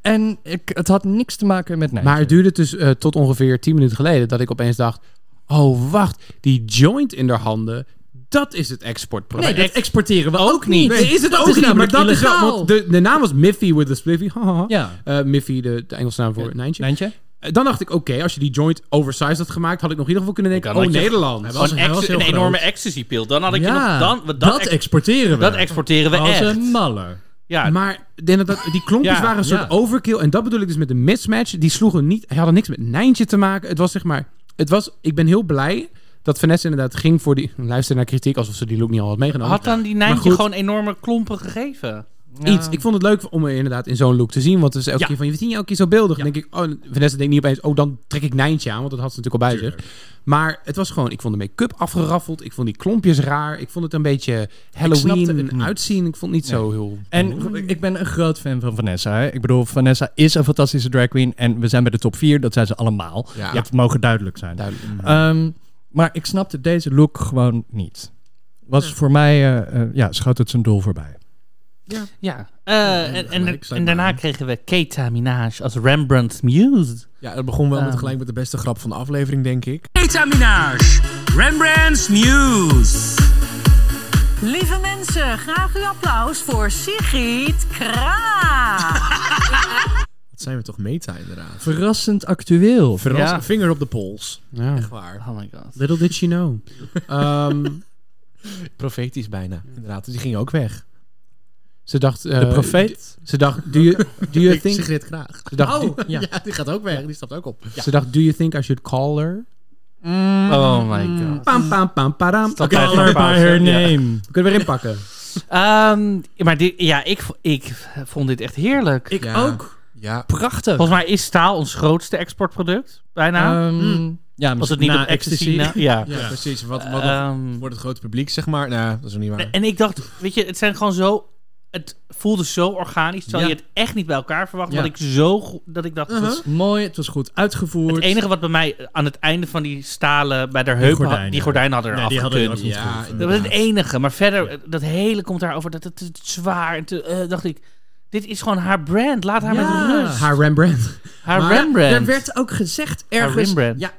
[SPEAKER 5] en ik, het had niks te maken met Nike.
[SPEAKER 4] Maar het duurde dus eh, tot ongeveer 10 minuten geleden dat ik opeens dacht: oh wacht, die joint in haar handen, dat is het exportproduct.
[SPEAKER 5] Nee, dat exporteren we ook, niet.
[SPEAKER 4] niet. is het ook niet, maar dat is wel. want De, de naam was Miffy with a Spliffy. haha.
[SPEAKER 5] Ja.
[SPEAKER 4] Eh, Miffy, de, de Engelse naam voor Nijntje. Eh, Dan dacht ik, oké, als je die joint oversized had gemaakt, had ik nog in ieder geval kunnen denken, oh,
[SPEAKER 3] had je
[SPEAKER 4] Nederland.
[SPEAKER 3] Gewoon een, ex- een enorme ecstasy-pil. Dan had ik je nog... Dan, dan
[SPEAKER 5] dat
[SPEAKER 3] ex-
[SPEAKER 5] exporteren we.
[SPEAKER 3] Dat exporteren we
[SPEAKER 5] Als
[SPEAKER 3] echt.
[SPEAKER 5] een maller.
[SPEAKER 3] Ja.
[SPEAKER 4] Maar denk dat, die klompjes
[SPEAKER 3] Ja,
[SPEAKER 4] waren een soort
[SPEAKER 3] ja.
[SPEAKER 4] overkill. En dat bedoel ik dus met de mismatch. Die sloegen niet, die hadden niks met Nijntje te maken. Het was zeg maar, het was, ik ben heel blij dat Vanessa inderdaad ging voor die, luister naar kritiek alsof ze die look niet al had meegenomen.
[SPEAKER 3] Had dan die
[SPEAKER 4] Maar
[SPEAKER 3] Nijntje
[SPEAKER 4] goed,
[SPEAKER 3] gewoon enorme klompen gegeven?
[SPEAKER 4] Iets. Ik vond het leuk om er inderdaad in zo'n look te zien. Want het is elke
[SPEAKER 3] Ja.
[SPEAKER 4] keer van, je ziet je elke keer zo beeldig. Dan denk ik, oh, Vanessa denkt niet opeens, oh, dan trek ik Nijntje aan. Want dat had ze natuurlijk al bij zich. Maar het was gewoon, ik vond de make-up afgeraffeld. Ik vond die klompjes raar. Ik vond het een beetje
[SPEAKER 5] snapte het
[SPEAKER 4] Halloween
[SPEAKER 5] niet.
[SPEAKER 4] uitzien. Ik vond het niet zo heel...
[SPEAKER 5] En ik ben een groot fan van Vanessa. hè. Ik bedoel, Vanessa is een fantastische drag queen. En we zijn bij de top 4. Dat zijn ze allemaal.
[SPEAKER 4] Ja.
[SPEAKER 5] Dat mogen duidelijk zijn.
[SPEAKER 1] Eh,
[SPEAKER 5] Ehm, maar ik snapte deze look gewoon niet. Was voor mij, eh, eh, ja, schoot het zijn doel voorbij.
[SPEAKER 3] Ja. Eh, en, en, en daarna kregen we Keita Minaj als Rembrandt's Muse.
[SPEAKER 1] Ja, dat begon wel met
[SPEAKER 3] Ehm.
[SPEAKER 1] gelijk met de beste grap van de aflevering, denk ik.
[SPEAKER 12] Keita Minaj, Rembrandt's News.
[SPEAKER 17] Lieve mensen, graag uw applaus voor Sigrid Kraa.
[SPEAKER 1] Wat zijn we toch meta, inderdaad.
[SPEAKER 5] Verrassend actueel.
[SPEAKER 1] Verras,
[SPEAKER 5] Ja.
[SPEAKER 1] Vinger op de pols.
[SPEAKER 4] Ja.
[SPEAKER 1] Echt waar.
[SPEAKER 3] Oh my god.
[SPEAKER 4] Little did she know. Ehm,
[SPEAKER 1] Profetisch bijna, inderdaad. Dus die ging ook weg.
[SPEAKER 4] ze dacht... eh,
[SPEAKER 5] De profeet.
[SPEAKER 4] Ze dacht, do you, do you think...
[SPEAKER 1] Sigrid graag.
[SPEAKER 4] Ze dacht,
[SPEAKER 1] oh,
[SPEAKER 4] do-
[SPEAKER 1] ja.
[SPEAKER 4] ja.
[SPEAKER 1] die gaat ook weg. Die stapt ook op.
[SPEAKER 4] Ze dacht, do you think I should call her?
[SPEAKER 3] Oh my god.
[SPEAKER 4] Pam, pam, pam, padam. Oké,
[SPEAKER 3] Stop even een pauze.
[SPEAKER 5] name.
[SPEAKER 4] we kunnen weer inpakken.
[SPEAKER 3] Ehm, maar dit, ja, ik, vo- ik vond dit echt heerlijk.
[SPEAKER 5] Ik
[SPEAKER 1] Ja.
[SPEAKER 5] ook.
[SPEAKER 1] Ja.
[SPEAKER 5] Prachtig.
[SPEAKER 3] Volgens mij is staal ons grootste exportproduct, bijna.
[SPEAKER 5] Ehm, ja,
[SPEAKER 3] Als Hmm. het niet
[SPEAKER 5] na
[SPEAKER 3] op ecstasy... na- ja.
[SPEAKER 1] Ja, Eh. precies. Wat, wat
[SPEAKER 3] Ehm,
[SPEAKER 1] voor het grote publiek, zeg maar. Nou, dat is nog niet waar.
[SPEAKER 3] en ik dacht, weet je, het zijn gewoon zo... Het voelde zo organisch, terwijl
[SPEAKER 5] Ja.
[SPEAKER 3] je het echt niet bij elkaar verwacht.
[SPEAKER 5] Ja.
[SPEAKER 3] Dat ik zo... go- Dat ik dacht, het
[SPEAKER 5] Uh-huh.
[SPEAKER 3] is-
[SPEAKER 5] Mooi, het was goed uitgevoerd.
[SPEAKER 3] Het enige wat bij mij aan het einde van die stalen bij de heup...
[SPEAKER 5] gordijnen.
[SPEAKER 3] die gordijnen hadden
[SPEAKER 5] Nee,
[SPEAKER 3] eraf
[SPEAKER 5] die hadden
[SPEAKER 3] gekund.
[SPEAKER 5] er ook niet
[SPEAKER 1] Ja,
[SPEAKER 5] goed.
[SPEAKER 3] Dat was het enige. Maar verder, eh, dat hele komt daarover dat het te te zwaar... En te, eh, dacht ik, dit is gewoon haar brand. Laat haar
[SPEAKER 5] Ja.
[SPEAKER 3] met rust.
[SPEAKER 4] Haar Rembrandt.
[SPEAKER 3] Haar
[SPEAKER 5] Maar
[SPEAKER 3] Rembrandt.
[SPEAKER 5] Er werd ook gezegd
[SPEAKER 3] Haar
[SPEAKER 5] ergens.
[SPEAKER 3] Rembrandt.
[SPEAKER 5] Ja,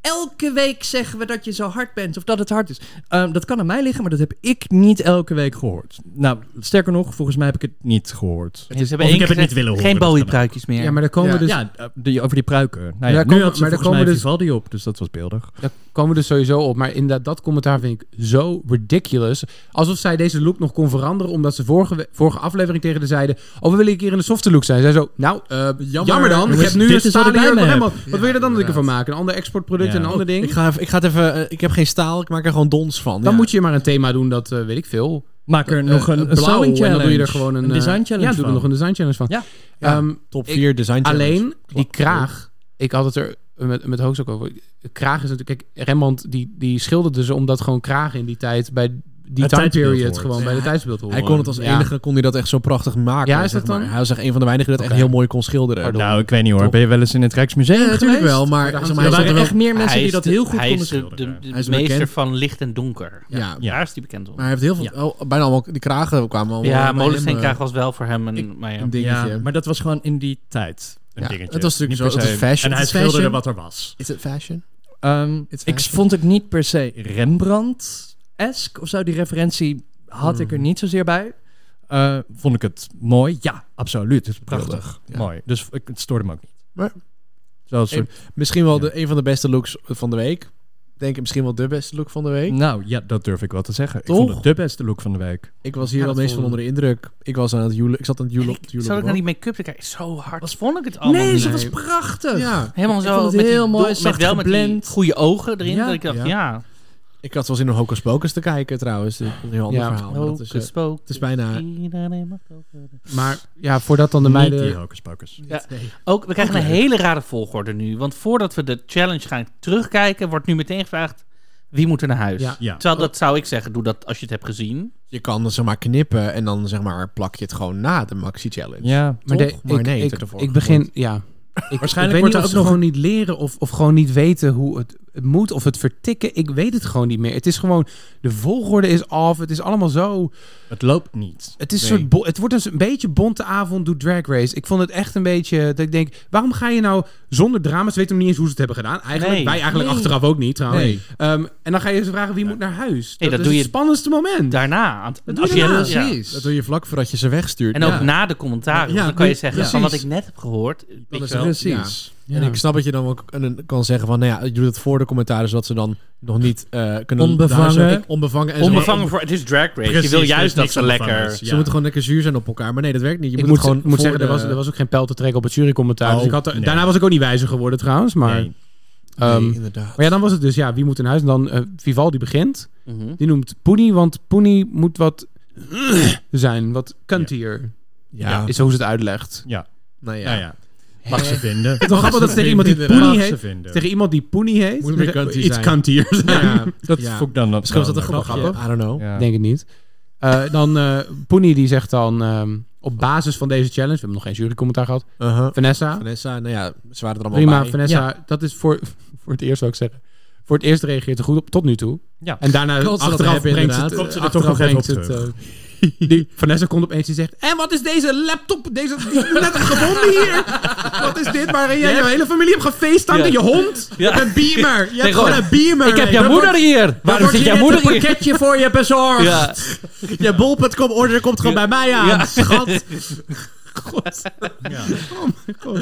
[SPEAKER 5] elke week zeggen we dat je zo hard bent of dat het hard is. Ehm, dat kan aan mij liggen, maar dat heb ik niet elke week gehoord. Nou, sterker nog, volgens mij heb ik het niet gehoord.
[SPEAKER 3] Ze hebben
[SPEAKER 5] Of
[SPEAKER 3] één
[SPEAKER 5] ik heb het
[SPEAKER 3] keer
[SPEAKER 5] niet
[SPEAKER 3] gezegd,
[SPEAKER 5] willen horen.
[SPEAKER 3] Geen
[SPEAKER 5] dat kan ook.
[SPEAKER 3] Bowie-pruikjes meer.
[SPEAKER 4] Ja, maar daar komen,
[SPEAKER 1] Ja.
[SPEAKER 4] we dus,
[SPEAKER 5] Ja, eh, die, over die pruiken. Nou
[SPEAKER 4] daar
[SPEAKER 5] ja,
[SPEAKER 4] komen-
[SPEAKER 5] nu had ze
[SPEAKER 4] maar daar
[SPEAKER 5] volgens mij
[SPEAKER 4] komen dus-
[SPEAKER 5] Vivaldi op, dus dat was beeldig.
[SPEAKER 4] daar komen we dus sowieso op. Maar inderdaad, dat commentaar vind ik zo ridiculous. Alsof zij deze look nog kon veranderen... omdat ze vorige, we- vorige aflevering tegen haar zeiden... oh, we willen een keer in een softe look zijn. Zij zo, nou, eh, jammer, dan. Ik
[SPEAKER 5] Jongens,
[SPEAKER 4] heb nu
[SPEAKER 5] dit
[SPEAKER 4] een
[SPEAKER 5] is wat ik
[SPEAKER 4] stalen
[SPEAKER 5] bij
[SPEAKER 4] jurk
[SPEAKER 5] me
[SPEAKER 4] nog
[SPEAKER 5] heb.
[SPEAKER 4] helemaal... Wat wil je er dan natuurlijk van maken? Een ander exportproduct
[SPEAKER 5] Ja.
[SPEAKER 4] en een ander ding?
[SPEAKER 1] Ik ga, even, ik ga het even... eh, ik heb geen staal. Ik maak er gewoon dons van.
[SPEAKER 4] Dan
[SPEAKER 1] ja.
[SPEAKER 4] moet je maar een thema doen dat, eh, weet ik veel...
[SPEAKER 5] Maak er nog een,
[SPEAKER 4] eh,
[SPEAKER 5] een
[SPEAKER 4] blauw
[SPEAKER 5] styling
[SPEAKER 4] en dan doe je er
[SPEAKER 5] challenge,
[SPEAKER 4] gewoon een, eh,
[SPEAKER 5] design challenge
[SPEAKER 4] Ja, doe er
[SPEAKER 5] van.
[SPEAKER 4] nog een design challenge van.
[SPEAKER 5] Ja.
[SPEAKER 1] Ja.
[SPEAKER 4] Ehm,
[SPEAKER 1] Top
[SPEAKER 4] ik-
[SPEAKER 1] 4 design challenge.
[SPEAKER 4] Alleen die
[SPEAKER 1] Klopt.
[SPEAKER 4] kraag.
[SPEAKER 1] Oh.
[SPEAKER 4] Ik had het er met, met Hoogst ook over. Kraag is natuurlijk. Kijk, Rembrandt die, die schilderde ze omdat gewoon kragen in die tijd bij die time period gewoon bij de tijdsbeeld horen.
[SPEAKER 1] Hij kon het als
[SPEAKER 4] Ja.
[SPEAKER 1] enige, kon hij dat echt zo prachtig maken.
[SPEAKER 4] Ja, is
[SPEAKER 1] zeg
[SPEAKER 4] dat dan?
[SPEAKER 1] maar. Hij was echt een van de weinigen die dat echt heel mooi kon schilderen.
[SPEAKER 5] nou, ik weet niet hoor. Ben je wel eens in het Rijksmuseum
[SPEAKER 1] Ja, natuurlijk
[SPEAKER 5] geweest?
[SPEAKER 1] wel, maar-
[SPEAKER 5] Daar
[SPEAKER 1] zeg maar,
[SPEAKER 5] hangt-
[SPEAKER 1] hij
[SPEAKER 5] er
[SPEAKER 1] zat
[SPEAKER 5] waren
[SPEAKER 1] er
[SPEAKER 5] echt
[SPEAKER 1] wel-
[SPEAKER 5] meer mensen
[SPEAKER 3] Hij
[SPEAKER 5] die
[SPEAKER 3] is
[SPEAKER 5] dat
[SPEAKER 3] de-
[SPEAKER 5] heel goed
[SPEAKER 3] hij
[SPEAKER 5] konden
[SPEAKER 3] is de, de,
[SPEAKER 5] schilderen.
[SPEAKER 3] de
[SPEAKER 1] Hij is
[SPEAKER 3] meester
[SPEAKER 1] bekend.
[SPEAKER 3] van licht en donker. Ja. Daar is hij bekend om.
[SPEAKER 1] Maar hij heeft heel veel, oh, bijna allemaal, die kragen kwamen allemaal
[SPEAKER 3] ja,
[SPEAKER 1] bij hem, eh,
[SPEAKER 3] Molensteenkraag was wel voor hem een, maar ja.
[SPEAKER 1] een dingetje.
[SPEAKER 5] Ja, maar dat was gewoon in die tijd een
[SPEAKER 1] Ja,
[SPEAKER 5] dingetje.
[SPEAKER 1] het was natuurlijk
[SPEAKER 5] Niet
[SPEAKER 1] zo,
[SPEAKER 5] per
[SPEAKER 1] het was
[SPEAKER 5] se-
[SPEAKER 1] fashion.
[SPEAKER 5] En hij
[SPEAKER 1] Het is fashion.
[SPEAKER 5] schilderde wat er was.
[SPEAKER 1] Is het fashion?
[SPEAKER 5] Ehm,
[SPEAKER 1] It's
[SPEAKER 5] ik
[SPEAKER 1] fashion.
[SPEAKER 5] vond het niet per se Rembrandt-esque of zo. Die referentie had ik er niet zozeer bij. Eh, vond ik het mooi? Ja, absoluut. Het is prachtig.
[SPEAKER 1] ja.
[SPEAKER 5] Mooi. Dus ik, het stoorde me ook niet.
[SPEAKER 1] Maar-
[SPEAKER 5] Zoals
[SPEAKER 1] Een- misschien wel de, een van de beste looks van de week. Denk ik misschien wel de beste look van de week.
[SPEAKER 5] Nou ja, dat durf ik wel te zeggen.
[SPEAKER 1] Toch?
[SPEAKER 5] Ik vond het de beste look van de week.
[SPEAKER 1] Ik was hier
[SPEAKER 3] Ja,
[SPEAKER 1] wel
[SPEAKER 3] dat
[SPEAKER 1] meest van
[SPEAKER 3] voelde-
[SPEAKER 1] onder de indruk. Ik was aan het joelen. Ik zat aan het joelen. op het
[SPEAKER 3] Zat
[SPEAKER 1] joelen
[SPEAKER 3] ik naar die
[SPEAKER 1] blok.
[SPEAKER 3] make-up te kijken? Zo hard vond ik het allemaal
[SPEAKER 5] nee,
[SPEAKER 3] niet.
[SPEAKER 5] ze was prachtig.
[SPEAKER 1] Ja.
[SPEAKER 3] Helemaal
[SPEAKER 5] Ik
[SPEAKER 3] zo.
[SPEAKER 5] vond het
[SPEAKER 3] met die
[SPEAKER 5] heel mooi,
[SPEAKER 3] dol-
[SPEAKER 5] zacht
[SPEAKER 3] Met wel met
[SPEAKER 5] geblend.
[SPEAKER 3] die goede ogen erin.
[SPEAKER 5] Ja.
[SPEAKER 3] dat ik dacht, ja.
[SPEAKER 1] Ja. Oh, Ik had wel zin om Hocus Pocus te kijken trouwens. Dat is een heel ander
[SPEAKER 4] Ja.
[SPEAKER 1] verhaal. maar dat is, eh,
[SPEAKER 3] Hocus pocus,
[SPEAKER 1] het is bijna...
[SPEAKER 3] iedereen mag over.
[SPEAKER 4] Maar ja, voordat dan de
[SPEAKER 5] Niet die
[SPEAKER 4] meiden...
[SPEAKER 5] hocus pocus.
[SPEAKER 3] Ook, we krijgen een hele rare volgorde nu. Want voordat we de challenge gaan terugkijken, wordt nu meteen gevraagd wie moet er naar huis.
[SPEAKER 1] Ja.
[SPEAKER 5] Ja.
[SPEAKER 3] Terwijl dat zou ik zeggen, doe dat als je het hebt gezien.
[SPEAKER 1] Je kan het zeg maar knippen en dan zeg maar plak je het gewoon na de Maxi Challenge.
[SPEAKER 5] Ja.
[SPEAKER 1] Toch?
[SPEAKER 4] Maar de-
[SPEAKER 1] Maar
[SPEAKER 4] ik,
[SPEAKER 1] nee, het
[SPEAKER 4] ik,
[SPEAKER 1] werd ervoor
[SPEAKER 4] ik begin...
[SPEAKER 1] gegooid.
[SPEAKER 4] Ja. Ik,
[SPEAKER 5] Waarschijnlijk
[SPEAKER 4] ik
[SPEAKER 5] wordt er
[SPEAKER 4] weet niet of
[SPEAKER 5] ook
[SPEAKER 4] ze
[SPEAKER 5] nog
[SPEAKER 4] gewoon niet leren of, of gewoon niet weten hoe het, het moet of het vertikken. Ik weet het gewoon niet meer. Het is gewoon... De volgorde is af. Het is allemaal zo...
[SPEAKER 5] Het loopt niet.
[SPEAKER 4] Het, is een
[SPEAKER 1] Nee.
[SPEAKER 4] soort bo- het wordt een, s- een beetje bonte avond doet Drag Race. Ik vond het echt een beetje... Dat ik denk, waarom ga je nou zonder drama? Ze weten nog niet eens hoe ze het hebben gedaan. Eigenlijk,
[SPEAKER 3] Nee.
[SPEAKER 4] wij eigenlijk
[SPEAKER 3] Nee.
[SPEAKER 4] achteraf ook niet trouwens.
[SPEAKER 1] Nee.
[SPEAKER 4] Ehm, en dan ga je ze vragen wie moet naar huis.
[SPEAKER 3] Nee,
[SPEAKER 4] dat,
[SPEAKER 3] dat
[SPEAKER 4] is
[SPEAKER 3] doe
[SPEAKER 4] het
[SPEAKER 3] je-
[SPEAKER 4] spannendste moment.
[SPEAKER 3] Daarna. aan-
[SPEAKER 4] Dat
[SPEAKER 3] als
[SPEAKER 4] doe je
[SPEAKER 3] je-
[SPEAKER 4] daarna,
[SPEAKER 3] ja.
[SPEAKER 4] precies.
[SPEAKER 1] Dat doe je vlak voordat je ze wegstuurt.
[SPEAKER 3] En ook
[SPEAKER 1] Ja.
[SPEAKER 3] na de commentaren.
[SPEAKER 1] Ja,
[SPEAKER 3] want dan kan je
[SPEAKER 1] doe-
[SPEAKER 3] zeggen, van wat ik
[SPEAKER 1] precies.
[SPEAKER 3] net heb gehoord. weet
[SPEAKER 1] is
[SPEAKER 3] je wel.
[SPEAKER 1] het. En ik snap dat je dan ook een- kan zeggen van... Nou ja, je doet het voor de commentaar, zodat ze dan nog niet eh, kunnen...
[SPEAKER 5] Onbevangen.
[SPEAKER 1] daar zijn- Onbevangen. En zo.
[SPEAKER 3] Onbevangen voor, het is drag race.
[SPEAKER 5] Precies,
[SPEAKER 3] je wil
[SPEAKER 5] er is
[SPEAKER 3] juist dat
[SPEAKER 5] niks
[SPEAKER 3] ze
[SPEAKER 5] onbevangers.
[SPEAKER 3] lekker...
[SPEAKER 1] Ze moeten gewoon lekker zuur zijn op elkaar. Maar nee, dat werkt niet. Je
[SPEAKER 4] ik
[SPEAKER 1] moet
[SPEAKER 4] moet,
[SPEAKER 1] het gewoon
[SPEAKER 4] ik moet
[SPEAKER 1] voor
[SPEAKER 4] zeggen, er,
[SPEAKER 1] de-
[SPEAKER 4] was, er was ook geen pijl te trekken op het jurycommentaar.
[SPEAKER 5] Oh,
[SPEAKER 4] dus ik had er-
[SPEAKER 5] nee.
[SPEAKER 4] Daarna was ik ook niet wijzer geworden trouwens. Maar,
[SPEAKER 5] Nee.
[SPEAKER 4] ehm,
[SPEAKER 1] Nee, inderdaad.
[SPEAKER 4] maar ja, dan was het dus, ja, wie moet in huis? En dan eh, Vivaldi begint.
[SPEAKER 3] Mhm.
[SPEAKER 4] Die noemt Poenie, want Poenie moet wat zijn. Wat kunt hier?
[SPEAKER 1] Ja.
[SPEAKER 4] Is hoe ze het uitlegt.
[SPEAKER 1] Nou ja.
[SPEAKER 5] Nou ja. Mag ze vinden.
[SPEAKER 4] Toch grappig dat ze tegen iemand die
[SPEAKER 5] Mag ze
[SPEAKER 4] Poenie heet...
[SPEAKER 5] vinden.
[SPEAKER 4] Tegen iemand die Poenie heet...
[SPEAKER 1] Moet meer kunt hier
[SPEAKER 4] iets
[SPEAKER 1] zijn.
[SPEAKER 4] kunt hier zijn.
[SPEAKER 1] Ja.
[SPEAKER 5] Dat
[SPEAKER 1] Ja.
[SPEAKER 5] vond ik dan...
[SPEAKER 1] Misschien was dat een
[SPEAKER 5] dan-
[SPEAKER 1] grapje. I don't know.
[SPEAKER 5] Ja.
[SPEAKER 4] Ik Denk het niet. Eh, dan eh Poenie die zegt dan... ehm, op basis van deze challenge... We hebben nog geen jurycommentaar gehad.
[SPEAKER 1] Uh-huh.
[SPEAKER 4] Vanessa.
[SPEAKER 1] Vanessa, nou ja, ze waren er allemaal
[SPEAKER 4] Prima,
[SPEAKER 1] bij.
[SPEAKER 4] Vanessa. Dat is voor, voor het eerst, zou ik zeggen. Voor het eerst reageert ze goed op, tot nu toe.
[SPEAKER 5] Ja.
[SPEAKER 4] En daarna
[SPEAKER 1] Kan ze dat
[SPEAKER 4] achteraf
[SPEAKER 1] hebben,
[SPEAKER 4] brengt
[SPEAKER 1] inderdaad.
[SPEAKER 4] het,
[SPEAKER 1] Komt
[SPEAKER 5] ze er
[SPEAKER 4] achteraf
[SPEAKER 5] toch nog
[SPEAKER 4] brengt
[SPEAKER 5] even op
[SPEAKER 4] het, eh, die, Vanessa komt opeens en zegt... En wat is deze laptop? Deze die is net gevonden hier. Wat is dit waarin jij jouw hele familie hebt gefeesttimed?
[SPEAKER 3] Ja.
[SPEAKER 4] en Je hond?
[SPEAKER 3] Ja.
[SPEAKER 4] Met een beamer. Je hebt
[SPEAKER 3] Tegen-
[SPEAKER 4] gewoon een beamer.
[SPEAKER 3] Ik heb jouw
[SPEAKER 4] Dat
[SPEAKER 3] moeder
[SPEAKER 4] wordt-
[SPEAKER 3] hier!
[SPEAKER 4] dat
[SPEAKER 3] Waarom
[SPEAKER 4] wordt
[SPEAKER 3] zit
[SPEAKER 4] je
[SPEAKER 3] jouw
[SPEAKER 4] net
[SPEAKER 3] moeder
[SPEAKER 4] een
[SPEAKER 3] hier?
[SPEAKER 4] pakketje voor je bezorgd.
[SPEAKER 3] Ja.
[SPEAKER 4] Je bol.com order komt gewoon bij mij aan, schat. God. Oh mijn god.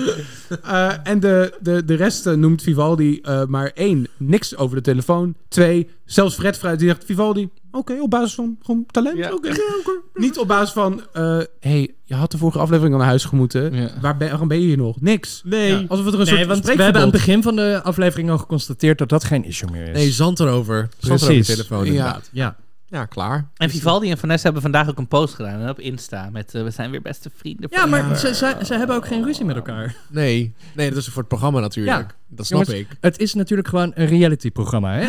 [SPEAKER 4] Eh, en de, de, de rest eh, noemt Vivaldi eh, maar één, niks over de telefoon. Twee, zelfs Fred Fruit die zegt Vivaldi, oké, op basis van gewoon talent.
[SPEAKER 3] Ja.
[SPEAKER 4] oké. Niet op basis van, eh, hey, je had de vorige aflevering al naar huis gemoeten.
[SPEAKER 5] Ja.
[SPEAKER 4] Waar ben, waarom ben je hier nog? Niks.
[SPEAKER 1] Nee.
[SPEAKER 5] Ja.
[SPEAKER 4] Alsof het er een
[SPEAKER 5] Nee,
[SPEAKER 4] soort
[SPEAKER 5] want we
[SPEAKER 4] spreekverbod-
[SPEAKER 5] hebben aan het begin van de aflevering al geconstateerd dat dat geen issue meer is.
[SPEAKER 1] Nee, zand erover. Zand erover
[SPEAKER 5] Precies.
[SPEAKER 1] de
[SPEAKER 3] Oh,
[SPEAKER 1] telefoon inderdaad.
[SPEAKER 5] Ja.
[SPEAKER 1] Ja, klaar.
[SPEAKER 3] En Vivaldi en Vanessa hebben vandaag ook een post gedaan hè, op Insta. Met eh, we zijn weer beste vrienden.
[SPEAKER 5] Ja, maar Ze,
[SPEAKER 3] forever.
[SPEAKER 5] ze, ze hebben ook geen ruzie met elkaar.
[SPEAKER 1] Nee. Nee, dat is voor het programma natuurlijk.
[SPEAKER 5] Ja.
[SPEAKER 1] Dat snap
[SPEAKER 5] Jongens,
[SPEAKER 1] ik.
[SPEAKER 5] Het is natuurlijk gewoon een realityprogramma, hè?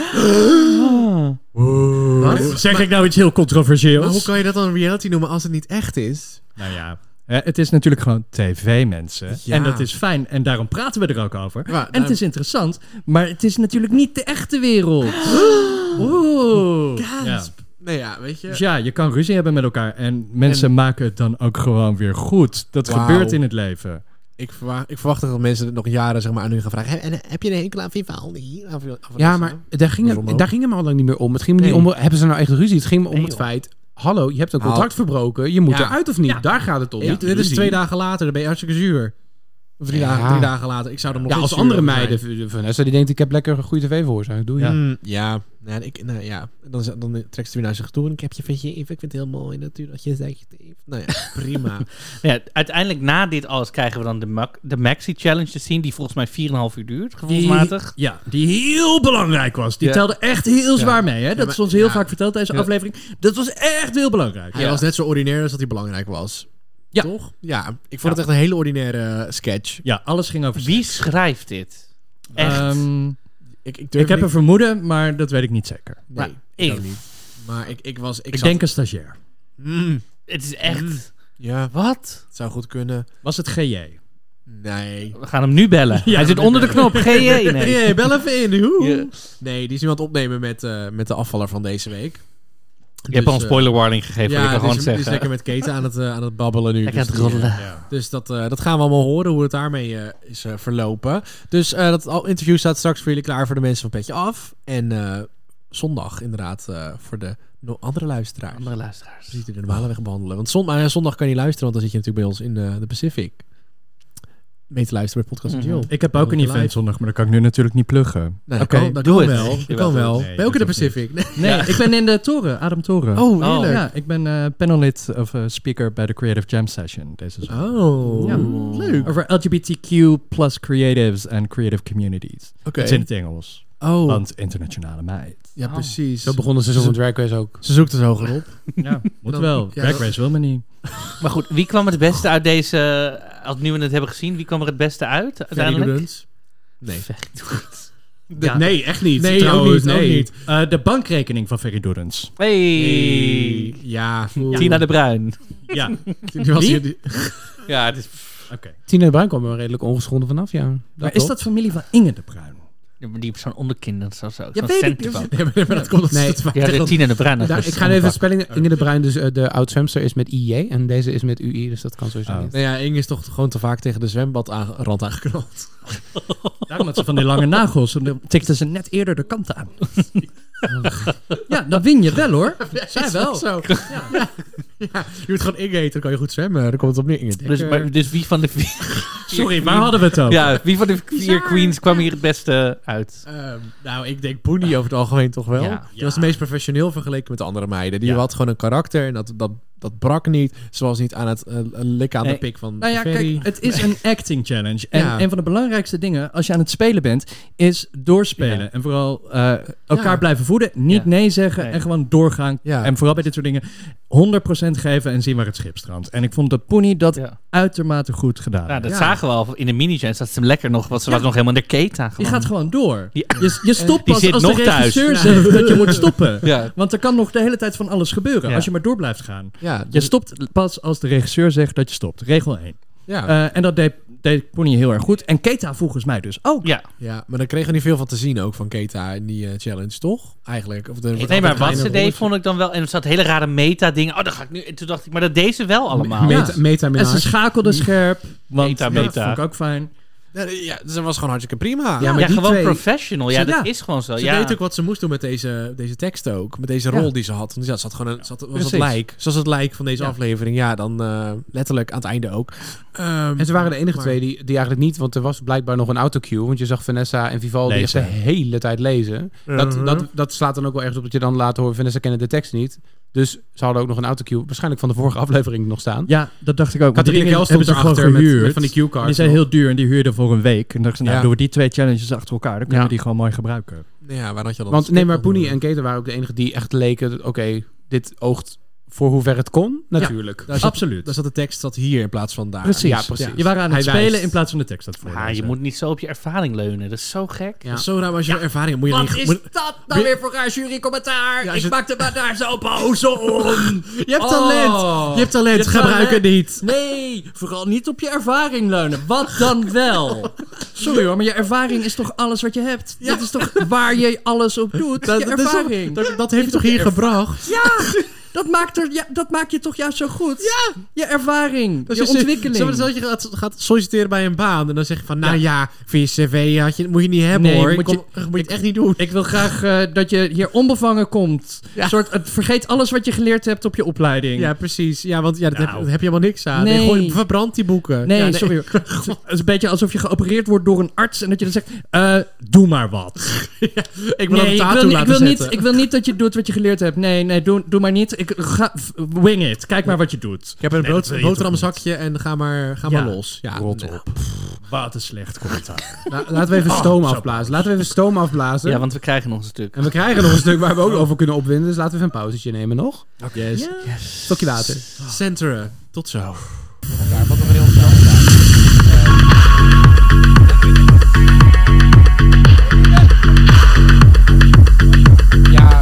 [SPEAKER 1] Wat?
[SPEAKER 5] Zeg ik nou iets heel controversieels?
[SPEAKER 1] Maar hoe kan je dat dan reality noemen als het niet echt is?
[SPEAKER 5] Nou ja, hè, het is natuurlijk gewoon tv, mensen.
[SPEAKER 1] Ja.
[SPEAKER 5] En dat is fijn. En daarom praten we er ook over.
[SPEAKER 1] Ja,
[SPEAKER 5] en het is interessant. Maar het is natuurlijk niet de echte wereld. Oeh. Ja.
[SPEAKER 1] Nee, ja, weet je.
[SPEAKER 5] Dus ja, je kan ruzie hebben met elkaar. En mensen maken het dan ook gewoon weer goed. Dat
[SPEAKER 1] Wauw.
[SPEAKER 5] gebeurt in het leven.
[SPEAKER 1] Ik verwacht, ik verwacht dat mensen het nog jaren zeg maar, aan hun gaan vragen. "Heb- en, heb je een hekel aan Vivaldi? Aan- aan- aan-
[SPEAKER 4] Ja, maar daar ging,
[SPEAKER 1] Waarom
[SPEAKER 4] het,
[SPEAKER 1] ook?
[SPEAKER 4] daar ging het me al lang niet meer om. Het ging me
[SPEAKER 1] Nee.
[SPEAKER 4] niet om, hebben ze nou echt ruzie? Het ging me om
[SPEAKER 1] Nee,
[SPEAKER 4] het
[SPEAKER 1] joh.
[SPEAKER 4] feit, hallo, je hebt een
[SPEAKER 1] Nou.
[SPEAKER 4] contract verbroken. Je moet
[SPEAKER 1] Ja.
[SPEAKER 4] eruit of niet? Daar gaat het om.
[SPEAKER 1] Ja,
[SPEAKER 4] niet
[SPEAKER 1] dit is
[SPEAKER 4] ruzie.
[SPEAKER 1] twee dagen later, dan ben je hartstikke zuur. Of drie,
[SPEAKER 4] Ja.
[SPEAKER 1] dagen, drie dagen later. Ik zou er nog
[SPEAKER 4] Ja,
[SPEAKER 1] niet
[SPEAKER 4] als
[SPEAKER 1] zuur
[SPEAKER 4] andere
[SPEAKER 1] over zijn.
[SPEAKER 4] meiden. v- Vanessa die denkt, ik heb lekker een goede tv voor zijn. Doe je.
[SPEAKER 5] Ja.
[SPEAKER 1] Mm, ja. Nou, ik, nou ja, dan, is- dan trekt ze weer naar zich toe. En ik heb je vergeven. Ik vind het heel mooi natuurlijk dat je zegt. Nou ja, prima.
[SPEAKER 3] Ja, uiteindelijk na dit alles krijgen we dan de, mak- de Maxi Challenge te zien. Die volgens mij 4,5 uur duurt, gevoelsmatig.
[SPEAKER 5] Ja, die heel belangrijk was. Die
[SPEAKER 3] Ja.
[SPEAKER 5] telde echt heel zwaar mee. Hè? Dat is ons heel
[SPEAKER 1] ja.
[SPEAKER 5] vaak verteld tijdens de aflevering. Dat was echt heel belangrijk.
[SPEAKER 1] Hij was net zo ordinair als dat hij belangrijk was.
[SPEAKER 5] Ja.
[SPEAKER 1] Toch? Ja, ik vond het echt een hele ordinaire eh, sketch.
[SPEAKER 5] Ja, alles ging over
[SPEAKER 3] Wie schrijft dit? Echt?
[SPEAKER 5] Ehm,
[SPEAKER 1] Ik, ik, durf
[SPEAKER 5] ik heb
[SPEAKER 1] niet-
[SPEAKER 5] een vermoeden, maar dat weet ik niet zeker.
[SPEAKER 1] Nee,
[SPEAKER 3] ik,
[SPEAKER 1] ook niet. Maar ik, ik was... Ik,
[SPEAKER 5] Ik
[SPEAKER 1] zat-
[SPEAKER 5] denk een stagiair.
[SPEAKER 1] Mm.
[SPEAKER 3] Het is echt...
[SPEAKER 1] Mm. Ja.
[SPEAKER 3] Wat?
[SPEAKER 1] Het zou goed kunnen.
[SPEAKER 5] Was het GJ?
[SPEAKER 1] Nee.
[SPEAKER 3] We gaan hem nu bellen.
[SPEAKER 1] Ja,
[SPEAKER 3] Hij zit onder de knop. E GJ. Nee.
[SPEAKER 1] GJ, bel even in. Hoe?
[SPEAKER 3] Ja.
[SPEAKER 1] Nee, die is iemand opnemen met, eh, met de afvaller van deze week.
[SPEAKER 3] Je hebt al een
[SPEAKER 1] eh,
[SPEAKER 3] spoiler warning gegeven, wil ik al
[SPEAKER 1] dus
[SPEAKER 3] gewoon
[SPEAKER 1] die is
[SPEAKER 3] zeggen.
[SPEAKER 1] lekker met Keten aan het, eh, aan het babbelen nu.
[SPEAKER 3] Lekker
[SPEAKER 1] dus
[SPEAKER 3] aan het
[SPEAKER 1] die,
[SPEAKER 3] roddelen.
[SPEAKER 1] eh, Dus dat, eh, dat gaan we allemaal horen, hoe het daarmee eh, is eh, verlopen. Dus eh, dat al- interview staat straks voor jullie klaar voor de mensen van Petje Af. En eh, zondag inderdaad eh, voor de no- andere luisteraars.
[SPEAKER 3] Andere luisteraars.
[SPEAKER 1] Die de normale weg behandelen. Want zon- maar zondag kan je niet luisteren, want dan zit je natuurlijk bij ons in eh, de Pacific. Mee te luisteren bij Podcast
[SPEAKER 5] Mhm.
[SPEAKER 1] mm Jill.
[SPEAKER 5] Ik heb ook een event zondag, maar dat kan ik nu natuurlijk niet pluggen.
[SPEAKER 1] Nee,
[SPEAKER 5] Oké,
[SPEAKER 1] dat kan, dat
[SPEAKER 5] doe
[SPEAKER 1] kan
[SPEAKER 5] het.
[SPEAKER 1] wel.
[SPEAKER 5] Nee,
[SPEAKER 1] Dat kan wel.
[SPEAKER 5] nee,
[SPEAKER 1] ben je ook in de
[SPEAKER 5] dat hoeft niet.
[SPEAKER 1] Pacific?
[SPEAKER 5] Nee, ik ben in de toren, Adam Toren.
[SPEAKER 1] Oh, heerlijk.
[SPEAKER 5] Ja, ik ben eh, panelid of eh, speaker bij de Creative Jam Session deze zomer.
[SPEAKER 1] Oh,
[SPEAKER 5] Ja.
[SPEAKER 1] leuk.
[SPEAKER 5] Over LGBTQ plus creatives en creative communities.
[SPEAKER 1] Oké.
[SPEAKER 5] Het is in het Engels.
[SPEAKER 1] Oh.
[SPEAKER 5] Want internationale meid.
[SPEAKER 1] Ja, precies.
[SPEAKER 4] Zo begonnen ze
[SPEAKER 1] Ze
[SPEAKER 4] zo'n
[SPEAKER 1] zo-
[SPEAKER 4] Drag Race ook.
[SPEAKER 1] Ze zoekt het hoger op.
[SPEAKER 5] Ja, moet
[SPEAKER 1] Dan-
[SPEAKER 5] wel.
[SPEAKER 1] ja,
[SPEAKER 5] Drag
[SPEAKER 1] dat-
[SPEAKER 5] Race wil me niet.
[SPEAKER 3] Maar goed, wie kwam het beste uit deze... eh, Als nu we het hebben gezien, wie kwam er het beste uit uiteindelijk?
[SPEAKER 1] Doedens. Nee.
[SPEAKER 3] Ferry Doedens.
[SPEAKER 1] De- Nee, echt niet.
[SPEAKER 5] Nee,
[SPEAKER 1] Trouwens,
[SPEAKER 5] ook niet.
[SPEAKER 1] nee.
[SPEAKER 5] Ook niet. Eh, de bankrekening van Ferry Doedens.
[SPEAKER 3] Hey.
[SPEAKER 1] Ja. oeh.
[SPEAKER 3] Tina de Bruin.
[SPEAKER 5] Ja.
[SPEAKER 1] Die was
[SPEAKER 5] Wie?
[SPEAKER 1] hier- die-
[SPEAKER 3] Ja, het is...
[SPEAKER 5] Oké.
[SPEAKER 4] Tina de Bruin kwam er redelijk ongeschonden vanaf, ja. Dat
[SPEAKER 5] Maar is
[SPEAKER 4] klopt.
[SPEAKER 5] dat familie van Inge de Bruin?
[SPEAKER 3] Ja, maar Die op zo'n onderkin, dat is zo.
[SPEAKER 5] Ja,
[SPEAKER 3] Zo'n
[SPEAKER 5] weet ik
[SPEAKER 3] centenbak.
[SPEAKER 1] Nee, maar maar dat komt omdat
[SPEAKER 4] Nee.
[SPEAKER 1] het
[SPEAKER 3] Ja, de Tina de Bruin. dus dat
[SPEAKER 4] Daar-
[SPEAKER 3] is
[SPEAKER 4] ik
[SPEAKER 3] een
[SPEAKER 4] ga even de
[SPEAKER 3] bak.
[SPEAKER 4] spelling. Inge de Bruin, dus eh, de oud-zwemster, is met IJ. En deze is met UI, dus dat kan sowieso
[SPEAKER 5] Oh.
[SPEAKER 4] niet.
[SPEAKER 1] Nou ja, Inge is toch gewoon te vaak tegen de zwembadrand aangeknald.
[SPEAKER 5] Daarom had ze van die lange nagels. En dan tikte ze net eerder de kant aan. ja, dan win je wel hoor. Zij wel.
[SPEAKER 1] Zo. Ja. Je moet gewoon Inge heten, dan kan je goed zwemmen. Dan komt het op neer, Inge. Dekker.
[SPEAKER 3] Dus, maar, dus wie van de vier...
[SPEAKER 5] Sorry, waar hadden we het over?
[SPEAKER 3] Ja, wie van de vier queens kwam hier het beste uit?
[SPEAKER 1] Ehm, nou, ik denk Poenie over het algemeen toch wel.
[SPEAKER 3] Ja.
[SPEAKER 1] Die was het meest professioneel vergeleken met de andere meiden. Die
[SPEAKER 5] Ja.
[SPEAKER 1] had gewoon een karakter en dat, dat, dat brak niet. Ze was niet aan het eh, likken aan
[SPEAKER 5] Nee.
[SPEAKER 1] de pik van
[SPEAKER 5] Nou ja,
[SPEAKER 1] Ferry.
[SPEAKER 5] kijk, het is een acting challenge. En
[SPEAKER 1] Ja.
[SPEAKER 5] een van de belangrijkste dingen als je aan het spelen bent, is doorspelen.
[SPEAKER 3] Ja.
[SPEAKER 5] En vooral eh, elkaar
[SPEAKER 1] Ja.
[SPEAKER 5] blijven voeden, niet
[SPEAKER 3] Ja.
[SPEAKER 5] nee zeggen
[SPEAKER 3] Nee.
[SPEAKER 5] en gewoon doorgaan.
[SPEAKER 1] Ja.
[SPEAKER 5] En vooral bij dit soort dingen 100% geven en zien waar het schip strandt. En ik vond dat Poenie dat
[SPEAKER 3] Ja.
[SPEAKER 5] uitermate goed gedaan
[SPEAKER 3] Nou,
[SPEAKER 5] heeft.
[SPEAKER 3] dat
[SPEAKER 1] Ja.
[SPEAKER 3] zagen we al in de mini-gens. Dat ze hem lekker nog... Want ze was nog helemaal in de keta
[SPEAKER 5] Die
[SPEAKER 3] gewoon.
[SPEAKER 5] gaat gewoon door.
[SPEAKER 3] Die-
[SPEAKER 5] Je, je stopt
[SPEAKER 3] Die
[SPEAKER 5] pas
[SPEAKER 3] zit
[SPEAKER 5] als
[SPEAKER 3] nog
[SPEAKER 5] de
[SPEAKER 3] thuis.
[SPEAKER 5] regisseur
[SPEAKER 3] Ja.
[SPEAKER 5] zegt dat je moet stoppen.
[SPEAKER 3] Ja.
[SPEAKER 5] Want er kan nog de hele tijd van alles gebeuren
[SPEAKER 3] Ja.
[SPEAKER 5] als je maar door blijft gaan.
[SPEAKER 1] Ja,
[SPEAKER 5] Je
[SPEAKER 1] dus-
[SPEAKER 5] stopt pas als de regisseur zegt dat je stopt. Regel 1.
[SPEAKER 1] ja.
[SPEAKER 5] Eh, en dat deed, deed Pony heel erg goed. En Keta volgens mij dus ook.
[SPEAKER 3] Ja.
[SPEAKER 1] ja, maar daar kregen we niet veel van te zien ook van Keta in die eh, challenge, toch? Eigenlijk. Of er wordt
[SPEAKER 3] Nee, maar
[SPEAKER 1] altijd
[SPEAKER 3] wat ze
[SPEAKER 1] een
[SPEAKER 3] deed
[SPEAKER 1] rolletje-
[SPEAKER 3] vond ik dan wel... En er zat hele rare meta-dingen. Oh, dat ga ik nu... En toen dacht ik, maar dat deed ze wel allemaal.
[SPEAKER 5] Ja.
[SPEAKER 1] Meta- meta
[SPEAKER 5] En ze schakelde scherp. Want,
[SPEAKER 3] Meta,
[SPEAKER 5] ja,
[SPEAKER 3] meta.
[SPEAKER 5] vond ik ook fijn.
[SPEAKER 1] Ja, ja, ze was gewoon hartstikke prima.
[SPEAKER 3] Ja,
[SPEAKER 1] Ja,
[SPEAKER 3] maar
[SPEAKER 1] maar
[SPEAKER 3] gewoon
[SPEAKER 1] twee-
[SPEAKER 3] professional. Ja,
[SPEAKER 1] Ze-
[SPEAKER 3] dat
[SPEAKER 1] ja.
[SPEAKER 3] is gewoon zo.
[SPEAKER 1] ze
[SPEAKER 3] ja.
[SPEAKER 1] deed ook wat ze moest doen met deze, deze tekst ook. Met deze
[SPEAKER 5] Ja.
[SPEAKER 1] rol die ze had. Want ja, ze had gewoon een, ze had, was het
[SPEAKER 5] Precies.
[SPEAKER 1] lijk. Ze was het lijk van deze
[SPEAKER 5] Ja.
[SPEAKER 1] aflevering. Ja, dan eh, letterlijk aan het einde ook. Ehm,
[SPEAKER 4] En ze waren de enige
[SPEAKER 1] maar-
[SPEAKER 4] twee die, die eigenlijk niet, want er was blijkbaar nog een autocue. Want je zag Vanessa en Vivaldi echt de
[SPEAKER 5] Lezen.
[SPEAKER 4] hele tijd lezen. Dat,
[SPEAKER 1] Mhm.
[SPEAKER 4] dat, dat slaat dan ook wel ergens op dat je dan laat horen, Vanessa kende de tekst niet. Dus ze hadden ook nog een autocue, waarschijnlijk van de vorige aflevering nog staan.
[SPEAKER 5] Ja, dat dacht ik ook. Want die
[SPEAKER 1] Catharina
[SPEAKER 5] dingen
[SPEAKER 1] Kel stond
[SPEAKER 5] hebben ze gewoon
[SPEAKER 1] erachter met,
[SPEAKER 5] gehuurd.
[SPEAKER 1] met van die
[SPEAKER 5] En die
[SPEAKER 1] cuecards.
[SPEAKER 5] zijn heel duur en die huurden voor een week. En dachten ze, nou
[SPEAKER 1] Ja.
[SPEAKER 5] doen we die twee challenges achter elkaar. Dan kunnen
[SPEAKER 4] Ja.
[SPEAKER 5] we die gewoon mooi gebruiken.
[SPEAKER 1] Ja, waar had je dan
[SPEAKER 4] Want
[SPEAKER 1] het
[SPEAKER 4] nee,
[SPEAKER 1] script
[SPEAKER 4] maar
[SPEAKER 1] nog
[SPEAKER 4] Poenie
[SPEAKER 1] door?
[SPEAKER 4] en Keten waren ook de enige die echt leken, dat, oké, dit oogt voor hoever het kon, natuurlijk.
[SPEAKER 1] Daar zat,
[SPEAKER 5] Absoluut.
[SPEAKER 1] daar zat de tekst dat hier in plaats van daar.
[SPEAKER 5] Precies.
[SPEAKER 4] Ja, precies.
[SPEAKER 5] Je waren aan het
[SPEAKER 1] Hij
[SPEAKER 5] spelen
[SPEAKER 1] wijst.
[SPEAKER 5] in plaats van de tekst aan het
[SPEAKER 3] Ah, je
[SPEAKER 5] voorlezen.
[SPEAKER 3] moet niet zo op je ervaring leunen. Dat is zo gek.
[SPEAKER 4] Ja.
[SPEAKER 1] Dat is Zo raar als je ervaring hebt, moet je niet... moet-
[SPEAKER 5] dat
[SPEAKER 1] nou weer
[SPEAKER 5] voor raar jurycommentaar?
[SPEAKER 1] Ik
[SPEAKER 5] maak de maar daar zo boos om.
[SPEAKER 1] Je hebt
[SPEAKER 4] Oh.
[SPEAKER 3] Oh.
[SPEAKER 1] talent! Je hebt talent,
[SPEAKER 5] Je hebt
[SPEAKER 1] gebruik het
[SPEAKER 5] talent.
[SPEAKER 1] niet!
[SPEAKER 5] Nee, vooral niet op je ervaring leunen. Wat dan wel? Sorry hoor, maar je ervaring is toch alles wat je hebt? Dat is toch waar je alles op doet? je
[SPEAKER 1] is toch-
[SPEAKER 5] ervaring.
[SPEAKER 1] dat, dat heeft je toch hier gebracht?
[SPEAKER 5] ja, dat maakt, er, ja, dat maakt je toch juist zo goed? Ja. dus- Je ervaring,
[SPEAKER 1] Dat
[SPEAKER 5] je
[SPEAKER 1] is je-
[SPEAKER 5] ontwikkeling.
[SPEAKER 1] Stel maar dat je gaat, gaat solliciteren bij een baan en dan zeg je van... Nou ja, voor je cv had je, moet je niet hebben
[SPEAKER 5] Nee,
[SPEAKER 1] hoor.
[SPEAKER 5] moet
[SPEAKER 1] Kom- moet je het echt niet doen.
[SPEAKER 5] Ik wil graag eh, dat je hier onbevangen komt. Een Soort, het vergeet alles wat je geleerd hebt op je opleiding.
[SPEAKER 1] Ja, precies. Ja, want ja, dat heb, daar heb je helemaal niks aan.
[SPEAKER 5] Nou. Nee.
[SPEAKER 1] Nee. gooi- verbrand die boeken.
[SPEAKER 5] Nee,
[SPEAKER 1] Ja,
[SPEAKER 5] sorry. hoor. Het is een beetje alsof je geopereerd wordt door een arts en dat je dan zegt: eh, Doe maar wat.
[SPEAKER 1] Ik wil hem
[SPEAKER 5] Nee,
[SPEAKER 1] een
[SPEAKER 5] ik
[SPEAKER 1] tattoo
[SPEAKER 5] wil, niet- ik,
[SPEAKER 1] laten
[SPEAKER 5] wil niet,
[SPEAKER 1] zetten.
[SPEAKER 5] ik wil niet dat je doet wat je geleerd hebt. Nee, nee, doe, doe maar niet. Ik, ga, f- wing it. Kijk maar wat je doet.
[SPEAKER 1] Ik heb een
[SPEAKER 5] Nee,
[SPEAKER 1] brood,
[SPEAKER 5] dat wil je
[SPEAKER 1] boterhamzakje en ga maar, ga maar
[SPEAKER 5] Ja.
[SPEAKER 1] los. Ja,
[SPEAKER 5] Rot
[SPEAKER 1] nou,
[SPEAKER 5] op. Wat een slecht commentaar.
[SPEAKER 4] La- laten we even stoom afblazen. Laten we even stoom afblazen.
[SPEAKER 3] Ja, want we krijgen nog een stuk.
[SPEAKER 4] En we krijgen nog een stuk waar we ook over kunnen opwinden. Dus laten we even een pauzetje nemen nog.
[SPEAKER 1] Yes.
[SPEAKER 4] Stokje water.
[SPEAKER 1] Centeren. Tot zo.
[SPEAKER 4] Ja.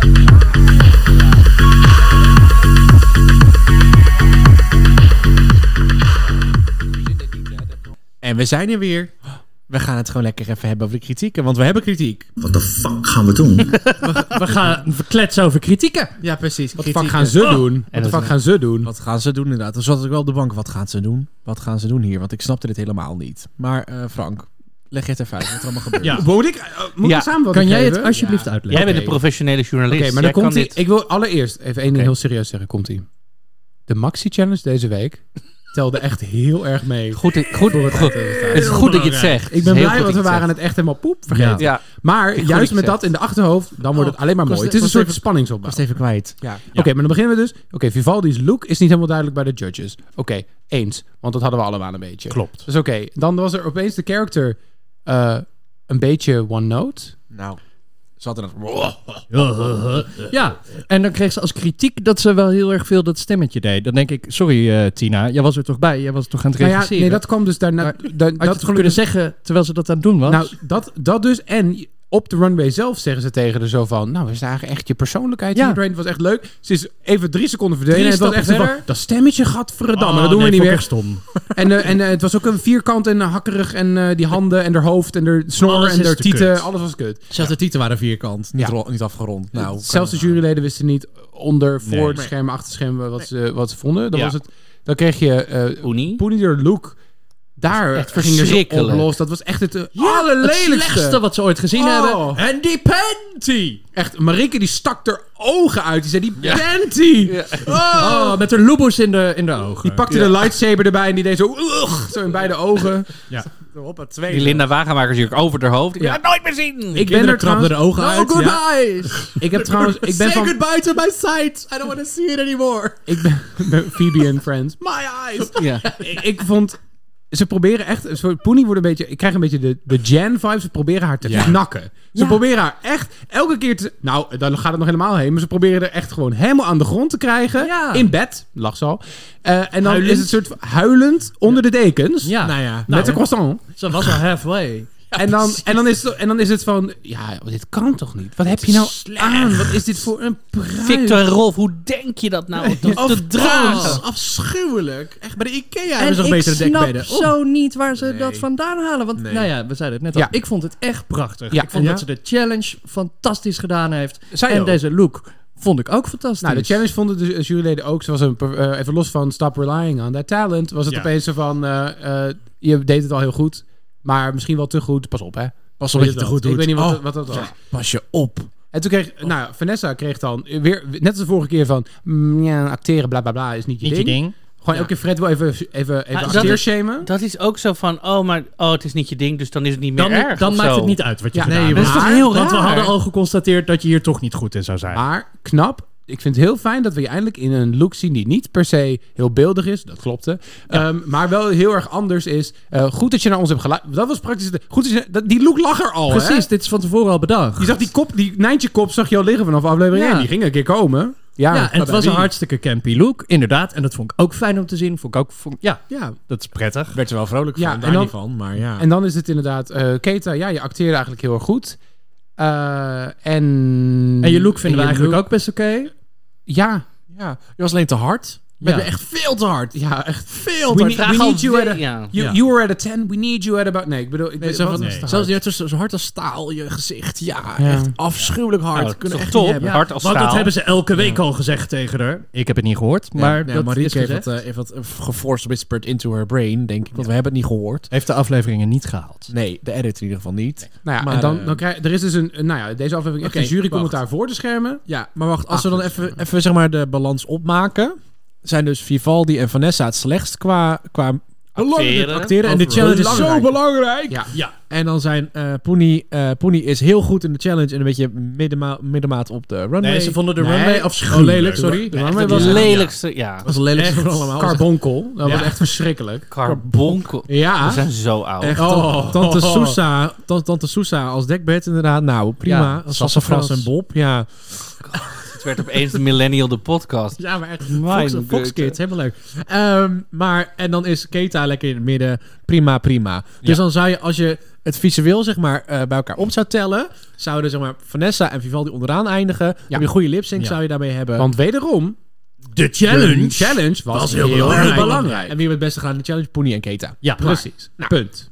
[SPEAKER 1] we zijn er weer. We gaan het gewoon lekker even hebben over de kritieken, want we hebben kritiek.
[SPEAKER 6] Wat de fuck gaan we doen?
[SPEAKER 1] We gaan verkletsen over kritieken. Ja, precies. Wat de fuck
[SPEAKER 6] kritieken.
[SPEAKER 1] gaan ze
[SPEAKER 6] Oh.
[SPEAKER 1] doen?
[SPEAKER 6] En
[SPEAKER 1] Wat de
[SPEAKER 6] dat-
[SPEAKER 1] fuck gaan ze doen? Wat gaan ze doen inderdaad? Toen zat ik wel op de bank. Wat gaan ze doen? Wat gaan ze doen hier? Want ik snapte dit helemaal niet. Maar eh, Frank, leg het even uit wat er allemaal gebeurt.
[SPEAKER 16] Ja.
[SPEAKER 1] Moet ik, eh, moet ik samenvatting
[SPEAKER 4] Kan jij het
[SPEAKER 1] geven?
[SPEAKER 4] alsjeblieft
[SPEAKER 1] Ja.
[SPEAKER 4] uitleggen?
[SPEAKER 3] Jij bent een professionele journalist.
[SPEAKER 4] Oké, maar
[SPEAKER 3] Jij
[SPEAKER 4] dan komt
[SPEAKER 3] kan
[SPEAKER 4] ie.
[SPEAKER 3] dit.
[SPEAKER 4] Ik wil allereerst even één ding heel serieus zeggen. Komt ie. De Maxi Challenge deze week telde echt heel erg mee.
[SPEAKER 3] Goed, goed, goed. Het is goed dat je het zegt. Het
[SPEAKER 4] Ik
[SPEAKER 3] is
[SPEAKER 4] ben
[SPEAKER 3] heel
[SPEAKER 4] blij,
[SPEAKER 3] goed
[SPEAKER 4] want
[SPEAKER 3] dat
[SPEAKER 4] we
[SPEAKER 3] je het
[SPEAKER 4] waren het echt helemaal poep vergeten.
[SPEAKER 3] Ja. Ja.
[SPEAKER 4] Maar
[SPEAKER 3] Ik goed dat
[SPEAKER 4] juist
[SPEAKER 3] je
[SPEAKER 4] met
[SPEAKER 3] het
[SPEAKER 4] dat in de achterhoofd, dan wordt het alleen maar
[SPEAKER 1] kost-
[SPEAKER 4] mooi. Het is een
[SPEAKER 1] kost
[SPEAKER 4] soort
[SPEAKER 1] even-
[SPEAKER 4] spanningsopbouw.
[SPEAKER 1] kost even kwijt. Ja.
[SPEAKER 4] Oké, maar dan beginnen we dus. Oké, Vivaldi's look is niet helemaal duidelijk bij de judges. Oké, eens. Want dat hadden we allemaal een beetje. Klopt. Dus oké, dan was er opeens de character eh, een beetje one note.
[SPEAKER 1] Nou, ze hadden het...
[SPEAKER 5] Ja, en dan kreeg ze als kritiek dat ze wel heel erg veel dat stemmetje deed. Dan denk ik, sorry eh, Tina, jij was er toch bij? Jij was toch aan het
[SPEAKER 4] Nou ja,
[SPEAKER 5] regisseren?
[SPEAKER 4] nee, dat kwam dus daarna. da- dat
[SPEAKER 5] Had je het toch kunnen zeggen terwijl ze dat aan het doen was?
[SPEAKER 4] Nou, dat, dat dus. En op de runway zelf zeggen ze tegen er zo van... Nou, we zagen echt je persoonlijkheid
[SPEAKER 5] Ja.
[SPEAKER 4] ja. hierdoor. Het was echt leuk. Ze is even drie seconden verdwenen.
[SPEAKER 5] Drie
[SPEAKER 4] en het was echt
[SPEAKER 5] stappen
[SPEAKER 4] zo van,
[SPEAKER 5] verder.
[SPEAKER 4] dat stemmetje, gadverdamme,
[SPEAKER 5] Oh,
[SPEAKER 4] dat doen
[SPEAKER 5] nee,
[SPEAKER 4] we niet
[SPEAKER 5] vond ik
[SPEAKER 4] meer.
[SPEAKER 5] echt stom.
[SPEAKER 4] En, eh, en eh, het was ook een vierkant en eh, hakkerig. En eh, die handen en haar hoofd en haar snor
[SPEAKER 1] Alles
[SPEAKER 4] en
[SPEAKER 1] is
[SPEAKER 4] haar
[SPEAKER 1] te
[SPEAKER 4] tieten.
[SPEAKER 1] kut.
[SPEAKER 4] Alles was kut.
[SPEAKER 1] Zelfs de tieten waren vierkant, niet,
[SPEAKER 4] Ja.
[SPEAKER 1] ro- niet afgerond. Nou, kan
[SPEAKER 4] Zelfs de
[SPEAKER 1] het
[SPEAKER 4] juryleden wisten niet onder, voor
[SPEAKER 1] Nee.
[SPEAKER 4] het scherm, achter het scherm wat, ze, wat ze vonden. Dan,
[SPEAKER 1] Ja.
[SPEAKER 4] was het, dan kreeg je eh Poenie. door Luke. Daar
[SPEAKER 3] echt
[SPEAKER 4] ging ze op
[SPEAKER 3] verschrikkelijk.
[SPEAKER 4] los. Dat was echt het eh,
[SPEAKER 5] het
[SPEAKER 4] allerlelijkste.
[SPEAKER 5] slechtste wat ze ooit gezien
[SPEAKER 4] Oh.
[SPEAKER 5] hebben.
[SPEAKER 4] En die panty! Echt, Marike die stak er ogen uit. Die zei, die panty! Oh.
[SPEAKER 5] Oh, met haar loeboes in de, in de ogen.
[SPEAKER 4] Die pakte
[SPEAKER 5] Ja.
[SPEAKER 4] de lightsaber erbij en die deed zo... "Ugh," zo in beide ogen.
[SPEAKER 5] Ja.
[SPEAKER 1] Op het
[SPEAKER 3] Die Linda Wagenmakers hier over haar hoofd. Ik
[SPEAKER 4] Ja.
[SPEAKER 3] ga het nooit meer zien.
[SPEAKER 4] Ik ben er trouwens... Nou,
[SPEAKER 1] ogen uit,
[SPEAKER 4] No
[SPEAKER 1] ja.
[SPEAKER 4] goodbyes! Ik heb trouwens... Ik ben van...
[SPEAKER 1] goodbye to my sight. I don't want to see it anymore.
[SPEAKER 4] Ik ben, ben Phoebe en Friends.
[SPEAKER 1] My eyes.
[SPEAKER 4] Ja. ik, ik vond... Ze proberen echt... een soort- Poenie wordt een beetje... Ik krijg een beetje de, de Jan-vibe. Ze proberen haar te knakken. Ze proberen haar echt elke keer te... Nou, dan gaat het nog helemaal heen. Maar ze proberen er echt gewoon helemaal aan de grond te krijgen.
[SPEAKER 5] Ja.
[SPEAKER 4] In bed. Lag ze al. Eh, en dan
[SPEAKER 16] Huilend.
[SPEAKER 4] is het soort van huilend onder de dekens.
[SPEAKER 5] Ja.
[SPEAKER 1] Nou ja.
[SPEAKER 4] Met een croissant.
[SPEAKER 16] Ze was al halfway.
[SPEAKER 4] en, dan, en, dan is het, en dan is het van... Ja, dit kan toch niet? Wat heb je nou aan? Wat is dit voor een pruik?
[SPEAKER 3] Victor en Rolf, hoe denk je dat nou? Te, te
[SPEAKER 4] Oh,
[SPEAKER 3] dragen.
[SPEAKER 1] afschuwelijk. Echt, bij de Ikea
[SPEAKER 5] En
[SPEAKER 1] hebben ze nog
[SPEAKER 5] ik
[SPEAKER 1] betere
[SPEAKER 5] snap
[SPEAKER 1] dekbedden. Oh.
[SPEAKER 5] zo niet waar ze dat vandaan halen. Want nou ja, we zeiden het net al.
[SPEAKER 4] Ja.
[SPEAKER 5] Ik vond het echt prachtig.
[SPEAKER 4] Ja.
[SPEAKER 5] Ik vond
[SPEAKER 4] Ja.
[SPEAKER 5] dat ze de challenge fantastisch gedaan heeft.
[SPEAKER 4] Zij
[SPEAKER 5] en
[SPEAKER 4] ook.
[SPEAKER 5] deze look vond ik ook fantastisch.
[SPEAKER 4] Nou, de challenge vonden de juryleden ook. Zoals een, per- eh, even los van stop relying on that talent. Was het
[SPEAKER 16] Ja.
[SPEAKER 4] opeens zo van... eh, eh, je deed het al heel goed. Maar misschien wel te goed. Pas op, hè.
[SPEAKER 1] Pas op dat
[SPEAKER 4] Weet je
[SPEAKER 1] je te
[SPEAKER 4] dat?
[SPEAKER 1] goed doet.
[SPEAKER 4] Ik weet niet wat,
[SPEAKER 1] Oh,
[SPEAKER 4] wat dat was.
[SPEAKER 1] Pas je op.
[SPEAKER 4] En toen kreeg... Nou, Vanessa kreeg dan weer... Net als de vorige keer van... mm, ja, acteren, bla, bla, bla. Is niet je, ding. Gewoon elke keer Fred wil even, even, even
[SPEAKER 3] Ah, dat
[SPEAKER 4] acteer
[SPEAKER 3] is-
[SPEAKER 4] shamen.
[SPEAKER 3] Dat is ook zo van, oh, maar oh, het is niet je ding, dus dan is het niet meer
[SPEAKER 5] Dan,
[SPEAKER 3] erg.
[SPEAKER 5] dan
[SPEAKER 3] of
[SPEAKER 5] maakt
[SPEAKER 3] zo.
[SPEAKER 5] het niet uit wat je
[SPEAKER 4] Ja,
[SPEAKER 5] gedaan
[SPEAKER 4] nee,
[SPEAKER 5] hebt.
[SPEAKER 4] maar- Dat is toch heel
[SPEAKER 5] Want we
[SPEAKER 4] raar?
[SPEAKER 5] hadden al geconstateerd dat je hier toch niet goed in zou zijn.
[SPEAKER 4] Maar knap. Ik vind het heel fijn dat we je eindelijk in een look zien die niet per se heel beeldig is. Dat klopte. Ehm, maar wel heel erg anders is. Eh, goed dat je naar ons hebt geluisterd. Dat was praktisch. de- Goed dat je, dat, die look lag er al. hè?
[SPEAKER 5] Precies, dit is van tevoren al bedacht.
[SPEAKER 4] Je zag die kop, die Nijntje kop zag je al liggen vanaf aflevering
[SPEAKER 5] Ja.
[SPEAKER 4] 1. Die ging een keer komen. Ja,
[SPEAKER 5] ja, en het
[SPEAKER 4] bij
[SPEAKER 5] was een
[SPEAKER 4] wie?
[SPEAKER 5] hartstikke campy look, inderdaad. En dat vond ik ook fijn om te zien. Vond ik ook, vond- ja,
[SPEAKER 4] Ja.
[SPEAKER 5] dat is prettig.
[SPEAKER 1] Werd er wel vrolijk
[SPEAKER 4] Ja,
[SPEAKER 1] van,
[SPEAKER 4] en
[SPEAKER 1] daar
[SPEAKER 4] dan-
[SPEAKER 1] niet van. Maar ja.
[SPEAKER 4] En dan is het inderdaad. eh Keta, ja, je acteerde eigenlijk heel erg goed. Eh, en,
[SPEAKER 5] En je look vinden we
[SPEAKER 4] en je
[SPEAKER 5] eigenlijk
[SPEAKER 4] look-
[SPEAKER 5] ook best oké.
[SPEAKER 4] Ja,
[SPEAKER 1] ja. Je was alleen te hard. We
[SPEAKER 5] Ja.
[SPEAKER 1] hebben echt veel te hard.
[SPEAKER 4] ja, echt.
[SPEAKER 1] Veel
[SPEAKER 4] We,
[SPEAKER 1] te
[SPEAKER 4] need-
[SPEAKER 1] hard.
[SPEAKER 4] we
[SPEAKER 3] al
[SPEAKER 4] need you at
[SPEAKER 3] we-
[SPEAKER 4] a,
[SPEAKER 3] ja.
[SPEAKER 4] you,
[SPEAKER 1] Ja.
[SPEAKER 4] you were at a 10. We need you at about. Nee, ik bedoel,
[SPEAKER 1] Nee,
[SPEAKER 4] ik weet
[SPEAKER 1] zo
[SPEAKER 4] wat
[SPEAKER 1] van,
[SPEAKER 4] is te
[SPEAKER 1] Zelfs
[SPEAKER 4] hard?
[SPEAKER 1] die tussen zo hard als staal je gezicht. Ja,
[SPEAKER 4] Ja.
[SPEAKER 1] echt afschuwelijk hard.
[SPEAKER 3] Nou,
[SPEAKER 1] Kunnen
[SPEAKER 3] toch
[SPEAKER 1] echt
[SPEAKER 3] top,
[SPEAKER 1] niet hebben.
[SPEAKER 3] hard als
[SPEAKER 5] Want
[SPEAKER 3] staal.
[SPEAKER 5] dat hebben ze elke week al gezegd tegen haar. Ik heb het niet gehoord, maar
[SPEAKER 1] ja,
[SPEAKER 5] dat
[SPEAKER 1] Marieke
[SPEAKER 5] is
[SPEAKER 1] heeft
[SPEAKER 5] gezegd.
[SPEAKER 1] dat, eh, heeft dat eh, geforced whispered into her brain, denk ik. Want we hebben het niet gehoord.
[SPEAKER 5] heeft de afleveringen niet gehaald.
[SPEAKER 1] Nee, de edit in ieder geval niet.
[SPEAKER 4] Nou ja,
[SPEAKER 1] Maar,
[SPEAKER 4] en dan,
[SPEAKER 1] eh,
[SPEAKER 4] dan krijg er is dus een, een- nou ja, deze aflevering echt
[SPEAKER 1] Oké,
[SPEAKER 4] een jurycommentaar voor de schermen.
[SPEAKER 1] Ja, maar wacht. Als we dan even, even zeg maar de balans opmaken... zijn dus Vivaldi en Vanessa het slechtst qua, qua acteren. En de challenge is zo
[SPEAKER 4] Belangrijk.
[SPEAKER 1] belangrijk.
[SPEAKER 4] Ja.
[SPEAKER 1] En dan zijn eh Poenie... eh, Poenie is heel goed in de challenge... en een beetje middenma middenmaat op de runway.
[SPEAKER 16] Nee, ze vonden de
[SPEAKER 1] Nee.
[SPEAKER 16] runway afschuwelijk.
[SPEAKER 1] Oh, lelijk, sorry.
[SPEAKER 16] De
[SPEAKER 1] Nee,
[SPEAKER 16] runway
[SPEAKER 1] echt
[SPEAKER 16] was...
[SPEAKER 3] het lelijkste, ja.
[SPEAKER 1] Dat was lelijk
[SPEAKER 16] Echt.
[SPEAKER 1] voor allemaal.
[SPEAKER 4] Carbonkel, dat was echt verschrikkelijk.
[SPEAKER 3] Carbonkel. We
[SPEAKER 4] Ja,
[SPEAKER 3] zijn zo oud.
[SPEAKER 1] Echt,
[SPEAKER 16] Oh.
[SPEAKER 1] tante, Sousa, tante, tante Sousa als dekbed inderdaad. Nou, prima.
[SPEAKER 5] Ja,
[SPEAKER 1] Sassafras en Bob, ja.
[SPEAKER 3] Het werd opeens de Millennial de podcast.
[SPEAKER 1] Ja, maar echt.
[SPEAKER 3] Mijn
[SPEAKER 1] Fox, Fox
[SPEAKER 3] goodness.
[SPEAKER 1] Kids, helemaal leuk. Ehm, maar, en dan is Keta lekker in het midden. Prima, prima. Dus dan zou je, als je het visueel zeg maar, eh, bij elkaar op zou tellen... zouden zeg maar, Vanessa en Vivaldi onderaan eindigen. Dan Heb je een goede lipsync
[SPEAKER 5] Ja.
[SPEAKER 1] zou je daarmee hebben.
[SPEAKER 4] want wederom,
[SPEAKER 5] De
[SPEAKER 4] de challenge was, heel, erg belangrijk.
[SPEAKER 1] En wie hebben het beste gedaan in de challenge? Poenie en Keta.
[SPEAKER 5] Ja,
[SPEAKER 1] Precies. Punt. Punt.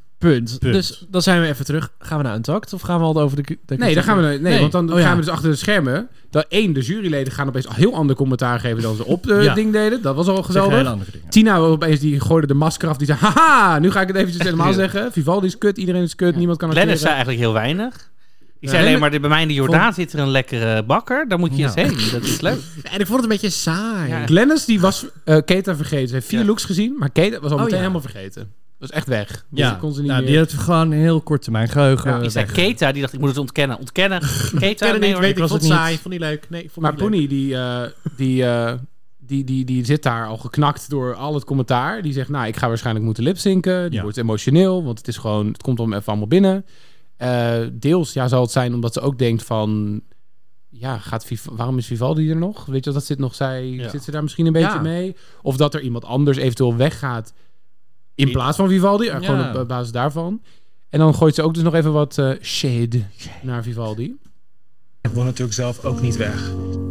[SPEAKER 16] Punt.
[SPEAKER 1] Dus dan zijn we even terug. Gaan we naar Untucked of gaan we al over de... de
[SPEAKER 4] Nee, dan gaan we, nee, want dan
[SPEAKER 1] Oh ja.
[SPEAKER 4] gaan we dus achter de schermen. Dat één, de juryleden gaan opeens heel ander commentaar geven dan ze op de
[SPEAKER 1] Ja.
[SPEAKER 4] ding deden. Dat was al geweldig.
[SPEAKER 5] hele andere dingen.
[SPEAKER 4] Tina was opeens, die gooide de masker af. Die zei, haha, nu ga ik het eventjes helemaal zeggen. Vivaldi is kut, iedereen is kut, niemand kan
[SPEAKER 3] Lennart zei
[SPEAKER 4] acteren.
[SPEAKER 3] eigenlijk heel weinig. Die
[SPEAKER 4] Ja.
[SPEAKER 3] zei alleen maar, bij mij in de Jordaan
[SPEAKER 4] Vond-
[SPEAKER 3] zit er een lekkere bakker. Daar moet je
[SPEAKER 4] Ja.
[SPEAKER 3] eens heen. Dat is leuk.
[SPEAKER 1] En ik vond het een beetje saai.
[SPEAKER 3] Ja.
[SPEAKER 4] Glennis, die was eh, Keta vergeten. Ze heeft vier looks gezien, maar Keta was
[SPEAKER 1] Oh,
[SPEAKER 4] al meteen
[SPEAKER 1] ja.
[SPEAKER 4] helemaal vergeten. Was echt weg. Dus
[SPEAKER 5] Ja,
[SPEAKER 4] ik kon ze niet
[SPEAKER 5] nou,
[SPEAKER 4] meer...
[SPEAKER 5] die heeft gewoon een heel kort termijn geheugen.
[SPEAKER 4] Ja,
[SPEAKER 3] Die zei Keta, die dacht ik moet het ontkennen. Ontkennen. Keta, nee hoor,
[SPEAKER 1] weet ik,
[SPEAKER 5] was
[SPEAKER 1] vond
[SPEAKER 5] het
[SPEAKER 1] het
[SPEAKER 5] niet.
[SPEAKER 1] saai. Vond niet leuk. Nee, ik vond
[SPEAKER 4] Maar
[SPEAKER 1] het niet
[SPEAKER 4] Pony, die, eh, die, eh, die, die, die zit daar al geknakt door al het commentaar. Die zegt, nou, ik ga waarschijnlijk moeten lipzinken. Die
[SPEAKER 5] Ja.
[SPEAKER 4] wordt emotioneel, want het is gewoon... Het komt om even allemaal binnen. Eh, deels ja, zal het zijn omdat ze ook denkt van... Ja, gaat Viv- waarom is Vivaldi er nog? Weet je, dat zit nog zij... Zit ze daar misschien een beetje
[SPEAKER 1] Ja.
[SPEAKER 4] mee? Of dat er iemand anders eventueel weggaat in plaats van Vivaldi. eh, Gewoon
[SPEAKER 5] Ja.
[SPEAKER 4] op eh, basis daarvan. En dan gooit ze ook dus nog even wat eh, shade naar Vivaldi.
[SPEAKER 6] Ik wil natuurlijk zelf ook niet weg.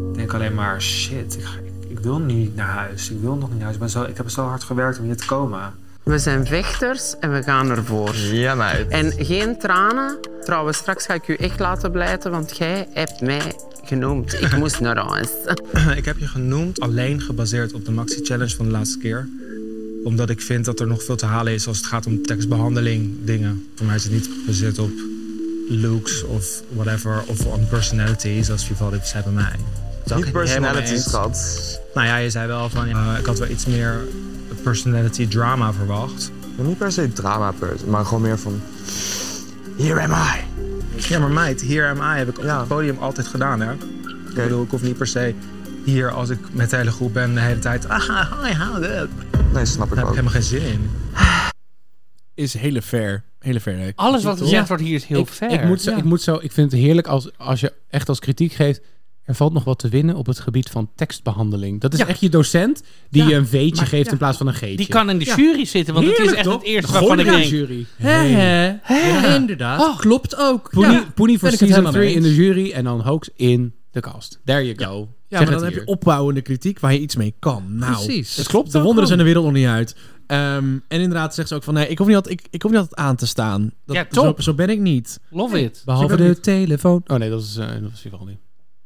[SPEAKER 6] Ik denk alleen maar, shit, ik, ga- ik, ik wil nu niet naar huis. Ik wil nog niet naar huis. Ik, ben zo, ik heb zo hard gewerkt om hier te komen.
[SPEAKER 18] We zijn vechters en we gaan ervoor.
[SPEAKER 8] Ja, meid.
[SPEAKER 18] En geen tranen. Trouwens, straks ga ik u echt laten blijten, want jij hebt mij genoemd. Ik moest naar huis.
[SPEAKER 6] ik heb je genoemd alleen gebaseerd op de Maxi Challenge van de laatste keer. Omdat ik vind dat er nog veel te halen is als het gaat om tekstbehandeling, dingen. Voor mij is het niet gebaseerd op looks of whatever. Of on personality, zoals Vivaldi zei bij mij.
[SPEAKER 8] Niet personality,
[SPEAKER 6] schat. Nou ja, je zei wel van, ja, eh, ik had wel iets meer personality drama verwacht.
[SPEAKER 8] Niet per se drama, maar gewoon meer van... Here am I.
[SPEAKER 6] Ja, maar meid, hier am I heb ik op het podium altijd gedaan, hè? Ik bedoel, ik hoef niet per se hier als ik met de hele groep ben de hele tijd... Ah, hi, how up.
[SPEAKER 8] Nee, snap ik
[SPEAKER 6] Daar heb
[SPEAKER 8] ook.
[SPEAKER 6] ik helemaal geen zin in.
[SPEAKER 1] Is hele fair. Hele fair. hè.
[SPEAKER 3] Alles wat gezegd
[SPEAKER 4] Ja.
[SPEAKER 3] wordt hier is heel
[SPEAKER 4] ik,
[SPEAKER 3] fair.
[SPEAKER 4] Ik moet, zo,
[SPEAKER 3] Ja.
[SPEAKER 4] ik moet zo, ik vind het heerlijk als, als je echt als kritiek geeft. Er valt nog wat te winnen op het gebied van tekstbehandeling. Dat is echt je docent die
[SPEAKER 1] Ja,
[SPEAKER 4] je een V'tje
[SPEAKER 1] maar-
[SPEAKER 4] geeft
[SPEAKER 1] ja.
[SPEAKER 4] in plaats van een G'tje.
[SPEAKER 3] Die kan in de
[SPEAKER 1] Ja.
[SPEAKER 3] jury zitten, want het is
[SPEAKER 4] Heerlijk,
[SPEAKER 3] echt
[SPEAKER 4] toch?
[SPEAKER 3] het eerste
[SPEAKER 4] Gooi
[SPEAKER 3] waarvan ik
[SPEAKER 4] hem in
[SPEAKER 3] denk...
[SPEAKER 4] de jury.
[SPEAKER 5] Hè, hè, hè, Inderdaad,
[SPEAKER 16] Oh.
[SPEAKER 5] klopt ook.
[SPEAKER 4] Poenie,
[SPEAKER 5] Ja.
[SPEAKER 4] Poenie voor
[SPEAKER 5] Ben ik het
[SPEAKER 4] season
[SPEAKER 5] helemaal
[SPEAKER 4] 3
[SPEAKER 5] mee
[SPEAKER 4] in
[SPEAKER 5] eens.
[SPEAKER 4] de jury en dan Hoax in de cast. There you go.
[SPEAKER 1] Ja,
[SPEAKER 4] Zeg
[SPEAKER 1] maar
[SPEAKER 4] het
[SPEAKER 1] dan heb
[SPEAKER 4] hier.
[SPEAKER 1] je opbouwende kritiek waar je iets mee kan. Nou,
[SPEAKER 5] Precies.
[SPEAKER 1] Het
[SPEAKER 5] Het
[SPEAKER 1] klopt. De wonderen zijn de wereld nog niet uit. Ehm, en inderdaad zegt ze ook van... Nee, ik hoef niet altijd, ik, ik hoef niet altijd aan te staan. Dat,
[SPEAKER 3] Ja,
[SPEAKER 1] zo,
[SPEAKER 3] top.
[SPEAKER 1] zo ben ik niet.
[SPEAKER 3] Love it.
[SPEAKER 4] Behalve
[SPEAKER 1] Ik ben
[SPEAKER 4] de telefoon. Oh nee, dat is, eh dat is Vivaldi.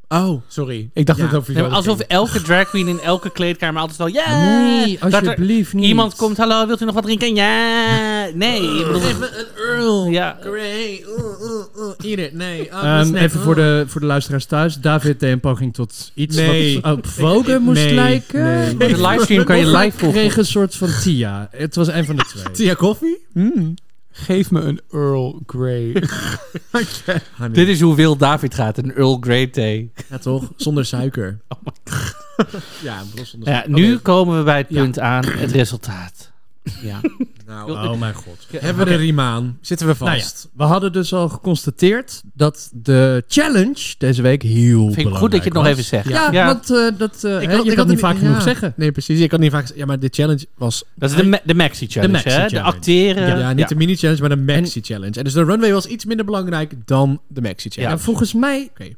[SPEAKER 1] Oh,
[SPEAKER 4] Sorry, ik dacht
[SPEAKER 1] Ja.
[SPEAKER 4] dat het over
[SPEAKER 3] Nee, maar
[SPEAKER 4] Vivaldi
[SPEAKER 3] alsof
[SPEAKER 4] ging.
[SPEAKER 3] elke drag queen in elke kleedkamer altijd al... Ja!
[SPEAKER 5] Nee,
[SPEAKER 3] dat er
[SPEAKER 5] alsjeblieft niet.
[SPEAKER 3] iemand komt, hallo, wilt u nog wat drinken? Ja! Nee. ik bedoel-
[SPEAKER 1] een Earl.
[SPEAKER 3] Ja.
[SPEAKER 1] Grey. Eat it. Nee. Oh,
[SPEAKER 3] Oh,
[SPEAKER 5] Ehm, even voor de, voor de luisteraars thuis. David deed een poging tot iets
[SPEAKER 1] Nee.
[SPEAKER 5] wat op Vogue moest
[SPEAKER 1] nee,
[SPEAKER 5] lijken.
[SPEAKER 1] nee.
[SPEAKER 5] Maar
[SPEAKER 3] De livestream kan je
[SPEAKER 5] Of ik
[SPEAKER 3] live volgen.
[SPEAKER 5] kreeg een soort van Tia. Het was een van de twee.
[SPEAKER 1] Tia Coffee?
[SPEAKER 4] Geef me een Earl Grey.
[SPEAKER 3] Dit is hoe Wil David gaat, een Earl Grey thee.
[SPEAKER 1] Ja, toch? Zonder suiker.
[SPEAKER 5] Oh
[SPEAKER 1] ja, een bros zonder
[SPEAKER 3] Ja, nu komen we bij het punt aan, het resultaat.
[SPEAKER 4] ja.
[SPEAKER 1] Nou,
[SPEAKER 5] Oh mijn god.
[SPEAKER 1] hebben we er riem aan. Zitten we
[SPEAKER 5] Nou ja,
[SPEAKER 1] vast.
[SPEAKER 5] we hadden dus al geconstateerd dat de challenge deze week heel belangrijk
[SPEAKER 3] Vind ik goed dat je het nog
[SPEAKER 5] was.
[SPEAKER 3] even zegt.
[SPEAKER 5] Ja,
[SPEAKER 3] Ja.
[SPEAKER 5] want eh, dat, eh, hè, je kan
[SPEAKER 1] het
[SPEAKER 5] niet vaak genoeg
[SPEAKER 1] ja.
[SPEAKER 5] zeggen.
[SPEAKER 1] Nee, precies. Je kan niet vaak Ja, maar de challenge was...
[SPEAKER 3] Dat is de, ma- de Maxi Challenge,
[SPEAKER 5] De Maxi
[SPEAKER 3] hè?
[SPEAKER 5] Challenge.
[SPEAKER 3] De acteren.
[SPEAKER 1] Ja, niet de mini-challenge, maar de maxi-challenge. En dus de runway was iets minder belangrijk dan de
[SPEAKER 5] En
[SPEAKER 1] maxi-challenge.
[SPEAKER 5] Nou, volgens mij
[SPEAKER 1] Oké.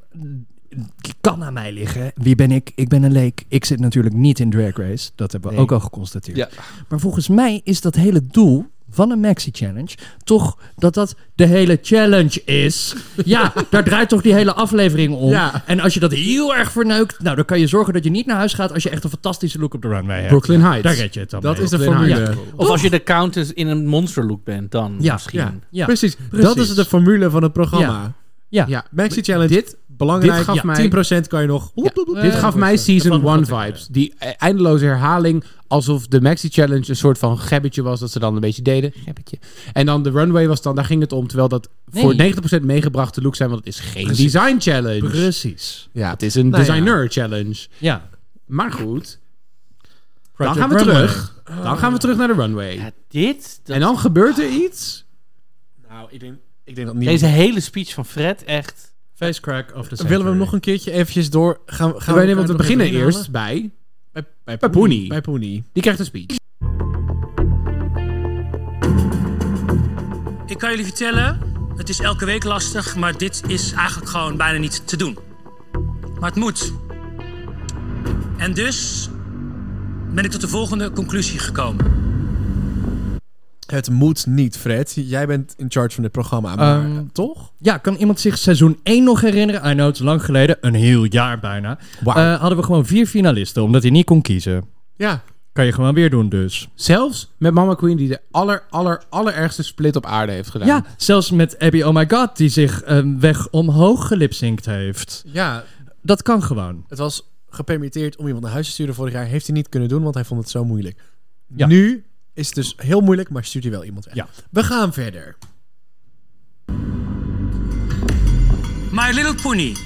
[SPEAKER 5] kan aan mij liggen. Wie ben ik? Ik ben een leek. Ik zit natuurlijk niet in Drag Race. Dat hebben we
[SPEAKER 1] Nee.
[SPEAKER 5] ook al geconstateerd.
[SPEAKER 3] Ja.
[SPEAKER 5] Maar volgens mij is dat hele doel van een Maxi Challenge toch dat dat de hele challenge is. Ja, daar draait toch die hele aflevering om.
[SPEAKER 1] Ja.
[SPEAKER 5] En als je dat heel erg verneukt, nou dan kan je zorgen dat je niet naar huis gaat als je echt een fantastische look op de runway hebt.
[SPEAKER 4] Brooklyn
[SPEAKER 5] Daar
[SPEAKER 4] Heights.
[SPEAKER 5] red je het dan
[SPEAKER 1] Dat
[SPEAKER 5] mee.
[SPEAKER 1] is de
[SPEAKER 4] Glenn
[SPEAKER 1] formule.
[SPEAKER 4] Hart.
[SPEAKER 3] Of als je de countess in een monsterlook bent, dan
[SPEAKER 5] Ja,
[SPEAKER 3] misschien.
[SPEAKER 1] ja.
[SPEAKER 5] Ja,
[SPEAKER 1] Precies. Dat
[SPEAKER 5] precies.
[SPEAKER 1] is de formule van het programma.
[SPEAKER 5] Ja. Ja.
[SPEAKER 1] Ja, Maxi Challenge.
[SPEAKER 4] Dit-
[SPEAKER 1] belangrijk.
[SPEAKER 4] dit gaf
[SPEAKER 1] Ja,
[SPEAKER 4] mij-
[SPEAKER 1] 10% kan je nog.
[SPEAKER 4] Ja, dit gaf mij season 1 vibes. Die eh, eindeloze herhaling. Alsof de Maxi Challenge een soort van gebbetje was. Dat ze dan een beetje deden. Gebbetje. En dan de runway was dan, daar ging het om. Terwijl dat voor 90% meegebrachte look zijn. Want het is geen design challenge.
[SPEAKER 5] Precies.
[SPEAKER 4] Ja, het is een
[SPEAKER 1] Nou ja.
[SPEAKER 4] designer challenge.
[SPEAKER 5] Ja.
[SPEAKER 4] Maar goed.
[SPEAKER 5] Project
[SPEAKER 4] dan gaan we
[SPEAKER 5] Runway.
[SPEAKER 4] terug. Dan gaan we terug naar de runway.
[SPEAKER 3] Ja, dit, dat-
[SPEAKER 4] en dan gebeurt er iets.
[SPEAKER 1] Nou, ik denk, ik denk dat niet.
[SPEAKER 3] deze hele speech van Fred, echt.
[SPEAKER 5] Face crack of the
[SPEAKER 1] Willen we hem nog een keertje eventjes door... Gaan, we- gaan
[SPEAKER 4] Wij
[SPEAKER 1] elkaar
[SPEAKER 4] nemen te
[SPEAKER 1] nog
[SPEAKER 4] beginnen
[SPEAKER 1] even inhalen?
[SPEAKER 4] eerst bij.
[SPEAKER 1] Bij, bij,
[SPEAKER 4] bij
[SPEAKER 1] Poenie.
[SPEAKER 4] Poenie.
[SPEAKER 1] Bij Poenie.
[SPEAKER 4] Die krijgt een speech.
[SPEAKER 12] Ik kan jullie vertellen, het is elke week lastig, maar dit is eigenlijk gewoon bijna niet te doen. Maar het moet. En dus ben ik tot de volgende conclusie gekomen.
[SPEAKER 1] Het moet niet, Fred. Jij bent in charge van dit programma, maar
[SPEAKER 5] Ehm,
[SPEAKER 1] toch?
[SPEAKER 5] Ja, kan iemand zich seizoen 1 nog herinneren? I know, het is lang geleden. Een heel jaar bijna. Eh, hadden we gewoon vier finalisten, omdat hij niet kon kiezen.
[SPEAKER 1] Ja.
[SPEAKER 5] Kan je gewoon weer doen dus.
[SPEAKER 4] Zelfs met Mama Queen die de aller, aller, allerergste split op aarde heeft gedaan.
[SPEAKER 5] Ja, zelfs met Abby Oh My God, die zich een weg omhoog gelipzinkt heeft.
[SPEAKER 1] Ja,
[SPEAKER 5] Dat kan gewoon.
[SPEAKER 1] het was gepermitteerd om iemand naar huis te sturen vorig jaar. Heeft hij niet kunnen doen, want hij vond het zo moeilijk.
[SPEAKER 5] Ja.
[SPEAKER 1] Nu is het dus heel moeilijk, maar stuurt hij wel iemand weg.
[SPEAKER 5] Ja.
[SPEAKER 1] We gaan verder.
[SPEAKER 12] My Little Pony.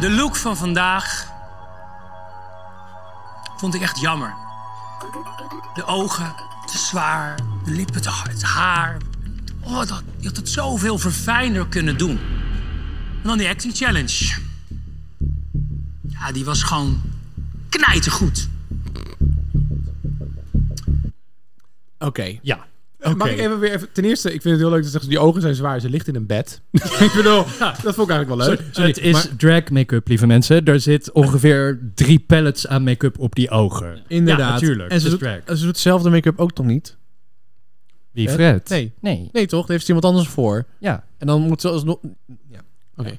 [SPEAKER 12] De look van vandaag vond ik echt jammer. De ogen te zwaar, de lippen te hard, het haar. Oh, dat, je had het zoveel verfijnder kunnen doen. En dan die acting challenge. Ja, die was gewoon knijtergoed.
[SPEAKER 1] Oké.
[SPEAKER 5] Ja.
[SPEAKER 4] Eh, Mag ik even weer even... Ten eerste, ik vind het heel leuk dat ze zeggen, die ogen zijn zwaar. Ze ligt in een bed. ik bedoel, dat vond ik eigenlijk wel leuk. Sorry,
[SPEAKER 5] het is
[SPEAKER 4] maar-
[SPEAKER 5] drag make-up, lieve mensen. Daar zit ongeveer drie pallets aan make-up op die ogen.
[SPEAKER 1] Inderdaad.
[SPEAKER 5] Ja, natuurlijk.
[SPEAKER 1] En ze
[SPEAKER 5] Het
[SPEAKER 1] doet,
[SPEAKER 5] is drag.
[SPEAKER 1] en ze doet dezelfde make-up ook toch niet?
[SPEAKER 5] Wie,
[SPEAKER 1] Hè?
[SPEAKER 5] Fred?
[SPEAKER 1] Nee.
[SPEAKER 5] Nee.
[SPEAKER 1] Nee, toch? Daar heeft ze iemand anders voor.
[SPEAKER 5] Ja.
[SPEAKER 1] En dan moet ze alsnog... Ja. Oké.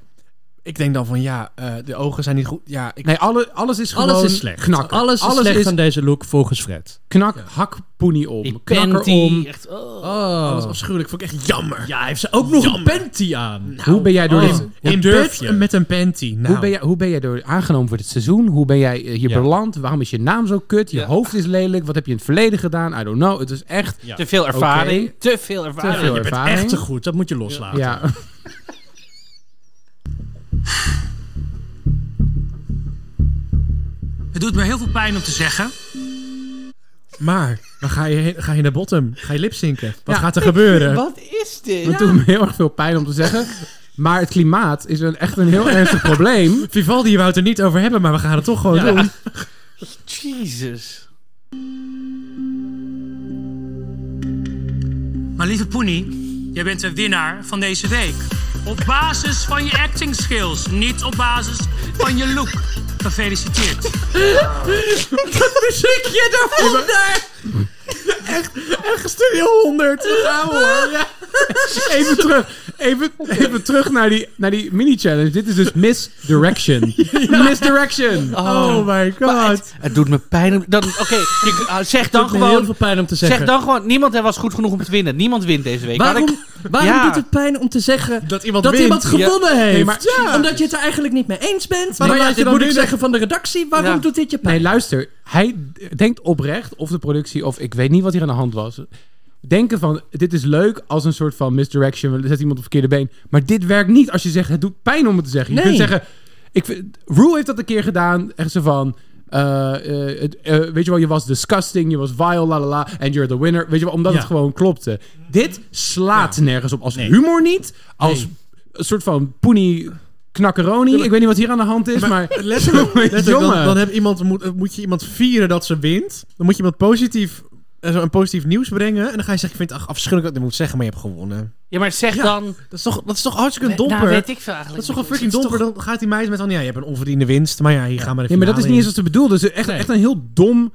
[SPEAKER 1] Ik denk dan van, ja, eh, de ogen zijn niet goed. Ja, ik...
[SPEAKER 4] Nee, alle, alles is gewoon...
[SPEAKER 5] Alles is slecht.
[SPEAKER 4] Knakken.
[SPEAKER 5] Alles is slecht
[SPEAKER 4] is
[SPEAKER 5] aan deze look, volgens Fred.
[SPEAKER 4] Knak, hak, poenie om.
[SPEAKER 3] Die
[SPEAKER 4] Knakker
[SPEAKER 3] panty,
[SPEAKER 4] om.
[SPEAKER 3] Echt,
[SPEAKER 5] Oh.
[SPEAKER 1] Dat is afschuwelijk. Vond ik echt jammer. Nou, oh.
[SPEAKER 5] Ja, hij heeft ze ook nog een panty aan.
[SPEAKER 4] Hoe ben jij door dit... hoe
[SPEAKER 1] In
[SPEAKER 4] durf
[SPEAKER 1] bed
[SPEAKER 5] je?
[SPEAKER 1] met een panty. Nou.
[SPEAKER 4] Hoe ben, jij, hoe ben jij door aangenomen voor dit seizoen? Hoe ben jij eh, hier
[SPEAKER 5] Ja.
[SPEAKER 4] beland? Waarom is je naam zo kut? Je hoofd is lelijk. Wat heb je in het verleden gedaan? I don't know. Het is echt...
[SPEAKER 3] Te veel ervaring. Te veel ervaring.
[SPEAKER 4] Te veel
[SPEAKER 5] Je bent
[SPEAKER 4] ervaring.
[SPEAKER 5] echt te goed, dat moet je loslaten.
[SPEAKER 4] Ja.
[SPEAKER 12] Het doet me heel veel pijn om te zeggen.
[SPEAKER 1] Maar, dan ga je, heen- ga je naar bottom. Ga je lipzinken. Wat
[SPEAKER 4] Ja.
[SPEAKER 1] gaat er gebeuren?
[SPEAKER 3] Wat is dit?
[SPEAKER 4] Dat doet me heel erg veel pijn om te zeggen. Maar het klimaat is een, echt een heel ernstig probleem.
[SPEAKER 1] Vivaldi wou het er niet over hebben, maar we gaan het toch gewoon
[SPEAKER 3] Ja.
[SPEAKER 1] doen.
[SPEAKER 3] Jezus.
[SPEAKER 12] Maar lieve Poenie, jij bent de winnaar van deze week. Op basis van je acting skills, niet op basis van je look. Gefeliciteerd.
[SPEAKER 1] Wat muziek je daaronder? Echt, echt Studio 100. Wat gaan we, hoor. Ja.
[SPEAKER 4] Even terug, even, even terug naar die, naar die mini-challenge. Dit is dus misdirection. Misdirection.
[SPEAKER 1] Oh my
[SPEAKER 3] Maar
[SPEAKER 1] god.
[SPEAKER 3] het, het doet me pijn om... dan- Oké, je- ah, zeg dan
[SPEAKER 5] doet me heel
[SPEAKER 3] gewoon...
[SPEAKER 5] veel pijn om te zeggen.
[SPEAKER 3] Zeg dan gewoon, niemand was goed genoeg om te winnen. Niemand wint deze week. Had
[SPEAKER 5] Waarom,
[SPEAKER 3] ik-
[SPEAKER 5] waarom
[SPEAKER 3] Ja.
[SPEAKER 5] doet het pijn om te zeggen
[SPEAKER 1] Dat iemand
[SPEAKER 5] dat
[SPEAKER 1] wint?
[SPEAKER 5] iemand gewonnen heeft?
[SPEAKER 4] Nee, maar- Ja.
[SPEAKER 5] Omdat je het er eigenlijk niet mee eens bent.
[SPEAKER 1] Maar
[SPEAKER 5] Maar,
[SPEAKER 1] laat
[SPEAKER 5] ja,
[SPEAKER 1] je
[SPEAKER 5] dit
[SPEAKER 1] dan
[SPEAKER 5] moet
[SPEAKER 1] nu
[SPEAKER 5] ik
[SPEAKER 1] zeggen-
[SPEAKER 5] zeggen van de redactie. Waarom
[SPEAKER 3] Ja.
[SPEAKER 5] doet dit je pijn?
[SPEAKER 4] Nee, luister. Hij d- denkt oprecht, of de productie, of ik weet niet wat hier aan de hand was. Denken van, dit is leuk als een soort van misdirection. want er Zet iemand op het verkeerde been. Maar dit werkt niet als je zegt, het doet pijn om het te zeggen. Je
[SPEAKER 5] Nee.
[SPEAKER 4] kunt zeggen, ik, vind- Rue heeft dat een keer gedaan. Echt zo van... eh, eh, het- eh, weet je wel, je was disgusting, je was vile, la la la, and you're the winner. Weet je wel, omdat
[SPEAKER 5] Ja.
[SPEAKER 4] het gewoon klopte. Dit slaat nergens op. Als humor niet, als een soort van poenie knakkeroni. Ik weet niet wat hier aan de hand is, maar...
[SPEAKER 1] Letterlijk, letterlijk, dan,
[SPEAKER 4] Jongen.
[SPEAKER 1] dan heb iemand, moet, eh, moet je iemand vieren dat ze wint. Dan moet je iemand positief, eh, zo een positief nieuws brengen. En dan ga je zeggen, ik vind het ach, afschuwelijk dat ik dit moet zeggen, maar je hebt gewonnen.
[SPEAKER 3] Ja, maar zeg
[SPEAKER 1] Ja.
[SPEAKER 3] dan...
[SPEAKER 1] Dat is toch, dat is toch hartstikke een domper?
[SPEAKER 3] Nou, weet ik veel eigenlijk.
[SPEAKER 1] dat is toch een fucking domper? Dan gaat die meid met van, ja, je hebt een onverdiende winst. Maar ja, hier gaan we de
[SPEAKER 4] Ja, maar dat is niet eens wat ze bedoelden. Dus echt,
[SPEAKER 5] Nee.
[SPEAKER 4] echt een heel dom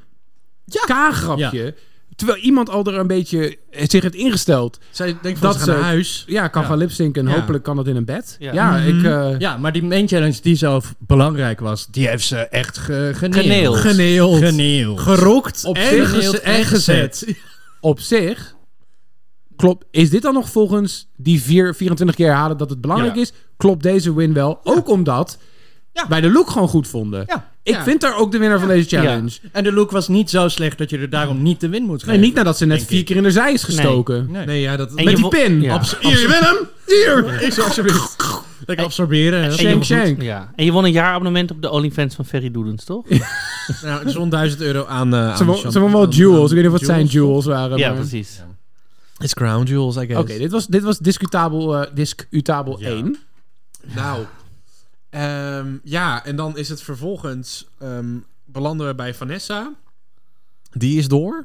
[SPEAKER 4] K-grapje. Terwijl iemand al er een beetje eh, zich heeft ingesteld.
[SPEAKER 1] Zij denkt van,
[SPEAKER 4] dat
[SPEAKER 1] dat ze gaan
[SPEAKER 4] ze-
[SPEAKER 1] naar huis.
[SPEAKER 4] Ja, kan
[SPEAKER 5] Ja. Mhm.
[SPEAKER 4] gaan lipzinken en
[SPEAKER 1] Ja.
[SPEAKER 4] hopelijk kan dat in een bed.
[SPEAKER 3] Ja.
[SPEAKER 4] Ja, ik... eh,
[SPEAKER 5] Ja, maar die main challenge die zelf belangrijk was, die heeft ze echt ge
[SPEAKER 3] Geneeld.
[SPEAKER 5] geneeld.
[SPEAKER 1] Geneeld.
[SPEAKER 5] Geneeld.
[SPEAKER 1] Gerokt.
[SPEAKER 4] Op
[SPEAKER 1] en
[SPEAKER 4] zich
[SPEAKER 1] geze-
[SPEAKER 5] geneeld
[SPEAKER 1] en
[SPEAKER 5] en
[SPEAKER 1] gezet.
[SPEAKER 4] Op zich... Klopt. Is dit dan nog volgens die vier, 24 keer herhalen dat het belangrijk
[SPEAKER 5] Ja.
[SPEAKER 4] is? Klopt deze win wel? Ook omdat wij de look gewoon goed vonden.
[SPEAKER 5] Ja.
[SPEAKER 4] Ik vind daar ook de winnaar van deze challenge.
[SPEAKER 5] En de look was niet zo slecht dat je er daarom niet de win moet geven.
[SPEAKER 4] Nee, niet nadat ze net
[SPEAKER 5] Denk
[SPEAKER 4] vier
[SPEAKER 5] ik.
[SPEAKER 4] keer in de zij is gestoken.
[SPEAKER 5] Nee.
[SPEAKER 1] Nee, ja, dat...
[SPEAKER 3] En
[SPEAKER 4] Met
[SPEAKER 3] je
[SPEAKER 4] die
[SPEAKER 3] wil-
[SPEAKER 4] pin.
[SPEAKER 1] Abs- Hier, je bent hem! Hier! Ik zou alsjeblieft. Lekker absorberen. hè.
[SPEAKER 3] En je-
[SPEAKER 4] Shank, shank.
[SPEAKER 3] Ja. En je won een jaarabonnement op de OnlyFans van Ferry Doedens, toch?
[SPEAKER 1] Nou, zo'n 1000 euro aan... eh,
[SPEAKER 4] Ze
[SPEAKER 1] aan
[SPEAKER 4] wo-
[SPEAKER 1] Sean-
[SPEAKER 4] ze won wel
[SPEAKER 1] aan-
[SPEAKER 4] jewels.
[SPEAKER 1] aan
[SPEAKER 4] Ik weet niet wat zijn
[SPEAKER 1] jewels.
[SPEAKER 4] jewels waren.
[SPEAKER 3] ja,
[SPEAKER 4] maar-
[SPEAKER 3] precies.
[SPEAKER 1] It's crown jewels, I guess.
[SPEAKER 4] Oké, dit, was, dit was discutabel, eh, discutabel 1.
[SPEAKER 1] Nou, ehm, ja, en dan is het vervolgens... ehm, belanden we bij Vanessa. Die is door. Nou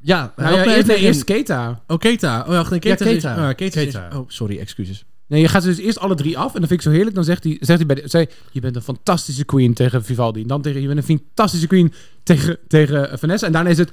[SPEAKER 5] Ja,
[SPEAKER 4] Nou ja,
[SPEAKER 5] help me
[SPEAKER 4] eerst,
[SPEAKER 5] even
[SPEAKER 4] nee,
[SPEAKER 5] in.
[SPEAKER 4] Nou eerst Keta.
[SPEAKER 1] Oh, Keta. Oh, ja, nee, Keta.
[SPEAKER 5] Ja,
[SPEAKER 1] is-
[SPEAKER 5] Keta.
[SPEAKER 1] ah, Keta. is-
[SPEAKER 5] Keta.
[SPEAKER 1] oh, sorry, excuses.
[SPEAKER 4] Nee, je gaat ze dus eerst alle drie af. En dat vind ik zo heerlijk. Dan zegt hij, zegt hij bij de, zei, je bent een fantastische queen tegen Vivaldi. En dan tegen, je bent een fantastische queen tegen, tegen eh, Vanessa. En daarna is het,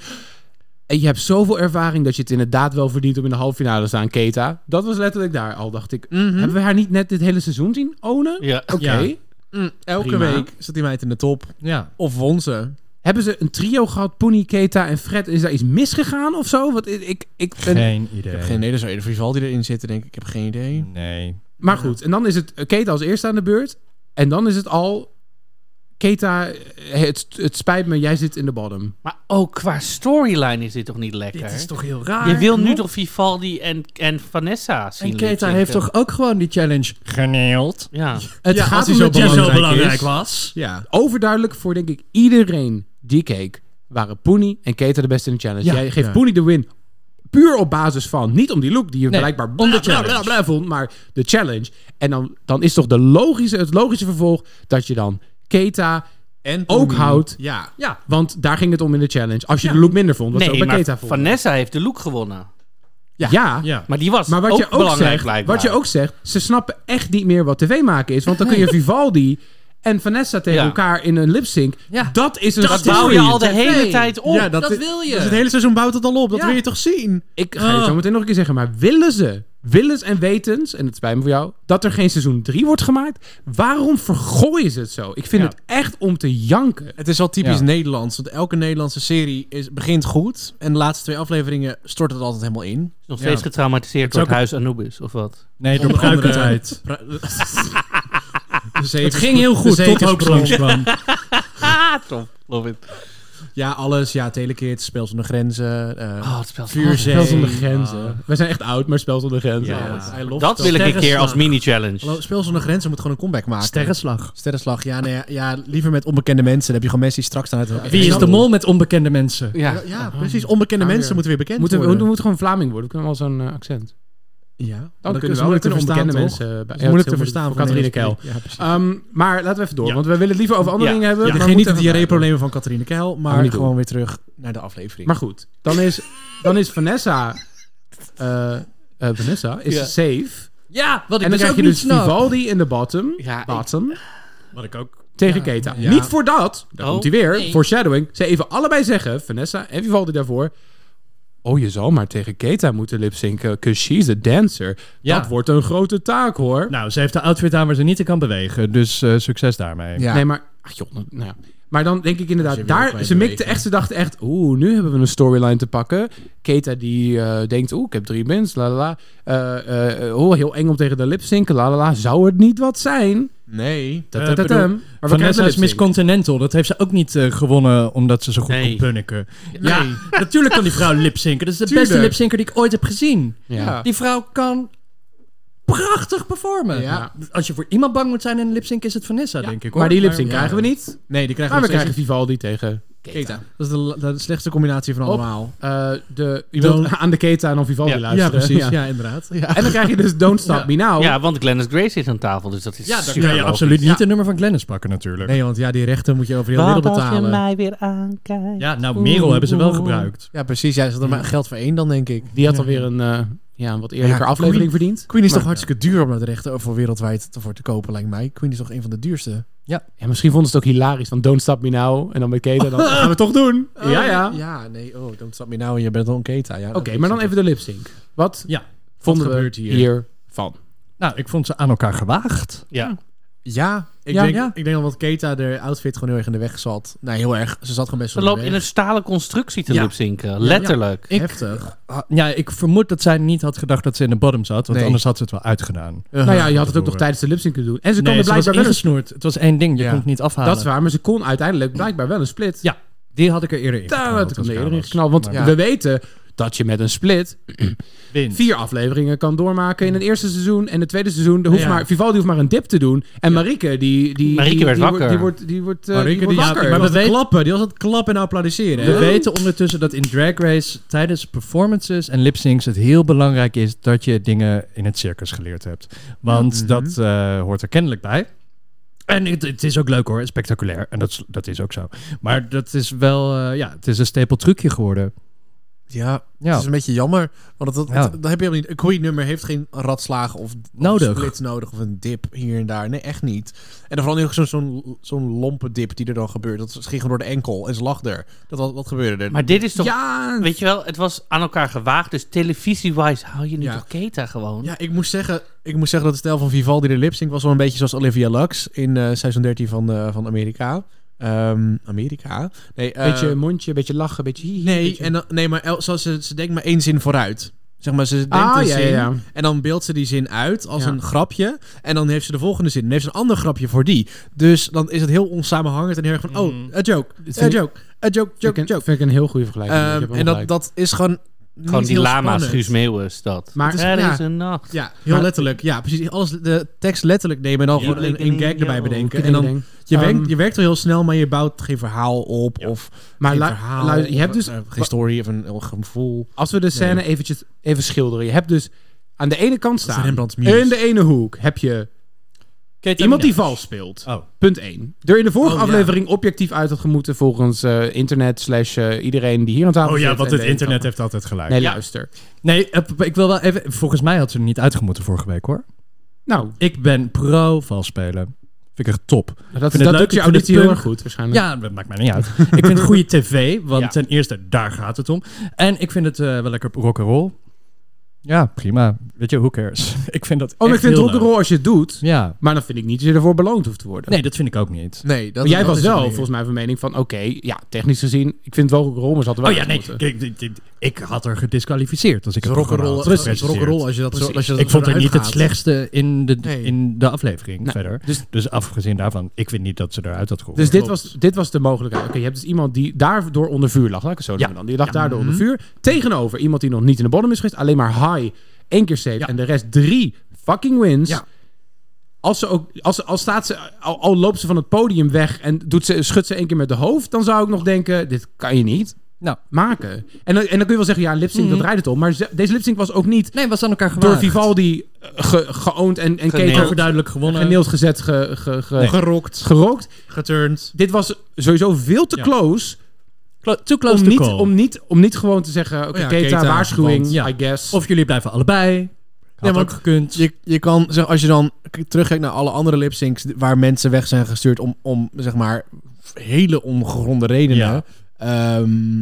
[SPEAKER 4] en je hebt zoveel ervaring dat je het inderdaad wel verdient om in de halve finale te staan, Keta. Dat was letterlijk daar al, dacht ik.
[SPEAKER 1] Mhm.
[SPEAKER 4] Hebben we haar niet net dit hele seizoen zien ownen?
[SPEAKER 3] Ja.
[SPEAKER 4] Oké.
[SPEAKER 1] Hm? Ja. Mm, elke week
[SPEAKER 4] zit die meid in de top.
[SPEAKER 1] Ja.
[SPEAKER 4] Of won ze. Hebben ze een trio gehad, Pony, Keta en Fred? Is daar iets misgegaan of zo? Want ik, ik, ik
[SPEAKER 1] Ik
[SPEAKER 4] ben-
[SPEAKER 1] heb geen idee. Er zou eerder Vivaldi erin zitten, denk ik. Ik heb geen idee.
[SPEAKER 5] Nee.
[SPEAKER 4] Maar goed, en dan is het eh, Keta als eerste aan de beurt. En dan is het al... Keta, eh, het, het spijt me, jij zit in de bottom.
[SPEAKER 3] Maar ook qua storyline is dit toch niet lekker?
[SPEAKER 4] Dit is toch
[SPEAKER 1] heel
[SPEAKER 4] raar?
[SPEAKER 3] Je wil nu
[SPEAKER 4] Klopt.
[SPEAKER 3] toch Vivaldi en, en Vanessa zien?
[SPEAKER 5] En Keta
[SPEAKER 3] lipzinken?
[SPEAKER 5] heeft toch ook gewoon die challenge geneeld?
[SPEAKER 3] Ja.
[SPEAKER 5] Het
[SPEAKER 4] Ja,
[SPEAKER 5] gaat
[SPEAKER 4] als
[SPEAKER 5] om
[SPEAKER 4] hij
[SPEAKER 5] dat die zo
[SPEAKER 4] belangrijk
[SPEAKER 5] belangrijk
[SPEAKER 4] is.
[SPEAKER 5] was.
[SPEAKER 4] Ja. Overduidelijk voor, denk ik, iedereen die keek... waren Poenie en Keta de beste in de challenge.
[SPEAKER 5] Ja.
[SPEAKER 4] Jij geeft
[SPEAKER 5] Ja.
[SPEAKER 4] Poenie de win puur op basis van... niet om die look die je
[SPEAKER 5] Nee,
[SPEAKER 4] blijkbaar
[SPEAKER 5] om
[SPEAKER 4] bla,
[SPEAKER 5] de
[SPEAKER 4] bla,
[SPEAKER 5] challenge.
[SPEAKER 4] bla, bla vond... maar de challenge. En dan, dan is toch de logische, het logische vervolg... dat je dan Keta ook
[SPEAKER 1] Poenie.
[SPEAKER 4] houdt.
[SPEAKER 1] Ja.
[SPEAKER 4] ja, want daar ging het om in de challenge. Als je de look minder vond, wat ze
[SPEAKER 3] nee,
[SPEAKER 4] ook bij
[SPEAKER 3] maar
[SPEAKER 4] Keta vond.
[SPEAKER 3] Vanessa heeft de look gewonnen.
[SPEAKER 4] Ja.
[SPEAKER 3] Maar die was
[SPEAKER 4] maar wat
[SPEAKER 3] ook
[SPEAKER 4] je ook
[SPEAKER 3] belangrijk
[SPEAKER 4] zegt,
[SPEAKER 3] blijkbaar.
[SPEAKER 4] Wat je ook zegt, ze snappen echt niet meer wat tv maken is. Want dan kun je Vivaldi en Vanessa tegen
[SPEAKER 3] Ja.
[SPEAKER 4] elkaar in een lipsync. Dat is een
[SPEAKER 3] Dat
[SPEAKER 4] story.
[SPEAKER 3] bouw je al de hele tijd op.
[SPEAKER 4] Ja, dat, wil je. het hele seizoen bouwt het al op. Dat wil je toch zien? Ik ga je
[SPEAKER 1] Ah.
[SPEAKER 4] zo meteen nog een keer zeggen. Maar willen ze, willens en wetens, en het spijt me voor jou, dat er geen seizoen 3 wordt gemaakt? Waarom vergooien ze het zo? Ik vind
[SPEAKER 1] Ja.
[SPEAKER 4] het echt om te janken.
[SPEAKER 1] Het is al typisch
[SPEAKER 4] Ja.
[SPEAKER 1] Nederlands. Want elke Nederlandse serie is, begint goed. En de laatste twee afleveringen stort het altijd helemaal in.
[SPEAKER 3] Nog steeds getraumatiseerd door het huis Anubis, of wat?
[SPEAKER 5] Nee,
[SPEAKER 1] door
[SPEAKER 5] pruikentijd.
[SPEAKER 3] Het ging heel goed, tot Hoax
[SPEAKER 1] kwam.
[SPEAKER 3] langskwam. Top, love it.
[SPEAKER 1] Ja, alles. Ja, telekeert, spel zonder grenzen. eh
[SPEAKER 3] Oh, het spel
[SPEAKER 1] vuurzee.
[SPEAKER 4] Spel zonder grenzen. We zijn echt oud, maar spel zonder grenzen.
[SPEAKER 1] Ja.
[SPEAKER 4] Oh,
[SPEAKER 1] I love
[SPEAKER 3] Dat wil ik een keer als mini-challenge.
[SPEAKER 1] Hallo, spel zonder grenzen moet gewoon een comeback maken.
[SPEAKER 5] Sterrenslag.
[SPEAKER 1] Sterrenslag, ja, nee, ja liever met onbekende mensen. Dan heb je gewoon mensen die straks aan het...
[SPEAKER 5] Wie is de mol met onbekende mensen?
[SPEAKER 1] Ja, ja precies. Onbekende
[SPEAKER 4] Ah,
[SPEAKER 1] mensen
[SPEAKER 4] ja.
[SPEAKER 1] moeten weer bekend
[SPEAKER 4] moeten, we-
[SPEAKER 1] worden.
[SPEAKER 4] We, moeten gewoon Vlaming worden. We kunnen wel zo'n eh, accent.
[SPEAKER 1] Ja, maar
[SPEAKER 4] Dan
[SPEAKER 1] dat
[SPEAKER 4] kunnen
[SPEAKER 1] is
[SPEAKER 4] we wel.
[SPEAKER 1] moeilijk
[SPEAKER 4] kunnen
[SPEAKER 1] te
[SPEAKER 4] onbekende
[SPEAKER 1] verstaan,
[SPEAKER 4] mensen... eh,
[SPEAKER 1] toch?
[SPEAKER 4] bij-
[SPEAKER 1] Dat is
[SPEAKER 4] ja,
[SPEAKER 1] moeilijk
[SPEAKER 4] dat
[SPEAKER 1] te
[SPEAKER 4] is heel
[SPEAKER 1] verstaan
[SPEAKER 4] moeilijk
[SPEAKER 1] voor
[SPEAKER 4] voor Catharine
[SPEAKER 1] Nederlandse
[SPEAKER 4] Keil.
[SPEAKER 1] publiek.
[SPEAKER 4] Ehm, maar laten we even door, want we willen het liever over andere dingen hebben.
[SPEAKER 1] Ja,
[SPEAKER 4] maar
[SPEAKER 1] geen
[SPEAKER 4] we
[SPEAKER 1] niet de
[SPEAKER 4] moeten even-
[SPEAKER 1] diarreeproblemen van Catharine Keil,
[SPEAKER 4] Gaan we
[SPEAKER 1] maar
[SPEAKER 4] niet
[SPEAKER 1] gewoon
[SPEAKER 4] doen.
[SPEAKER 1] weer terug naar de aflevering.
[SPEAKER 4] Maar goed, dan is, dan is Vanessa... eh, eh, Vanessa is
[SPEAKER 1] Ja.
[SPEAKER 4] safe.
[SPEAKER 5] Ja, wat ik
[SPEAKER 4] en dan
[SPEAKER 5] dus
[SPEAKER 4] krijg
[SPEAKER 5] ook
[SPEAKER 4] je
[SPEAKER 5] niet
[SPEAKER 4] dus
[SPEAKER 5] snap.
[SPEAKER 4] Vivaldi in de bottom. bottom.
[SPEAKER 1] Wat ik ook...
[SPEAKER 4] Tegen
[SPEAKER 1] Ja.
[SPEAKER 4] Keta.
[SPEAKER 1] Ja.
[SPEAKER 4] Niet voor dat. Daar
[SPEAKER 1] Oh,
[SPEAKER 4] komt hij weer.
[SPEAKER 1] nee.
[SPEAKER 4] Foreshadowing. Ze even allebei zeggen, Vanessa en Vivaldi daarvoor. Oh, je zal maar tegen Keta moeten lipzinken, because she's a dancer.
[SPEAKER 5] Ja.
[SPEAKER 4] Dat wordt een grote taak, hoor.
[SPEAKER 5] Nou, ze heeft de outfit aan waar ze niet in kan bewegen. Dus eh, succes daarmee.
[SPEAKER 4] Nee, maar... Ach, joh, nou, nou ja. Maar dan denk ik inderdaad,
[SPEAKER 5] Als je weer
[SPEAKER 4] daar,
[SPEAKER 5] kwijt
[SPEAKER 4] ze mikte
[SPEAKER 5] bewegen.
[SPEAKER 4] echt, ze dachten echt, oeh, nu hebben we een storyline te pakken. Keta die eh, denkt, oeh, ik heb drie wins, la la la. Eh, eh, eh, oh, heel eng om tegen de lipzinken, la la la. Zou het niet wat zijn?
[SPEAKER 1] Nee.
[SPEAKER 4] Ta- ta- ta- tam. Maar we krijgen
[SPEAKER 5] Vanessa
[SPEAKER 4] de
[SPEAKER 5] is Miss
[SPEAKER 4] lip-sync.
[SPEAKER 5] Continental. Dat heeft ze ook niet eh, gewonnen omdat ze zo goed kon punniken. Ja, natuurlijk kan die vrouw lipzinken. Dat is de
[SPEAKER 1] Tuurlijk.
[SPEAKER 5] beste lipzinker die ik ooit heb gezien.
[SPEAKER 1] Ja.
[SPEAKER 5] Die vrouw kan prachtig performen.
[SPEAKER 1] Ja.
[SPEAKER 5] Als je voor iemand bang moet zijn in een lipzink is het Vanessa, denk ik. Hoor.
[SPEAKER 4] maar die lip-sync krijgen we niet.
[SPEAKER 1] Nee, die krijgen
[SPEAKER 4] maar we
[SPEAKER 1] nog
[SPEAKER 4] krijgen
[SPEAKER 1] steeds
[SPEAKER 4] Vivaldi tegen
[SPEAKER 1] Keta. Dat is de, de slechtste combinatie van
[SPEAKER 4] Op,
[SPEAKER 1] allemaal.
[SPEAKER 4] eh, de, je wilt
[SPEAKER 1] Don't-
[SPEAKER 4] aan de Keta en of Vivaldi
[SPEAKER 1] Ja.
[SPEAKER 4] luisteren.
[SPEAKER 1] Ja, precies. Ja, inderdaad. Ja.
[SPEAKER 4] En dan krijg je dus Don't Stop Me Now.
[SPEAKER 3] Ja, want Glennis Grace zit aan tafel, dus dat is
[SPEAKER 4] Ja, daar
[SPEAKER 3] super
[SPEAKER 5] Ja, je
[SPEAKER 3] logisch.
[SPEAKER 5] absoluut niet het nummer van Glennis pakken natuurlijk.
[SPEAKER 1] Nee, want ja, die rechten moet je over heel wereld betalen.
[SPEAKER 3] weer aankijkt.
[SPEAKER 5] Ja, nou, Merel hebben ze wel gebruikt.
[SPEAKER 1] Ja, precies. Ja, ze hadden maar geld voor één dan, denk ik.
[SPEAKER 4] Die had alweer een, eh, ja, een wat eerlijke aflevering verdiend.
[SPEAKER 1] Queen is
[SPEAKER 4] Maar-
[SPEAKER 1] toch hartstikke duur om dat recht voor wereldwijd te- voor te kopen, lijkt mij. Queen is toch een van de duurste.
[SPEAKER 5] Ja.
[SPEAKER 4] Ja, misschien vonden ze het ook hilarisch van Don't Stop Me Now. En dan met Keta, dan gaan we het toch doen.
[SPEAKER 1] Oh,
[SPEAKER 4] ja, ja. Oké,
[SPEAKER 1] Ja, nee. Oh, don't stop me now. Je bent al een Keta. Ja, Oké,
[SPEAKER 4] maar dan even de lipsync. Wat
[SPEAKER 5] Ja.
[SPEAKER 4] vonden
[SPEAKER 1] Wat
[SPEAKER 4] we
[SPEAKER 1] gebeurt hier?
[SPEAKER 4] hiervan?
[SPEAKER 5] Nou, ik vond ze aan elkaar gewaagd.
[SPEAKER 3] Ja.
[SPEAKER 1] Ja, ik,
[SPEAKER 5] Ja,
[SPEAKER 1] denk,
[SPEAKER 5] ja.
[SPEAKER 1] ik denk dat wat Keta de outfit gewoon heel erg in de weg zat. Nou, heel erg. Ze zat gewoon best
[SPEAKER 3] Ze
[SPEAKER 1] wel in de
[SPEAKER 3] loopt
[SPEAKER 1] weg.
[SPEAKER 3] in een stalen constructie te
[SPEAKER 1] Ja.
[SPEAKER 3] lipzinken, letterlijk.
[SPEAKER 5] Ik-
[SPEAKER 1] Heftig.
[SPEAKER 5] Ah, Ja, ik vermoed dat zij niet had gedacht dat ze in de bottom zat. Want
[SPEAKER 1] Nee.
[SPEAKER 5] anders had ze het wel uitgedaan.
[SPEAKER 4] nou ja, je had het ook nog tijdens de lipsync kunnen doen. En ze
[SPEAKER 5] nee,
[SPEAKER 4] konden
[SPEAKER 5] ze was
[SPEAKER 4] blijkbaar wel een
[SPEAKER 5] ingesnoerd. Het was één ding. Je
[SPEAKER 1] Ja.
[SPEAKER 5] kon het niet afhalen.
[SPEAKER 4] Dat is waar, maar ze kon uiteindelijk blijkbaar wel een split.
[SPEAKER 5] Ja, die had ik er eerder in.
[SPEAKER 4] Daar
[SPEAKER 5] geknald
[SPEAKER 4] had ik
[SPEAKER 5] als
[SPEAKER 4] hem eerder
[SPEAKER 5] aan
[SPEAKER 4] in
[SPEAKER 5] was.
[SPEAKER 4] geknald. Want
[SPEAKER 5] Maar-
[SPEAKER 4] we weten dat je met een split
[SPEAKER 5] Wint.
[SPEAKER 4] vier afleveringen kan doormaken in het eerste seizoen en het tweede seizoen. Er hoeft
[SPEAKER 1] Ja.
[SPEAKER 4] maar, Vivaldi hoeft maar een dip te doen. En Marieke, die, die,
[SPEAKER 3] Marieke
[SPEAKER 4] die,
[SPEAKER 3] werd
[SPEAKER 4] die
[SPEAKER 3] wakker.
[SPEAKER 4] Wordt, die wordt, die wordt, eh,
[SPEAKER 1] Marieke,
[SPEAKER 4] die
[SPEAKER 1] die
[SPEAKER 4] wordt
[SPEAKER 1] had-
[SPEAKER 4] wakker.
[SPEAKER 1] maar
[SPEAKER 5] we
[SPEAKER 1] was het
[SPEAKER 5] weten-
[SPEAKER 1] klappen. Die was het klappen en applaudisseren.
[SPEAKER 5] We
[SPEAKER 1] hè?
[SPEAKER 5] weten ondertussen dat in Drag Race tijdens performances en lip-syncs het heel belangrijk is dat je dingen in het circus geleerd hebt. Want
[SPEAKER 4] Mhm.
[SPEAKER 5] dat eh, hoort er kennelijk bij. En het, het is ook leuk hoor, spectaculair. En dat, is- dat is ook zo. Maar dat is wel, eh, ja, het is een stapel trucje geworden.
[SPEAKER 1] Ja,
[SPEAKER 5] Ja.
[SPEAKER 1] het is een beetje jammer. Want dat, dat,
[SPEAKER 5] Ja.
[SPEAKER 1] dat heb je helemaal niet. Een Queen-nummer heeft geen ratslagen of, of
[SPEAKER 5] Nodig.
[SPEAKER 1] splits nodig. Of een dip hier en daar. Nee, echt niet. En dan vooral niet zo'n zo'n zo'n lompe dip die er dan gebeurt. Dat ging gewoon door de enkel en ze lag er. Dat, wat, wat gebeurde er?
[SPEAKER 3] Maar dit is toch...
[SPEAKER 1] Ja,
[SPEAKER 3] Weet je wel, het was aan elkaar gewaagd. Dus televisie-wise hou je nu toch Keta gewoon?
[SPEAKER 1] Ja, ik moest zeggen, ik moest zeggen dat het stijl van Vivaldi de lipsync was wel een beetje zoals Olivia Lux in eh seizoen 13 van, eh, van Amerika. Ehm, Amerika. Nee, eh,
[SPEAKER 4] beetje mondje, beetje lachen, beetje hihi.
[SPEAKER 1] Nee,
[SPEAKER 4] beetje-
[SPEAKER 1] en dan, nee maar El, zoals ze, ze denkt maar één zin vooruit. Zeg maar, ze denkt
[SPEAKER 4] Ah,
[SPEAKER 1] een
[SPEAKER 4] ja,
[SPEAKER 1] zin
[SPEAKER 4] ja, ja.
[SPEAKER 1] en dan beeldt ze die zin uit als
[SPEAKER 4] Ja.
[SPEAKER 1] een grapje. En dan heeft ze de volgende zin en heeft ze een ander grapje voor die. Dus dan is het heel onsamenhangend en heel erg van... Oh, a joke,
[SPEAKER 4] Dit
[SPEAKER 1] a
[SPEAKER 4] vind ik-
[SPEAKER 1] joke, a joke,
[SPEAKER 4] vind
[SPEAKER 1] joke,
[SPEAKER 4] Mm. ik, een,
[SPEAKER 1] joke.
[SPEAKER 4] vind ik een heel goede vergelijking. Je hebt
[SPEAKER 1] Ehm,
[SPEAKER 4] helemaal
[SPEAKER 1] en dat,
[SPEAKER 4] gelijk.
[SPEAKER 1] dat is gewoon
[SPEAKER 3] Gewoon
[SPEAKER 1] niet
[SPEAKER 3] die
[SPEAKER 1] heel
[SPEAKER 3] lama's,
[SPEAKER 1] spannend.
[SPEAKER 3] Guus Meeuwen is dat.
[SPEAKER 1] Maar-
[SPEAKER 3] er
[SPEAKER 1] ja.
[SPEAKER 3] is een nacht.
[SPEAKER 1] Ja, heel
[SPEAKER 3] Maar-
[SPEAKER 1] letterlijk. Ja, precies. Alles, de tekst letterlijk nemen en dan
[SPEAKER 3] Ja.
[SPEAKER 1] gewoon een, een gag erbij bedenken.
[SPEAKER 4] Ja.
[SPEAKER 1] En
[SPEAKER 4] Ehm,
[SPEAKER 1] dan, je, werkt, je werkt wel heel snel, maar je bouwt geen verhaal op. Of
[SPEAKER 4] Maar
[SPEAKER 1] geen
[SPEAKER 4] lu-
[SPEAKER 1] verhaal,
[SPEAKER 4] lu- je
[SPEAKER 1] of,
[SPEAKER 4] hebt dus-
[SPEAKER 1] eh, geen story of een, of een gevoel.
[SPEAKER 4] Als we de scène
[SPEAKER 1] Nee.
[SPEAKER 4] eventjes even schilderen. Je hebt dus aan de ene kant
[SPEAKER 1] is
[SPEAKER 4] staan.
[SPEAKER 1] Rembrandts muse.
[SPEAKER 4] In de ene hoek heb je iemand die vals speelt. Punt 1. Er in de vorige
[SPEAKER 1] Oh, ja.
[SPEAKER 4] aflevering objectief uit had gemoeten volgens eh, internet slash eh, iedereen die hier aan tafel
[SPEAKER 5] Oh ja,
[SPEAKER 4] zit
[SPEAKER 5] want
[SPEAKER 4] en
[SPEAKER 5] het
[SPEAKER 4] de-
[SPEAKER 5] internet heeft altijd gelijk.
[SPEAKER 4] Nee,
[SPEAKER 5] Ja.
[SPEAKER 4] luister.
[SPEAKER 5] Nee, eh, p- ik wil wel even... Volgens mij had ze er niet uitgemoeten vorige week, hoor.
[SPEAKER 4] Nou.
[SPEAKER 5] Ik ben pro vals spelen. Vind ik echt top. Ik vind
[SPEAKER 4] dat
[SPEAKER 5] het
[SPEAKER 4] doet
[SPEAKER 5] leuk,
[SPEAKER 4] je
[SPEAKER 5] ik vind het
[SPEAKER 4] auditie heel
[SPEAKER 5] punk.
[SPEAKER 4] erg goed, waarschijnlijk. Oh,
[SPEAKER 5] Ja, dat maakt mij niet uit. ik vind het goede tv, want ten eerste, daar gaat het om. En ik vind het eh, wel lekker rock'n'roll. Ja, prima. Weet je, who cares? ik vind dat
[SPEAKER 4] Oh, maar ik
[SPEAKER 5] echt
[SPEAKER 4] vind
[SPEAKER 5] heel
[SPEAKER 4] rock'n'roll als je het doet.
[SPEAKER 5] Ja.
[SPEAKER 4] Maar dan vind ik niet dat je ervoor beloond hoeft te worden.
[SPEAKER 5] Nee, dat vind ik ook niet.
[SPEAKER 1] Nee, dat,
[SPEAKER 4] Maar jij
[SPEAKER 1] dat
[SPEAKER 4] was
[SPEAKER 1] is
[SPEAKER 4] wel
[SPEAKER 1] het meer.
[SPEAKER 4] volgens mij van mening van... Oké, ja, technisch gezien, ik vind het wel rock'n'roll, maar ze hadden
[SPEAKER 5] Oh
[SPEAKER 4] wel
[SPEAKER 5] ja, nee.
[SPEAKER 4] uitgemoeten.
[SPEAKER 5] Kijk, dit- dit- ik had er gedisqualificeerd als ik
[SPEAKER 1] Het
[SPEAKER 5] het
[SPEAKER 1] is
[SPEAKER 5] programma
[SPEAKER 1] rock'n'roll-
[SPEAKER 5] had
[SPEAKER 1] het is
[SPEAKER 5] gepresenteerd.
[SPEAKER 1] rock'n'roll als je dat zo-
[SPEAKER 5] Precies.
[SPEAKER 1] als je dat
[SPEAKER 5] Ik vond het
[SPEAKER 1] eruit
[SPEAKER 5] niet het
[SPEAKER 1] gaat.
[SPEAKER 5] slechtste in de,
[SPEAKER 1] Nee.
[SPEAKER 5] in de aflevering
[SPEAKER 4] Nou,
[SPEAKER 5] verder.
[SPEAKER 4] dus-
[SPEAKER 5] Dus, afgezien daarvan, ik vind niet dat ze eruit had gehoord.
[SPEAKER 4] Dus dit was, dit was de mogelijkheid. Oké, je hebt dus iemand die daardoor onder vuur lag. Laat ik het zo noemen dan. Die lag daardoor onder
[SPEAKER 5] Mhm.
[SPEAKER 4] vuur. Tegenover iemand die nog niet in de bottom is geweest. Alleen maar high, één keer safe. En de rest drie fucking wins. Als ze ook, als, ze- als staat ze, al, al loopt ze van het podium weg en doet ze, schudt ze één keer met de hoofd, dan zou ik nog denken: dit kan je niet
[SPEAKER 5] Nou. Mhm.
[SPEAKER 4] maken. En dan, en dan kun je wel zeggen: ja, lipsync, dat draait het om. Maar ze- deze lipsync was ook niet
[SPEAKER 5] Nee, was aan elkaar
[SPEAKER 4] door
[SPEAKER 5] gewaagd.
[SPEAKER 4] Vivaldi eh, ge, geoond en, en
[SPEAKER 3] Geneeld.
[SPEAKER 4] Keter
[SPEAKER 5] duidelijk gewonnen.
[SPEAKER 4] geneeld gezet, ge, ge, ge-
[SPEAKER 5] Nee.
[SPEAKER 1] Gerokt,
[SPEAKER 4] gerokt.
[SPEAKER 1] geturnd.
[SPEAKER 4] Dit was sowieso veel te close
[SPEAKER 5] Clo- too close
[SPEAKER 4] om
[SPEAKER 5] to
[SPEAKER 4] niet,
[SPEAKER 5] call.
[SPEAKER 4] om, niet, om niet gewoon te zeggen, oké,
[SPEAKER 1] Oh ja,
[SPEAKER 4] Keta,
[SPEAKER 1] Keta,
[SPEAKER 4] waarschuwing,
[SPEAKER 5] want- ja.
[SPEAKER 4] I guess.
[SPEAKER 5] Of jullie blijven allebei. Had
[SPEAKER 1] want-
[SPEAKER 5] ook gekund.
[SPEAKER 1] Je, je kan, zeg, als je dan k- terugkijkt naar alle andere lipsyncs waar mensen weg zijn gestuurd om, om zeg maar, hele ongegronde redenen.
[SPEAKER 5] Ja.
[SPEAKER 1] Ehm,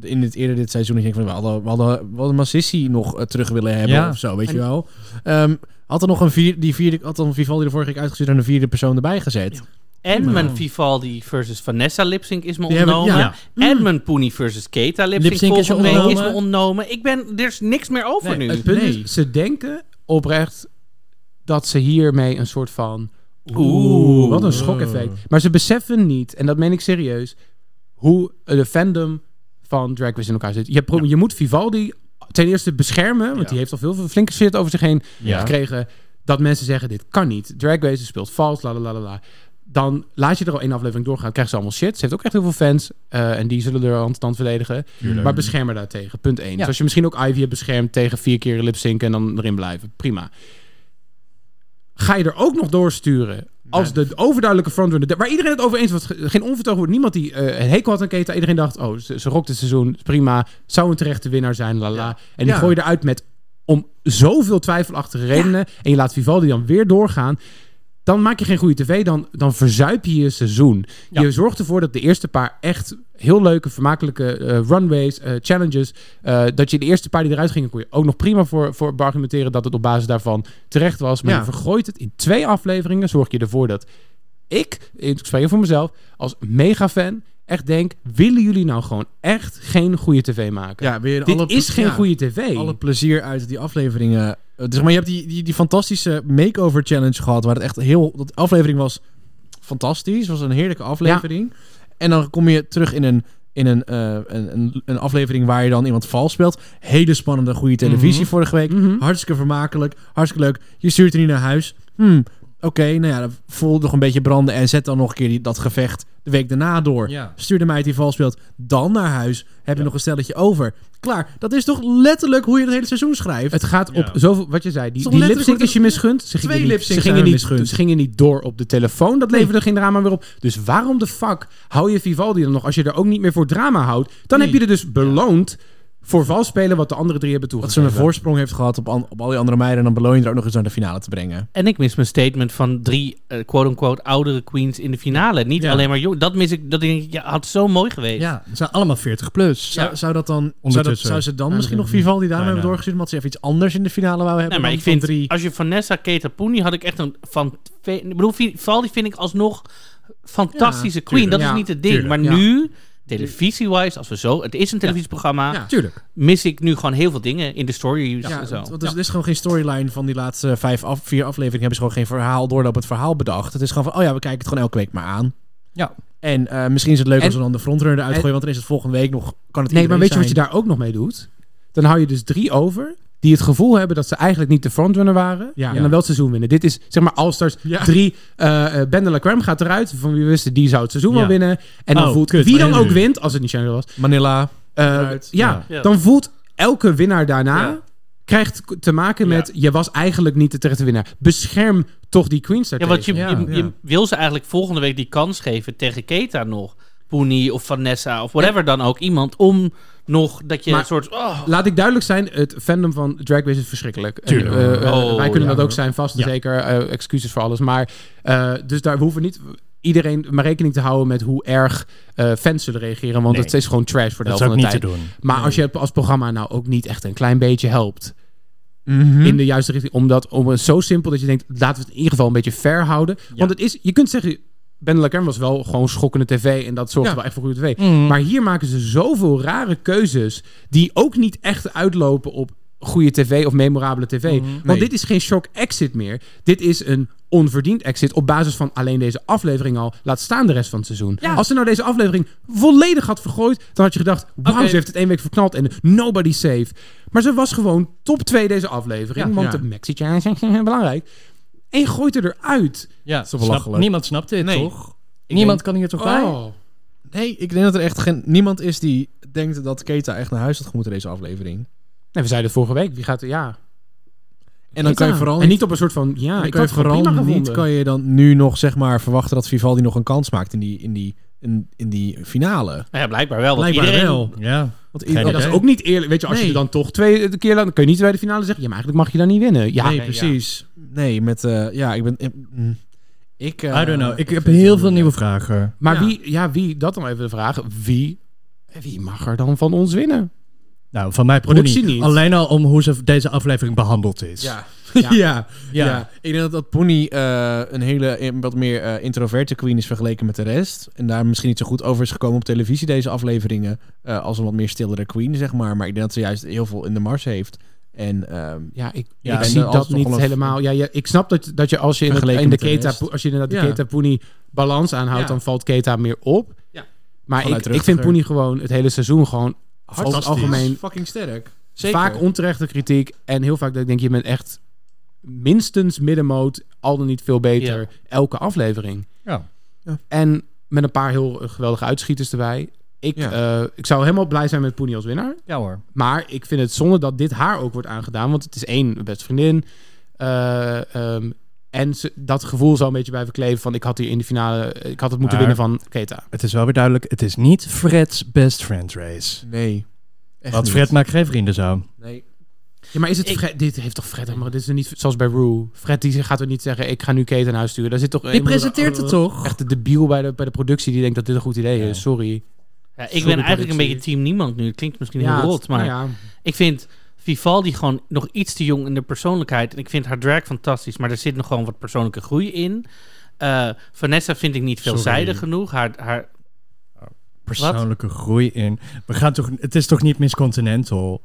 [SPEAKER 1] in het eerder dit seizoen, ik denk van, we hadden, we hadden, we hadden Massissi nog eh, terug willen hebben
[SPEAKER 5] Ja.
[SPEAKER 1] of zo, weet
[SPEAKER 4] En-
[SPEAKER 1] je wel. Ehm, had er nog een vier, die vierde, had dan Vivaldi de vorige keer uitgezet en een vierde persoon erbij gezet.
[SPEAKER 3] En mijn Vivaldi versus Vanessa lipsync is me
[SPEAKER 1] Die hebben- Mm.
[SPEAKER 3] ontnomen. En mijn Poenie versus Keta lipsync,
[SPEAKER 5] Lipsync is je
[SPEAKER 3] volgende week is me
[SPEAKER 5] ontnomen.
[SPEAKER 3] ontnomen. Ik ben, er is niks meer over
[SPEAKER 5] Nee,
[SPEAKER 3] nu.
[SPEAKER 4] Het punt
[SPEAKER 1] Nee.
[SPEAKER 4] is, ze denken oprecht dat ze hiermee een soort van...
[SPEAKER 3] Oeh.
[SPEAKER 4] Oeh, wat een schokeffect. Maar ze beseffen niet, en dat meen ik serieus, hoe eh, de fandom van Drag Race in elkaar zit. Je, pro- je moet Vivaldi ten eerste beschermen, want die heeft al veel veel flinke shit over zich heen
[SPEAKER 5] Ja.
[SPEAKER 4] gekregen. Dat mensen zeggen, dit kan niet. Drag Race speelt vals, la la la la, la. Dan laat je er al één aflevering doorgaan, krijgt ze allemaal shit. Ze heeft ook echt heel veel fans eh, en die zullen er hand stand verdedigen. Maar bescherm haar daartegen, punt één. Dus als je misschien ook Ivy hebt beschermd tegen vier keer lipzinken en dan erin blijven, prima ga je er ook nog doorsturen. Als de overduidelijke frontrunner, de- waar iedereen het over eens was, ge- geen onvertogen wordt, niemand die eh, een hekel had aan Keta, iedereen dacht, oh, ze, ze rokt het seizoen, is prima, zou een terechte winnaar zijn, lala. En die
[SPEAKER 1] Ja.
[SPEAKER 4] gooi je eruit met om zoveel twijfelachtige redenen, en je laat Vivaldi dan weer doorgaan, dan maak je geen goede tv, dan, dan verzuip je je seizoen. Je zorgt ervoor dat de eerste paar echt heel leuke, vermakelijke eh, runways, eh, challenges, eh, dat je de eerste paar die eruit gingen, kon je ook nog prima voor, voor argumenteren dat het op basis daarvan terecht was. Maar
[SPEAKER 1] Ja.
[SPEAKER 4] je vergooit het in twee afleveringen, zorg je ervoor dat ik, ik spreek voor mezelf, als mega-fan echt denk, willen jullie nou gewoon echt geen goede tv maken?
[SPEAKER 1] Ja, weer
[SPEAKER 4] Dit
[SPEAKER 1] alle-
[SPEAKER 4] is geen
[SPEAKER 1] ja.
[SPEAKER 4] goede tv.
[SPEAKER 1] alle plezier uit die afleveringen. Eh, Zeg maar, je hebt die, die, die fantastische makeover challenge gehad, waar het echt heel. Dat aflevering was fantastisch, was een heerlijke aflevering. En dan kom je terug in een. In een, eh, een, een, een aflevering waar je dan iemand vals speelt. Hele spannende, goede televisie vorige
[SPEAKER 4] Mhm.
[SPEAKER 1] week. Hartstikke vermakelijk. Hartstikke leuk. Je stuurt er niet naar huis. Hmm, Oké, nou ja, dan voel nog een beetje branden. En zet dan nog een keer die, dat gevecht de week daarna door.
[SPEAKER 5] Ja.
[SPEAKER 1] Stuur de meid die vals speelt dan naar huis. Heb je nog een stelletje over. Klaar. Dat is toch letterlijk hoe je het hele seizoen schrijft?
[SPEAKER 4] Het gaat op
[SPEAKER 5] Ja.
[SPEAKER 4] zoveel, wat je zei, die,
[SPEAKER 1] Toch
[SPEAKER 4] die
[SPEAKER 1] letterlijk
[SPEAKER 4] lipsync is je
[SPEAKER 1] een-
[SPEAKER 4] misgund. Ze
[SPEAKER 1] twee
[SPEAKER 4] gingen, niet, ze,
[SPEAKER 1] lipsyncs
[SPEAKER 4] gingen
[SPEAKER 1] zijn
[SPEAKER 4] niet,
[SPEAKER 1] misgund.
[SPEAKER 4] ze gingen niet door op de telefoon, dat leverde geen drama weer op. Dus waarom de fuck hou je Vivaldi dan nog als je er ook niet meer voor drama houdt? Dan heb je er dus beloond
[SPEAKER 1] voor vals spelen wat de andere drie hebben
[SPEAKER 16] ze
[SPEAKER 1] toegegeven.
[SPEAKER 16] een
[SPEAKER 1] voorsprong heeft gehad op, op al die andere meiden... en dan beloon je er ook nog eens naar de finale te brengen.
[SPEAKER 3] En ik mis mijn statement van drie eh, quote-unquote oudere queens in de finale. Niet alleen maar jong. Dat mis ik. Dat denk ik, ja, had zo mooi geweest.
[SPEAKER 5] Ja, ze zijn allemaal 40 plus.
[SPEAKER 1] Zou, zou dat dan... Zou, dat,
[SPEAKER 5] Ondertussen.
[SPEAKER 1] zou ze dan
[SPEAKER 5] Ja,
[SPEAKER 1] misschien nog
[SPEAKER 5] natuurlijk.
[SPEAKER 1] Vivaldi daarmee hebben
[SPEAKER 5] Bijna.
[SPEAKER 1] doorgestuurd... omdat ze even iets anders in de finale wou hebben
[SPEAKER 3] Nee, maar
[SPEAKER 1] dan
[SPEAKER 3] ik vind,
[SPEAKER 1] van drie...
[SPEAKER 3] als je Vanessa Kate Poeny had ik echt een van... Ik bedoel, Valdi vind ik alsnog fantastische
[SPEAKER 1] Ja,
[SPEAKER 3] queen.
[SPEAKER 1] tuurlijk.
[SPEAKER 3] Dat is
[SPEAKER 1] Ja,
[SPEAKER 3] niet het ding.
[SPEAKER 1] tuurlijk.
[SPEAKER 3] maar
[SPEAKER 1] Ja.
[SPEAKER 3] nu, televisie-wise, als we zo... Het is een televisieprogramma.
[SPEAKER 1] Ja, tuurlijk.
[SPEAKER 3] Mis ik nu gewoon heel veel dingen in de stories
[SPEAKER 1] Ja,
[SPEAKER 3] en zo.
[SPEAKER 1] want want er is gewoon geen storyline van die laatste vijf af, vier afleveringen. Hebben ze gewoon geen verhaal, doorlopend verhaal bedacht. Het is gewoon van, oh ja, we kijken het gewoon elke week maar aan.
[SPEAKER 5] Ja.
[SPEAKER 1] En eh, misschien is het leuk
[SPEAKER 4] En-
[SPEAKER 1] als we dan de frontrunner eruit
[SPEAKER 4] en-
[SPEAKER 1] gooien, want dan is het volgende week nog... Kan het
[SPEAKER 4] Nee, maar weet je wat je
[SPEAKER 1] iedereen
[SPEAKER 4] daar ook nog mee doet? Dan hou je dus drie over die het gevoel hebben dat ze eigenlijk niet de frontrunner waren.
[SPEAKER 1] Ja.
[SPEAKER 4] En dan wel het seizoen winnen. Dit is zeg maar All-Stars 3. eh eh ben de La Crème gaat eruit. Van wie we wisten, die zou het seizoen wel
[SPEAKER 1] Ja.
[SPEAKER 4] winnen. En dan
[SPEAKER 1] Oh,
[SPEAKER 4] voelt
[SPEAKER 1] kut,
[SPEAKER 4] wie
[SPEAKER 1] maar
[SPEAKER 4] dan
[SPEAKER 1] nu.
[SPEAKER 4] ook wint, als het niet Chandler was.
[SPEAKER 1] zijn? Manila.
[SPEAKER 4] eh, ja,
[SPEAKER 1] Ja.
[SPEAKER 4] dan voelt elke winnaar daarna...
[SPEAKER 1] Ja.
[SPEAKER 4] krijgt k- te maken met... je was eigenlijk niet de terechte winnaar. Bescherm toch die queens
[SPEAKER 3] Ja,
[SPEAKER 4] daartegen.
[SPEAKER 3] want je, je, je wil ze eigenlijk volgende week die kans geven tegen Keta nog. Poeny of Vanessa of whatever dan ook. Iemand om nog dat je
[SPEAKER 4] Maar-
[SPEAKER 3] een soort... oh,
[SPEAKER 4] Laat ik duidelijk zijn, het fandom van Drag Race is verschrikkelijk. En,
[SPEAKER 3] Tuurlijk.
[SPEAKER 4] eh, eh,
[SPEAKER 3] Oh,
[SPEAKER 4] wij kunnen
[SPEAKER 3] ja.
[SPEAKER 4] dat ook zijn, vast en
[SPEAKER 3] Ja.
[SPEAKER 4] zeker. eh, excuses voor alles. Maar, eh, dus daar hoeven we niet iedereen maar rekening te houden met hoe erg eh, fans zullen reageren. Want
[SPEAKER 5] Nee.
[SPEAKER 4] het is gewoon trash voor de
[SPEAKER 5] Dat
[SPEAKER 4] helft van de
[SPEAKER 5] is ook
[SPEAKER 4] tijd.
[SPEAKER 5] niet te doen.
[SPEAKER 4] Maar als je het als programma nou ook niet echt een klein beetje helpt...
[SPEAKER 1] Mhm.
[SPEAKER 4] In de juiste richting. Omdat om het zo simpel dat je denkt, laten we het in ieder geval een beetje fair houden. Want het is, je kunt zeggen, Ben La Crème was wel gewoon schokkende tv. En dat zorgde
[SPEAKER 1] Ja.
[SPEAKER 4] wel echt voor goede tv.
[SPEAKER 1] Mm.
[SPEAKER 4] Maar hier maken ze zoveel rare keuzes. Die ook niet echt uitlopen op goede tv of memorabele tv. Want
[SPEAKER 1] Mhm. Nee.
[SPEAKER 4] dit is geen shock exit meer. Dit is een onverdiend exit op basis van alleen deze aflevering al. Laat staan de rest van het seizoen. Als ze nou deze aflevering volledig had vergooid... dan had je gedacht, wauw,
[SPEAKER 1] Oké.
[SPEAKER 4] ze heeft het één week verknald en nobody safe. Maar ze was gewoon top 2 deze aflevering.
[SPEAKER 1] Ja.
[SPEAKER 4] want
[SPEAKER 1] Ja.
[SPEAKER 4] de Maxi Challenge is belangrijk. En je gooit er eruit.
[SPEAKER 5] Ja,
[SPEAKER 4] Zo
[SPEAKER 5] snap-
[SPEAKER 4] belachelijk.
[SPEAKER 5] niemand snapt dit,
[SPEAKER 4] Nee.
[SPEAKER 5] toch? niemand kan hier
[SPEAKER 1] Oh.
[SPEAKER 5] toch bij?
[SPEAKER 1] Nee, ik denk dat er echt geen, niemand is die denkt dat Keta echt naar huis had moeten deze aflevering.
[SPEAKER 4] Nee, we zeiden het vorige week. Wie gaat er... Ja.
[SPEAKER 1] En dan kan je vooral
[SPEAKER 4] En niet op een soort van... Ja,
[SPEAKER 1] dan
[SPEAKER 4] ik
[SPEAKER 1] kan je
[SPEAKER 4] had het gewoon
[SPEAKER 1] vooral
[SPEAKER 4] prima
[SPEAKER 1] niet
[SPEAKER 4] gevonden.
[SPEAKER 1] kan je dan nu nog zeg maar verwachten dat Vivaldi nog een kans maakt in die, in die, in, in die finale.
[SPEAKER 3] nou ja, blijkbaar wel. Want
[SPEAKER 1] Blijkbaar
[SPEAKER 3] iedereen,
[SPEAKER 1] wel.
[SPEAKER 5] Ja.
[SPEAKER 1] Want
[SPEAKER 4] Ja, dat is ook niet eerlijk. Weet je, als je
[SPEAKER 1] Nee.
[SPEAKER 4] dan toch twee eh, keer lang... dan kun je niet bij de finale zeggen... ja, maar eigenlijk mag je dan niet winnen. Ja,
[SPEAKER 1] nee, precies. Nee, met eh, ja, ik ben eh, mm. ik eh,
[SPEAKER 5] I don't know. Ik heb heel veel nieuwe vragen.
[SPEAKER 4] Maar
[SPEAKER 1] Ja.
[SPEAKER 4] Wie, ja, wie, dat dan even de vraag. Wie, wie mag er dan van ons winnen?
[SPEAKER 5] Nou, van mij productie
[SPEAKER 4] Productie
[SPEAKER 5] niet.
[SPEAKER 4] niet.
[SPEAKER 5] Alleen al om hoe ze deze aflevering behandeld is.
[SPEAKER 1] Ja.
[SPEAKER 4] Ja.
[SPEAKER 1] Ja. ja.
[SPEAKER 5] Ja.
[SPEAKER 1] Ik denk dat, dat Pony eh, een hele eh, wat meer eh, introverte queen is vergeleken met de rest. En daar misschien niet zo goed over is gekomen op televisie deze afleveringen. eh, als een wat meer stillere queen, zeg maar. Maar ik denk dat ze juist heel veel in de mars heeft. En, ehm,
[SPEAKER 4] Ja, ik,
[SPEAKER 1] Ja,
[SPEAKER 4] ik
[SPEAKER 1] en
[SPEAKER 4] zie
[SPEAKER 1] dan als
[SPEAKER 4] dat
[SPEAKER 1] het nog
[SPEAKER 4] niet
[SPEAKER 1] wel een-
[SPEAKER 4] helemaal. Ja, ja, ik snap dat, dat je als je in, het-
[SPEAKER 1] Vergeleken
[SPEAKER 4] in de
[SPEAKER 1] met de
[SPEAKER 4] Keta,
[SPEAKER 1] rest.
[SPEAKER 4] als je inderdaad
[SPEAKER 1] Ja.
[SPEAKER 4] de Keta Poeni balans aanhoudt,
[SPEAKER 1] Ja.
[SPEAKER 4] dan valt Keta meer op.
[SPEAKER 1] Ja.
[SPEAKER 4] Maar
[SPEAKER 1] Vanuit
[SPEAKER 4] ik, ik vind
[SPEAKER 1] rustiger.
[SPEAKER 4] Poeni gewoon het hele seizoen gewoon over het algemeen
[SPEAKER 1] Fucking sterk.
[SPEAKER 4] vaak onterechte kritiek en heel vaak dat ik denk je bent echt minstens middenmoot, al dan niet veel beter
[SPEAKER 5] Ja.
[SPEAKER 4] elke aflevering.
[SPEAKER 5] Ja.
[SPEAKER 1] Ja.
[SPEAKER 4] En met een paar heel eh, geweldige uitschieters erbij. Ik, eh, ik zou helemaal blij zijn met Poeni als winnaar.
[SPEAKER 5] Ja hoor.
[SPEAKER 4] Maar ik vind het zonde dat dit haar ook wordt aangedaan. Want het is één, een best vriendin. Eh, ehm, en ze- dat gevoel zou een beetje bij verkleven van... ik had hier in de finale... ik had het moeten
[SPEAKER 5] Maar-
[SPEAKER 4] winnen van Keta.
[SPEAKER 5] Het is wel weer duidelijk. Het is niet Fred's best friend race.
[SPEAKER 1] Nee. Echt
[SPEAKER 5] Want
[SPEAKER 1] niet.
[SPEAKER 5] Fred maakt geen vrienden zo.
[SPEAKER 1] Nee.
[SPEAKER 4] Ja, maar is het Fred- Dit heeft toch Fred helemaal... Dit is er niet zoals bij Rue. Fred die gaat er niet zeggen... ik ga nu Keta naar huis sturen. Daar zit toch...
[SPEAKER 5] Die presenteert het toch?
[SPEAKER 4] Echt de debiel bij de, bij de productie die denkt dat dit een goed idee is. Sorry.
[SPEAKER 3] Ja, ik
[SPEAKER 4] Sorry,
[SPEAKER 3] ben eigenlijk een
[SPEAKER 4] productie.
[SPEAKER 3] beetje team niemand nu. Het klinkt misschien
[SPEAKER 4] Ja,
[SPEAKER 3] heel
[SPEAKER 4] het-
[SPEAKER 3] rot, maar
[SPEAKER 4] ja.
[SPEAKER 3] ik vind Vivaldi gewoon nog iets te jong in de persoonlijkheid. En ik vind haar drag fantastisch, maar er zit nog gewoon wat persoonlijke groei in. Eh, Vanessa vind ik niet
[SPEAKER 5] Sorry.
[SPEAKER 3] veelzijdig genoeg. Haar, haar,
[SPEAKER 5] Persoonlijke groei in. We gaan toch, het is toch niet Miss Continental?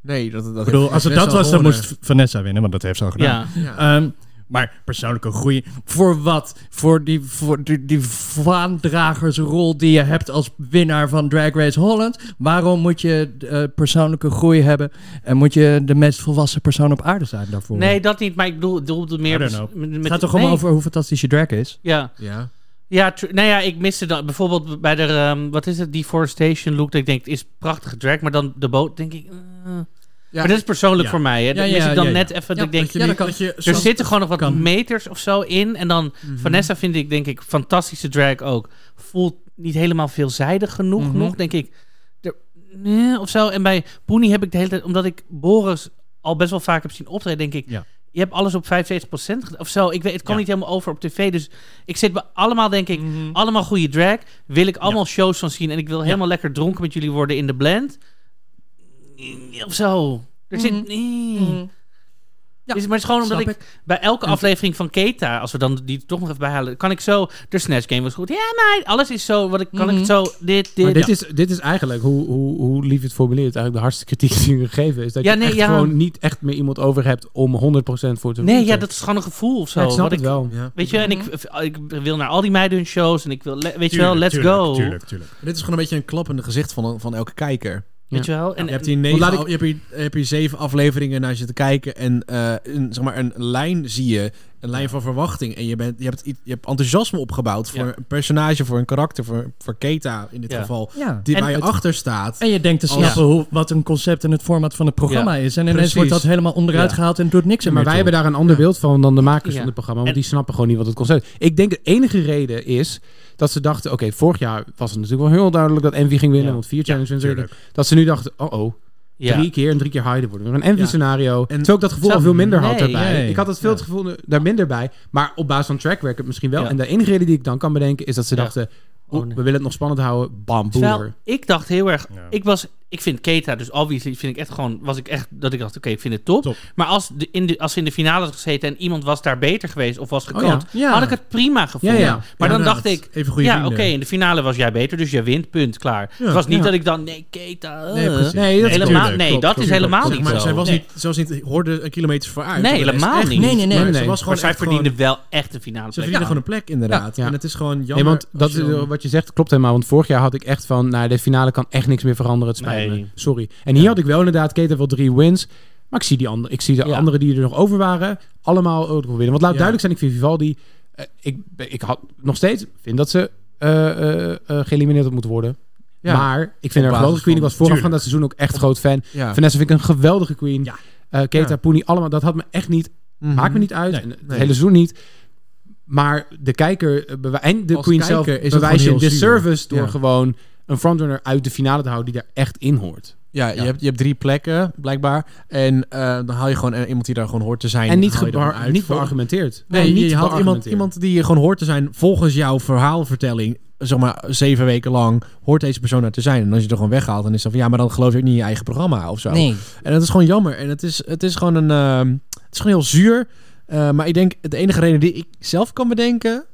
[SPEAKER 1] Nee, dat, dat
[SPEAKER 5] Ik bedoel, als het dat was, dan moest Vanessa winnen, want dat heeft ze al gedaan.
[SPEAKER 1] Ja. Ja.
[SPEAKER 5] Ehm, maar persoonlijke groei, voor wat? Voor die, voor die, die vaandragersrol die je hebt als winnaar van Drag Race Holland. Waarom moet je eh, persoonlijke groei hebben en moet je de meest volwassen persoon op aarde zijn daarvoor?
[SPEAKER 3] nee, dat niet, maar ik bedoel, bedoel het meer...
[SPEAKER 5] I don't know.
[SPEAKER 3] met- met-
[SPEAKER 5] het gaat toch
[SPEAKER 3] nee.
[SPEAKER 5] allemaal over hoe fantastisch je drag is?
[SPEAKER 3] Ja.
[SPEAKER 1] Ja.
[SPEAKER 3] Ja, tr- nou ja, ik miste dan bijvoorbeeld bij de, ehm, wat is het, Deforestation look. Dat ik denk, het is prachtige drag, maar dan de boot, denk ik. eh. maar dat is persoonlijk
[SPEAKER 5] Ja.
[SPEAKER 3] voor mij. Hè.
[SPEAKER 5] Ja,
[SPEAKER 3] Dat mis
[SPEAKER 5] ja,
[SPEAKER 3] ik dan
[SPEAKER 5] ja, ja.
[SPEAKER 3] net even.
[SPEAKER 5] Ja,
[SPEAKER 3] dat ik denk,
[SPEAKER 5] dat je niet- Ja, dat kan. dat je
[SPEAKER 3] er
[SPEAKER 5] zo-
[SPEAKER 3] zitten gewoon nog wat
[SPEAKER 5] kan. Mhm.
[SPEAKER 3] meters of zo in. En dan Vanessa vind ik, denk ik, fantastische drag ook. Voelt niet helemaal veelzijdig genoeg
[SPEAKER 5] Mhm.
[SPEAKER 3] nog, denk ik. Er- nee, of zo. En bij Poenie heb ik de hele tijd, omdat ik Boris al best wel vaak heb zien optreden, denk ik, je hebt alles op 75% gedaan of zo. Ik weet, het kwam niet helemaal over op tv. Dus ik zit bij allemaal, denk ik,
[SPEAKER 5] Mhm.
[SPEAKER 3] allemaal goede drag. Wil ik allemaal shows van zien en ik wil helemaal lekker dronken met jullie worden in de blend. Of zo. Er zit. nee. Dus- maar het is gewoon omdat ik,
[SPEAKER 19] snap
[SPEAKER 3] bij elke aflevering van Keta, als we dan die toch nog even bijhalen, kan ik zo. De Snatch Game was goed. Ja, maar alles is zo. Wat ik, kan ik
[SPEAKER 4] Mhm.
[SPEAKER 3] het zo. Dit, dit.
[SPEAKER 4] Maar dit,
[SPEAKER 3] Ja.
[SPEAKER 4] is, dit is eigenlijk, hoe, hoe, hoe lief je het formuleert, eigenlijk de hardste kritiek die we geven. Is dat
[SPEAKER 3] Ja,
[SPEAKER 4] je
[SPEAKER 3] nee,
[SPEAKER 4] echt
[SPEAKER 3] ja.
[SPEAKER 4] gewoon niet echt meer iemand over hebt om 100% voor te
[SPEAKER 3] Nee, ja, dat is gewoon een gevoel of zo.
[SPEAKER 4] Ja, ik snap
[SPEAKER 3] wat
[SPEAKER 4] het
[SPEAKER 3] ik,
[SPEAKER 4] wel.
[SPEAKER 3] Weet je, en ik, ik wil naar al die meiden hun shows en ik wil, le- weet je wel, let's go.
[SPEAKER 1] Dit is gewoon een beetje een klap in het gezicht van, van elke kijker.
[SPEAKER 3] Weet je wel? En-
[SPEAKER 1] je hebt hier,
[SPEAKER 3] en-
[SPEAKER 1] negen,
[SPEAKER 3] Laat ik-
[SPEAKER 1] al- je hebt hier, je hebt hier zeven afleveringen naar zitten kijken. En eh, een, zeg maar een lijn zie je. Een lijn van verwachting. En je, bent, je, hebt, iets- je hebt enthousiasme opgebouwd voor
[SPEAKER 5] Ja.
[SPEAKER 1] een personage, voor een karakter, voor, voor Keta in dit
[SPEAKER 5] Ja.
[SPEAKER 1] geval.
[SPEAKER 5] Ja.
[SPEAKER 1] Die
[SPEAKER 5] En
[SPEAKER 1] waar je
[SPEAKER 5] het-
[SPEAKER 1] achter staat.
[SPEAKER 5] En je denkt te
[SPEAKER 1] Als-
[SPEAKER 5] snappen hoe, wat een concept en het format van het programma
[SPEAKER 1] Ja,
[SPEAKER 5] is. En ineens
[SPEAKER 1] precies.
[SPEAKER 5] wordt dat helemaal onderuit
[SPEAKER 4] Ja.
[SPEAKER 5] gehaald en doet niks meer
[SPEAKER 4] Ja, maar wij
[SPEAKER 5] toe.
[SPEAKER 4] hebben daar een ander beeld van dan de makers
[SPEAKER 5] Ja.
[SPEAKER 4] van dit programma. Want die snappen gewoon niet wat het concept is. Ik denk de enige reden is dat ze dachten... Oké, vorig jaar was het natuurlijk wel heel duidelijk dat Envy ging winnen. Want vier challenges winnen. Dat ze nu dachten, oh oh.
[SPEAKER 5] Ja.
[SPEAKER 4] Drie keer en drie keer harder worden. Weer een Envy-scenario.
[SPEAKER 1] En-
[SPEAKER 4] Terwijl ik dat gevoel
[SPEAKER 5] Zo,
[SPEAKER 4] al veel minder had
[SPEAKER 5] nee,
[SPEAKER 4] daarbij.
[SPEAKER 5] nee.
[SPEAKER 4] Ik had het veel het gevoel daar minder bij. Maar op basis van track record misschien wel. En de enige reden die ik dan kan bedenken is dat ze
[SPEAKER 3] Ja.
[SPEAKER 4] dachten... oeh, We willen het nog spannend houden. Bam,
[SPEAKER 3] Terwijl
[SPEAKER 4] boer.
[SPEAKER 3] ik dacht heel erg, ik was, ik vind Keta dus obviously, vind ik echt gewoon, was ik echt, dat ik dacht, oké, ik vind het top. Maar als, de, in de, als ze in de finale had gezeten en iemand was daar beter geweest of was gekant,
[SPEAKER 1] Oh ja. Ja.
[SPEAKER 3] had ik het prima gevonden.
[SPEAKER 1] Ja, ja.
[SPEAKER 3] Maar dan
[SPEAKER 1] Inderdaad.
[SPEAKER 3] dacht ik,
[SPEAKER 1] Even goede
[SPEAKER 3] ja, oké,
[SPEAKER 1] vrienden.
[SPEAKER 3] in de finale was jij beter, dus jij wint, punt, klaar.
[SPEAKER 1] Ja,
[SPEAKER 3] het was niet
[SPEAKER 1] ja.
[SPEAKER 3] dat ik dan, nee, Keta, eh.
[SPEAKER 1] Nee, precies.
[SPEAKER 3] helemaal,
[SPEAKER 1] Tuurlijk,
[SPEAKER 3] nee,
[SPEAKER 1] klopt,
[SPEAKER 3] dat
[SPEAKER 1] klopt,
[SPEAKER 3] is helemaal
[SPEAKER 1] klopt.
[SPEAKER 3] niet
[SPEAKER 1] maar
[SPEAKER 3] zo.
[SPEAKER 1] Zij was
[SPEAKER 3] Nee.
[SPEAKER 1] niet, zoals niet, hoorde een kilometer vooruit.
[SPEAKER 3] Nee,
[SPEAKER 1] Voor de rest.
[SPEAKER 3] helemaal
[SPEAKER 1] Echt
[SPEAKER 3] niet. Nee, nee, nee,
[SPEAKER 1] Maar
[SPEAKER 3] nee,
[SPEAKER 1] ze
[SPEAKER 3] nee.
[SPEAKER 1] was gewoon
[SPEAKER 3] Maar zij
[SPEAKER 1] echt
[SPEAKER 3] verdiende
[SPEAKER 1] gewoon-
[SPEAKER 3] wel echt een
[SPEAKER 1] Ze
[SPEAKER 3] finale plek.
[SPEAKER 1] verdiende
[SPEAKER 3] Ja.
[SPEAKER 1] gewoon een plek, inderdaad.
[SPEAKER 4] Ja.
[SPEAKER 1] En het is gewoon jammer.
[SPEAKER 4] Nee, want
[SPEAKER 1] als
[SPEAKER 4] dat,
[SPEAKER 1] je
[SPEAKER 4] is,
[SPEAKER 1] dan-
[SPEAKER 4] eh, wat je zegt klopt helemaal. Want vorig jaar had ik echt van, nou, de finale kan echt niks meer veranderen. Het spijt me. Sorry. En hier had ik wel inderdaad, Kate heeft wel drie wins. Maar ik zie, die andere, ik zie de anderen die er nog over waren, allemaal ook nog winnen. Want laat
[SPEAKER 1] Ja.
[SPEAKER 4] duidelijk zijn, ik vind Vivaldi... eh, ik, ik had nog steeds, vind dat ze eh, eh, eh, geëlimineerd had moeten worden.
[SPEAKER 1] Ja.
[SPEAKER 4] Maar ik
[SPEAKER 1] Op
[SPEAKER 4] vind haar
[SPEAKER 1] basis
[SPEAKER 4] geweldige queen. Ik
[SPEAKER 1] van-
[SPEAKER 4] was vooraf van
[SPEAKER 1] Tuurlijk.
[SPEAKER 4] dat seizoen ook echt groot fan.
[SPEAKER 1] Ja.
[SPEAKER 4] Vanessa vind ik een geweldige queen. Ja. Keta,
[SPEAKER 1] Ja.
[SPEAKER 4] Poenie, allemaal. Dat had me echt niet...
[SPEAKER 1] Mhm.
[SPEAKER 4] Maakt me niet uit.
[SPEAKER 1] Nee.
[SPEAKER 4] En het
[SPEAKER 1] Nee.
[SPEAKER 4] hele seizoen niet. Maar de kijker eh, bewa- en de
[SPEAKER 1] Als
[SPEAKER 4] queen
[SPEAKER 1] kijker
[SPEAKER 4] zelf
[SPEAKER 1] is het
[SPEAKER 4] bewijs je
[SPEAKER 1] gewoon heel
[SPEAKER 4] disservice
[SPEAKER 1] zuur.
[SPEAKER 4] door
[SPEAKER 1] Ja.
[SPEAKER 4] gewoon een frontrunner uit de finale te houden die daar echt in hoort.
[SPEAKER 1] Ja, Je, hebt, je hebt drie plekken, blijkbaar. En eh, dan haal je gewoon eh, iemand die daar gewoon hoort te zijn.
[SPEAKER 4] En niet
[SPEAKER 1] haal je er
[SPEAKER 4] gebar-
[SPEAKER 1] gewoon uit
[SPEAKER 4] niet
[SPEAKER 1] voor.
[SPEAKER 4] beargumenteerd.
[SPEAKER 1] Nee,
[SPEAKER 4] Gewoon
[SPEAKER 1] je haalt
[SPEAKER 4] niet
[SPEAKER 1] iemand,
[SPEAKER 4] beargumenteerd.
[SPEAKER 1] iemand die je gewoon hoort te zijn volgens jouw verhaalvertelling. Zeg maar zeven weken lang hoort deze persoon daar te zijn. En als je er gewoon weghaalt, dan is dat van ja, maar dan geloof je ook niet in je eigen programma of zo.
[SPEAKER 5] Nee.
[SPEAKER 1] En dat is gewoon jammer. En het is, het is gewoon een. ehm, het is gewoon heel zuur. Eh, maar ik denk, de enige reden die ik zelf kan bedenken.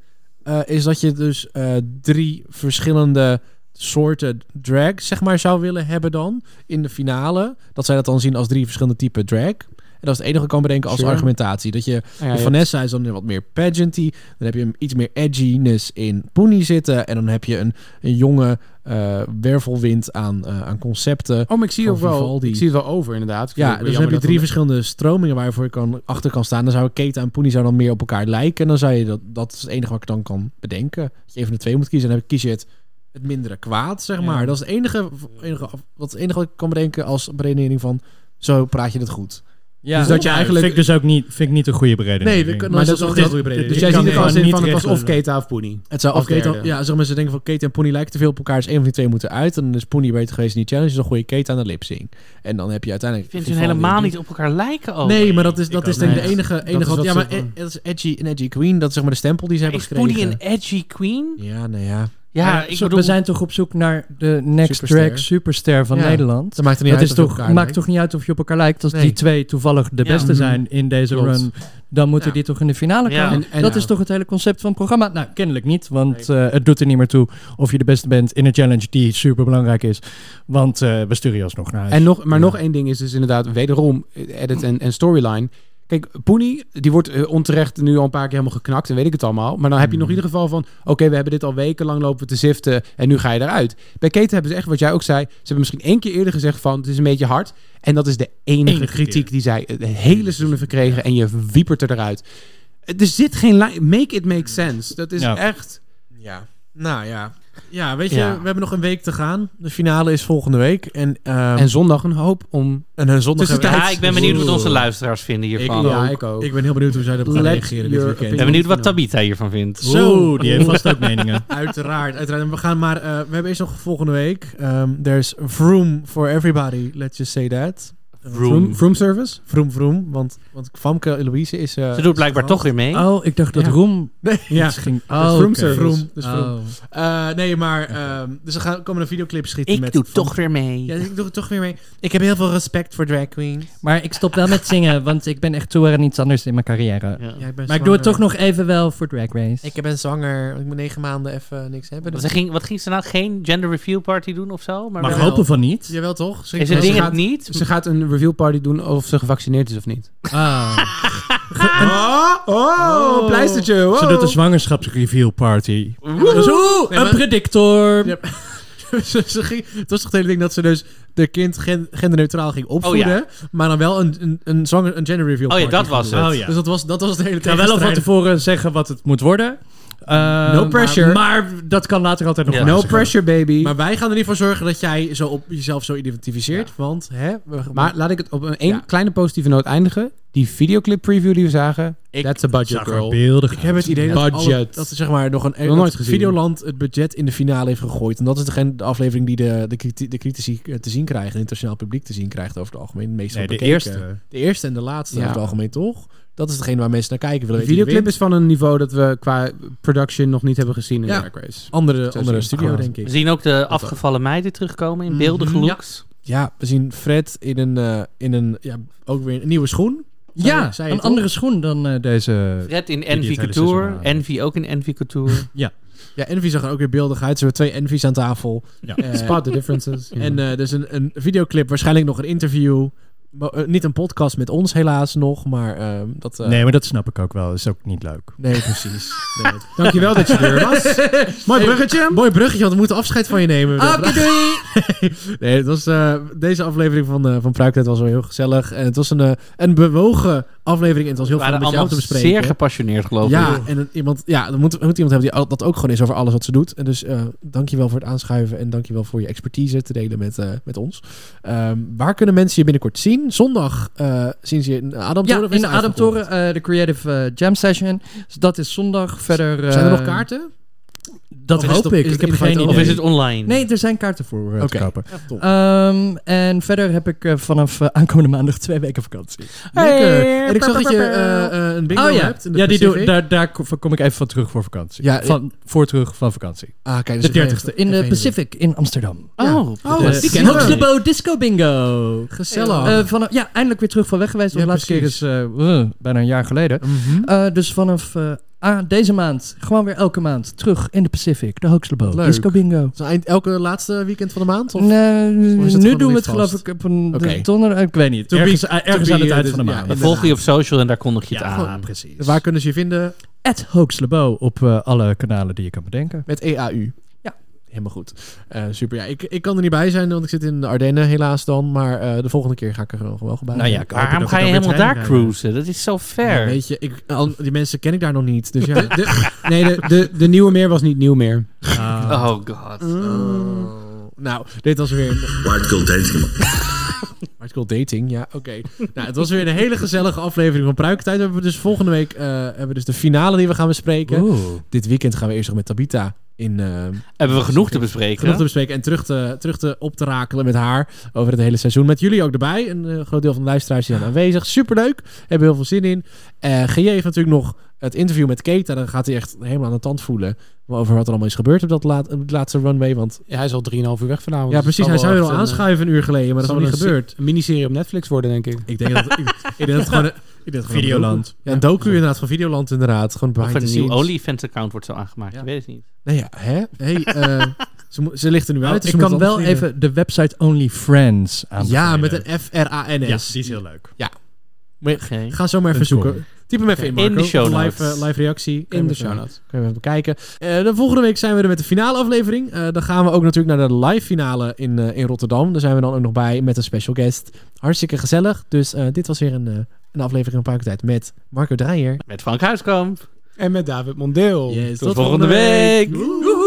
[SPEAKER 1] eh, is dat je dus eh, drie verschillende soorten drag, zeg maar, zou willen hebben dan. In de finale. Dat zij dat dan zien als drie verschillende typen drag. En dat is het enige wat ik kan bedenken als
[SPEAKER 4] Sure.
[SPEAKER 1] argumentatie. Dat je.
[SPEAKER 4] ja,
[SPEAKER 1] de
[SPEAKER 4] je
[SPEAKER 1] Vanessa is dan wat meer pageanty. Dan heb je hem iets meer edginess in Pony zitten. En dan heb je een, een jonge eh, wervelwind aan, eh, aan concepten.
[SPEAKER 4] Oh, maar ik zie,
[SPEAKER 1] van
[SPEAKER 4] ook wel,
[SPEAKER 1] Vivaldi.
[SPEAKER 4] ik zie het wel over, inderdaad. Ik vind
[SPEAKER 1] Ja,
[SPEAKER 4] het
[SPEAKER 1] dus
[SPEAKER 4] wel
[SPEAKER 1] dan heb je
[SPEAKER 4] jammer
[SPEAKER 1] drie
[SPEAKER 4] dat
[SPEAKER 1] verschillende stromingen waarvoor je kan, achter kan staan. Dan zou Keta en Poenie zou dan meer op elkaar lijken. En dan zou je dat, dat is het enige wat ik dan kan bedenken. Dat je even de twee moet kiezen. En dan kies je het, het mindere kwaad, zeg
[SPEAKER 5] Ja.
[SPEAKER 1] maar. Dat is het enige, enige, wat het enige wat ik kan bedenken als beredenering van zo praat je het goed.
[SPEAKER 5] Ja.
[SPEAKER 1] dus dat je
[SPEAKER 5] Ja,
[SPEAKER 1] eigenlijk.
[SPEAKER 5] Vind ik dus ook niet, vind ik niet een goede beredening.
[SPEAKER 1] Nee, we kunnen- dat
[SPEAKER 5] maar dat
[SPEAKER 1] is ook
[SPEAKER 5] is
[SPEAKER 1] geen
[SPEAKER 5] dat,
[SPEAKER 1] goede beredening.
[SPEAKER 5] Dus
[SPEAKER 4] Dus
[SPEAKER 5] jij
[SPEAKER 4] jij
[SPEAKER 5] ziet
[SPEAKER 4] ziet
[SPEAKER 5] het gewoon
[SPEAKER 4] er als
[SPEAKER 5] zin
[SPEAKER 4] in
[SPEAKER 5] van
[SPEAKER 4] van
[SPEAKER 5] het
[SPEAKER 4] het
[SPEAKER 5] was
[SPEAKER 4] was
[SPEAKER 5] of
[SPEAKER 4] of Keta of Poenie.
[SPEAKER 1] Het zou of Keta, ja, zeg maar, ze denken van Kate en Pony lijken te veel op elkaar. Dus één van die twee moet eruit. En dan is Pony beter geweest in die challenge. Dus Dan gooi je Kate aan de lip sync. En dan heb je uiteindelijk.
[SPEAKER 3] Ik vind hun
[SPEAKER 1] Vivaldi.
[SPEAKER 3] helemaal niet op elkaar lijken ook.
[SPEAKER 1] Nee, maar dat is, dat
[SPEAKER 3] Oh,
[SPEAKER 1] is
[SPEAKER 3] Ik ook
[SPEAKER 1] denk ik de
[SPEAKER 3] niet.
[SPEAKER 1] enige... enige wat, ja, maar e- dat is edgy, een edgy queen. Dat is zeg maar de stempel die ze hebben
[SPEAKER 3] Is Poenie
[SPEAKER 1] gekregen.
[SPEAKER 3] een edgy queen?
[SPEAKER 1] Ja, nou ja.
[SPEAKER 3] Ja,
[SPEAKER 5] Maar
[SPEAKER 3] ik
[SPEAKER 5] zo-
[SPEAKER 3] bedoel-
[SPEAKER 5] We zijn toch op zoek naar de next
[SPEAKER 1] Superster.
[SPEAKER 5] drag superster van
[SPEAKER 1] Ja.
[SPEAKER 5] Nederland.
[SPEAKER 1] Dat maakt er niet uit
[SPEAKER 5] is
[SPEAKER 1] of je
[SPEAKER 5] toch,
[SPEAKER 1] op elkaar
[SPEAKER 5] maakt
[SPEAKER 1] lijkt.
[SPEAKER 5] toch niet uit of je op elkaar lijkt. Als
[SPEAKER 1] Nee.
[SPEAKER 5] die twee toevallig de
[SPEAKER 1] Ja.
[SPEAKER 5] beste
[SPEAKER 1] Mhm.
[SPEAKER 5] zijn in deze
[SPEAKER 1] Klopt.
[SPEAKER 5] run, dan moeten
[SPEAKER 1] Ja.
[SPEAKER 5] die toch in de finale
[SPEAKER 1] Ja.
[SPEAKER 5] komen.
[SPEAKER 1] En- en
[SPEAKER 5] dat
[SPEAKER 1] ja.
[SPEAKER 5] is toch het hele concept van het programma? Nou, kennelijk niet, want eh, het doet er niet meer toe of je de beste bent in een challenge die super belangrijk is. Want eh, we sturen je alsnog naar huis.
[SPEAKER 4] En nog, maar nog één ding is dus inderdaad wederom eh, edit en, en storyline. Kijk, Poenie, die wordt eh, onterecht nu al een paar keer helemaal geknakt en weet ik het allemaal. Maar dan heb je nog in ieder geval van, oké, we hebben dit al wekenlang lopen te ziften en nu ga je eruit. Bij Kate hebben ze echt, wat jij ook zei, ze hebben misschien één keer eerder gezegd van, het is een beetje hard. En dat is de enige
[SPEAKER 5] Enige
[SPEAKER 4] kritiek die zij het hele seizoen heeft verkregen en je wiepert er eruit. Er zit geen lijn, make it make sense. Dat is
[SPEAKER 5] Ja.
[SPEAKER 4] echt...
[SPEAKER 1] Ja. Nou ja.
[SPEAKER 16] Ja, weet je,
[SPEAKER 1] Ja.
[SPEAKER 16] we hebben nog een week te gaan.
[SPEAKER 1] De finale is volgende week. En, ehm,
[SPEAKER 4] en zondag een hoop om...
[SPEAKER 1] En een zondag
[SPEAKER 3] Ja, ik ben benieuwd wat onze luisteraars vinden hiervan.
[SPEAKER 1] Ik, ja, ik ook. Ik ben heel benieuwd hoe zij erop gaan
[SPEAKER 3] Let
[SPEAKER 1] reageren dit
[SPEAKER 3] your
[SPEAKER 1] weekend.
[SPEAKER 3] opinion. Ben benieuwd wat Tabitha hiervan vindt.
[SPEAKER 16] Zo, die heeft vast ook meningen.
[SPEAKER 1] Uiteraard, uiteraard. En We gaan maar... eh, we hebben eerst nog volgende week. Ehm there's Vroom for everybody. Let's just say that.
[SPEAKER 3] Vroom. Vroom-
[SPEAKER 1] service? Vroom vroom. Want, want Famke Louise is... eh,
[SPEAKER 3] Ze doet
[SPEAKER 1] is
[SPEAKER 3] blijkbaar
[SPEAKER 1] gehad.
[SPEAKER 3] toch weer mee.
[SPEAKER 5] Oh, ik dacht dat Roem
[SPEAKER 1] Nee,
[SPEAKER 5] ja.
[SPEAKER 1] ja.
[SPEAKER 5] ging.
[SPEAKER 1] Dus
[SPEAKER 5] Oh,
[SPEAKER 1] vroom
[SPEAKER 5] oké.
[SPEAKER 1] service. Vroom, dus
[SPEAKER 5] Oh.
[SPEAKER 1] vroom. Eh, nee, maar... ehm, dus we gaan, komen een videoclip schieten
[SPEAKER 3] Ik
[SPEAKER 1] met...
[SPEAKER 3] doe
[SPEAKER 1] Famke.
[SPEAKER 3] toch weer mee.
[SPEAKER 1] Ja, dus ik doe toch weer mee. Ik heb heel veel respect voor drag queens.
[SPEAKER 5] Maar ik stop wel met zingen, want ik ben echt toe aan iets anders in mijn carrière.
[SPEAKER 1] Ja, ik ben
[SPEAKER 5] maar ik doe
[SPEAKER 1] zwanger.
[SPEAKER 5] het toch nog even wel voor Drag Race.
[SPEAKER 1] Ik ben zwanger. want Ik moet negen maanden even niks hebben. dus-
[SPEAKER 3] Ze ging, wat ging ze nou? Geen gender reveal party doen of zo? Maar
[SPEAKER 5] Mag
[SPEAKER 3] wel-
[SPEAKER 5] hopen van niet.
[SPEAKER 1] Jawel toch?
[SPEAKER 3] Is het ding het niet?
[SPEAKER 4] Ze gaat een reveal party doen of ze gevaccineerd is of niet.
[SPEAKER 5] Ah.
[SPEAKER 1] Oh, oh, een pleistertje.
[SPEAKER 5] Ze
[SPEAKER 1] wow.
[SPEAKER 5] doet een zwangerschapsreveal party.
[SPEAKER 1] Woehoe.
[SPEAKER 5] Dus, oeh,
[SPEAKER 1] Nee,
[SPEAKER 5] een
[SPEAKER 1] maar-
[SPEAKER 5] predictor.
[SPEAKER 1] Ja. ze, ze ging, het was toch het hele ding dat ze dus de kind gen- genderneutraal ging opvoeden.
[SPEAKER 5] Oh, ja.
[SPEAKER 1] Maar dan wel een, een, een, zwanger, een gender reveal
[SPEAKER 5] Oh ja,
[SPEAKER 1] party
[SPEAKER 5] dat was
[SPEAKER 1] ging doen.
[SPEAKER 5] het. Oh ja.
[SPEAKER 1] Dus dat was, dat was het hele
[SPEAKER 5] Ik ga wel al van
[SPEAKER 1] tegenstrijd.
[SPEAKER 5] tevoren zeggen wat het moet worden. Eh,
[SPEAKER 1] No pressure.
[SPEAKER 5] Maar, maar dat kan later altijd nog
[SPEAKER 1] No
[SPEAKER 5] wijzigen.
[SPEAKER 1] pressure, baby. Maar wij gaan er niet voor zorgen dat jij zo op jezelf zo identificeert. Want, hè, we-
[SPEAKER 4] Maar laat ik het op een één kleine positieve noot eindigen. Die videoclip preview die we zagen, that's a budget
[SPEAKER 1] zag er
[SPEAKER 4] girl.
[SPEAKER 1] ik heb het idee dat, alle, dat ze zeg maar nog een
[SPEAKER 4] Nog
[SPEAKER 1] dat
[SPEAKER 4] nooit gezien.
[SPEAKER 1] Videoland het budget in de finale heeft gegooid. En dat is degene, de aflevering die de, de, criti- de critici eh, te zien krijgen. Het internationaal publiek te zien krijgt over het algemeen. De, meeste
[SPEAKER 16] Nee,
[SPEAKER 1] wordt
[SPEAKER 16] de
[SPEAKER 1] bekeken.
[SPEAKER 16] eerste.
[SPEAKER 1] De eerste en de laatste
[SPEAKER 4] Ja.
[SPEAKER 1] over het algemeen, toch? Dat is degene waar mensen naar kijken willen
[SPEAKER 4] De
[SPEAKER 1] weten wie
[SPEAKER 4] videoclip
[SPEAKER 1] wint.
[SPEAKER 4] is van een niveau dat we qua production nog niet hebben gezien in
[SPEAKER 1] Ja.
[SPEAKER 4] Drag Race.
[SPEAKER 1] Andere-
[SPEAKER 4] Zo
[SPEAKER 1] andere
[SPEAKER 4] zien.
[SPEAKER 1] studio,
[SPEAKER 4] Gewoon.
[SPEAKER 1] denk ik.
[SPEAKER 3] We zien ook de afgevallen meiden terugkomen in beeldige
[SPEAKER 1] Mhm.
[SPEAKER 3] looks.
[SPEAKER 1] Ja, we zien Fred in een, eh, in een ja, ook weer een nieuwe schoen. Zei-
[SPEAKER 5] Ja,
[SPEAKER 1] zei je
[SPEAKER 5] een
[SPEAKER 1] toch?
[SPEAKER 5] andere schoen dan eh, deze.
[SPEAKER 3] Fred in
[SPEAKER 5] die het
[SPEAKER 3] Envy
[SPEAKER 5] hele
[SPEAKER 3] Couture.
[SPEAKER 5] seizoen aan-
[SPEAKER 3] Envy ook in Envy Couture.
[SPEAKER 5] Ja.
[SPEAKER 1] Ja, Envy zag er ook weer beeldig uit. Ze hebben twee Envy's aan tafel.
[SPEAKER 5] Ja.
[SPEAKER 1] Eh,
[SPEAKER 4] Spot the differences. Ja.
[SPEAKER 1] En eh, dus een, een videoclip, waarschijnlijk nog een interview. Maar, eh, niet een podcast met ons helaas nog, maar ehm, dat... eh,
[SPEAKER 5] Nee, maar dat snap ik ook wel. Dat is ook niet leuk.
[SPEAKER 1] Nee, precies. Nee.
[SPEAKER 5] Dankjewel dat je er was.
[SPEAKER 1] Mooi bruggetje. Mooi bruggetje, want we moeten afscheid van je nemen. Oké, nee, het was, eh, deze aflevering van, eh van Pruiktijd was wel heel gezellig. En het was een, eh, een bewogen aflevering en het was heel
[SPEAKER 3] We
[SPEAKER 1] fijn om
[SPEAKER 3] waren
[SPEAKER 1] met jou te
[SPEAKER 3] allemaal
[SPEAKER 1] bespreken.
[SPEAKER 3] zeer gepassioneerd, geloof ik.
[SPEAKER 1] Ja, en een- iemand, ja, er moet, er moet iemand hebben die al- dat ook gewoon is over alles wat ze doet. En dus eh dankjewel voor het aanschuiven en dankjewel voor je expertise te delen met, eh, met ons. Ehm, waar kunnen mensen je binnenkort zien? Zondag eh, zien ze je in de Adamtoren?
[SPEAKER 5] Ja,
[SPEAKER 1] of is
[SPEAKER 5] in de
[SPEAKER 1] het uitverkocht?
[SPEAKER 5] Adaptoren, eh, de Creative eh, Jam Session. Dus dat is zondag. Verder,
[SPEAKER 1] Zijn er
[SPEAKER 5] eh,
[SPEAKER 1] nog kaarten?
[SPEAKER 5] Dat
[SPEAKER 1] Of is
[SPEAKER 5] hoop
[SPEAKER 1] het op-
[SPEAKER 5] ik.
[SPEAKER 1] is
[SPEAKER 5] Ik
[SPEAKER 1] het
[SPEAKER 5] heb
[SPEAKER 1] invite
[SPEAKER 5] geen idee.
[SPEAKER 1] only? Of is
[SPEAKER 3] het online?
[SPEAKER 5] Nee, er zijn kaarten voor eh,
[SPEAKER 1] Oké.
[SPEAKER 5] te kopen.
[SPEAKER 1] Ja, top.
[SPEAKER 5] Ehm, en verder heb ik eh, vanaf eh, aankomende maandag twee weken vakantie.
[SPEAKER 1] Lekker. En ik zag dat je eh, eh, een bingo
[SPEAKER 5] oh ja,
[SPEAKER 1] hebt. in de
[SPEAKER 5] ja die
[SPEAKER 1] Pacific.
[SPEAKER 5] doe, daar, daar kom kom ik even van terug voor vakantie.
[SPEAKER 1] Ja,
[SPEAKER 5] van, voor terug van vakantie.
[SPEAKER 1] Ah, kijk, dus
[SPEAKER 5] de
[SPEAKER 1] ik ben
[SPEAKER 5] 30ste.
[SPEAKER 1] even-
[SPEAKER 5] In de
[SPEAKER 1] even
[SPEAKER 5] Pacific in Amsterdam.
[SPEAKER 1] Ja.
[SPEAKER 3] Oh,
[SPEAKER 1] Oh,
[SPEAKER 5] de
[SPEAKER 1] wat die kennen we.
[SPEAKER 5] Huxlebo Disco Bingo.
[SPEAKER 1] Gezellig.
[SPEAKER 5] Eh, vanaf, ja, eindelijk weer terug van weg geweest. want
[SPEAKER 1] Ja,
[SPEAKER 5] de laatste
[SPEAKER 1] precies. Mhm.
[SPEAKER 5] keer is eh, uh, bijna een jaar geleden. Eh, dus vanaf eh, ah, deze maand, gewoon weer elke maand, terug in de Pacific. De Huxlebo
[SPEAKER 1] Leuk.
[SPEAKER 5] Disco Bingo.
[SPEAKER 1] Is het eind- elke laatste weekend van de maand? Of? Of
[SPEAKER 5] Nee,
[SPEAKER 1] is het
[SPEAKER 5] nu
[SPEAKER 1] gewoon
[SPEAKER 5] doen we
[SPEAKER 1] niet
[SPEAKER 5] het geloof
[SPEAKER 1] vast?
[SPEAKER 5] ik op een
[SPEAKER 1] Oké.
[SPEAKER 5] donder- Ik weet niet.
[SPEAKER 1] To be-
[SPEAKER 5] ergens
[SPEAKER 1] to
[SPEAKER 5] ergens
[SPEAKER 1] be,
[SPEAKER 5] aan het
[SPEAKER 1] eh,
[SPEAKER 5] eind
[SPEAKER 1] dus-
[SPEAKER 5] van de
[SPEAKER 1] ja,
[SPEAKER 5] maand.
[SPEAKER 3] We volgen je op social en daar kondig je het
[SPEAKER 5] Ja,
[SPEAKER 3] aan.
[SPEAKER 5] precies.
[SPEAKER 1] Waar kunnen ze je vinden?
[SPEAKER 5] At Hoaxlebo op eh, alle kanalen die je kan bedenken.
[SPEAKER 1] Met EAU. Ja. Helemaal goed. Eh, super. Ja, ik, ik kan er niet bij zijn, want ik zit in de Ardennen helaas dan. Maar eh, de volgende keer ga ik er gewoon wel bij.
[SPEAKER 5] Nou ja, ik hoop
[SPEAKER 1] Maar
[SPEAKER 3] Waarom ga je helemaal daar cruisen? Dat is zo ver.
[SPEAKER 1] Ja, weet je, ik, al- die mensen ken ik daar nog niet. Dus ja. De-
[SPEAKER 4] Nee, de, de, de nieuwe meer was niet nieuw meer.
[SPEAKER 3] Oh god.
[SPEAKER 1] nou, dit was weer... een-
[SPEAKER 19] White dating.
[SPEAKER 1] Artikel dating, ja, oké. nou, het was weer een hele gezellige aflevering van Pruikentijd. We hebben dus volgende week eh, hebben we dus de finale die we gaan bespreken.
[SPEAKER 5] Oeh.
[SPEAKER 1] Dit weekend gaan we eerst nog met Tabita in... eh,
[SPEAKER 3] Hebben we genoeg te bespreken?
[SPEAKER 5] eh?
[SPEAKER 1] Genoeg te bespreken en terug te, terug te op te rakelen met haar over het hele seizoen. Met jullie ook erbij. Een eh, groot deel van de luisteraars zijn aanwezig. Superleuk. Hebben heel veel zin in. Eh GJ heeft natuurlijk nog het interview met Keta. Dan gaat hij echt helemaal aan de tand voelen over wat er allemaal is gebeurd op dat laat, op de laatste runway. Want
[SPEAKER 4] Ja, hij is al 3,5 uur weg vanavond. Dus
[SPEAKER 1] ja, precies. Hij zou
[SPEAKER 4] zou
[SPEAKER 1] weer al aanschuiven een uur geleden, maar dat is
[SPEAKER 5] eh,
[SPEAKER 1] nog niet gebeurd.
[SPEAKER 4] eh, Een miniserie op Netflix worden, denk ik.
[SPEAKER 1] Ik denk dat, ik, ik denk dat het gewoon... een- Ik denk dat het gewoon een
[SPEAKER 5] Videoland.
[SPEAKER 1] docu- Ja, een docu inderdaad van Videoland inderdaad. Gewoon
[SPEAKER 3] Of
[SPEAKER 1] behind
[SPEAKER 3] een
[SPEAKER 1] the
[SPEAKER 3] nieuw
[SPEAKER 1] scenes.
[SPEAKER 3] OnlyFans-account wordt zo aangemaakt. Ik weet het niet.
[SPEAKER 1] Nee, ja, hè? Hey, eh, ze, mo- ze ligt er nu uit. dus
[SPEAKER 5] Oh, ik
[SPEAKER 1] ze moet
[SPEAKER 5] kan
[SPEAKER 1] het
[SPEAKER 5] wel
[SPEAKER 1] anders vinden.
[SPEAKER 5] even de website Only Friends aanbevelen.
[SPEAKER 1] Ja, met een F-R-A-N-S.
[SPEAKER 5] Ja, die is heel leuk.
[SPEAKER 1] Ja. Maar Ga zo maar
[SPEAKER 5] Een
[SPEAKER 1] even zoeken.
[SPEAKER 5] score.
[SPEAKER 1] Typ hem even
[SPEAKER 5] Oké.
[SPEAKER 1] in, Marco.
[SPEAKER 5] In de show
[SPEAKER 1] Live,
[SPEAKER 5] notes.
[SPEAKER 1] eh, live reactie.
[SPEAKER 4] In de show notes.
[SPEAKER 1] Kunnen we even kijken. Eh, de volgende week zijn we er met de finale aflevering. Eh, dan gaan we ook natuurlijk naar de live finale in, eh, in Rotterdam. Daar zijn we dan ook nog bij met een special guest. Hartstikke gezellig. Dus eh, dit was weer een, eh, een aflevering van Parktijd met Marco Draaier.
[SPEAKER 3] Met Frank Huiskamp.
[SPEAKER 4] En met David Mondeel.
[SPEAKER 1] Yes,
[SPEAKER 3] Tot volgende week.
[SPEAKER 1] Woehoe.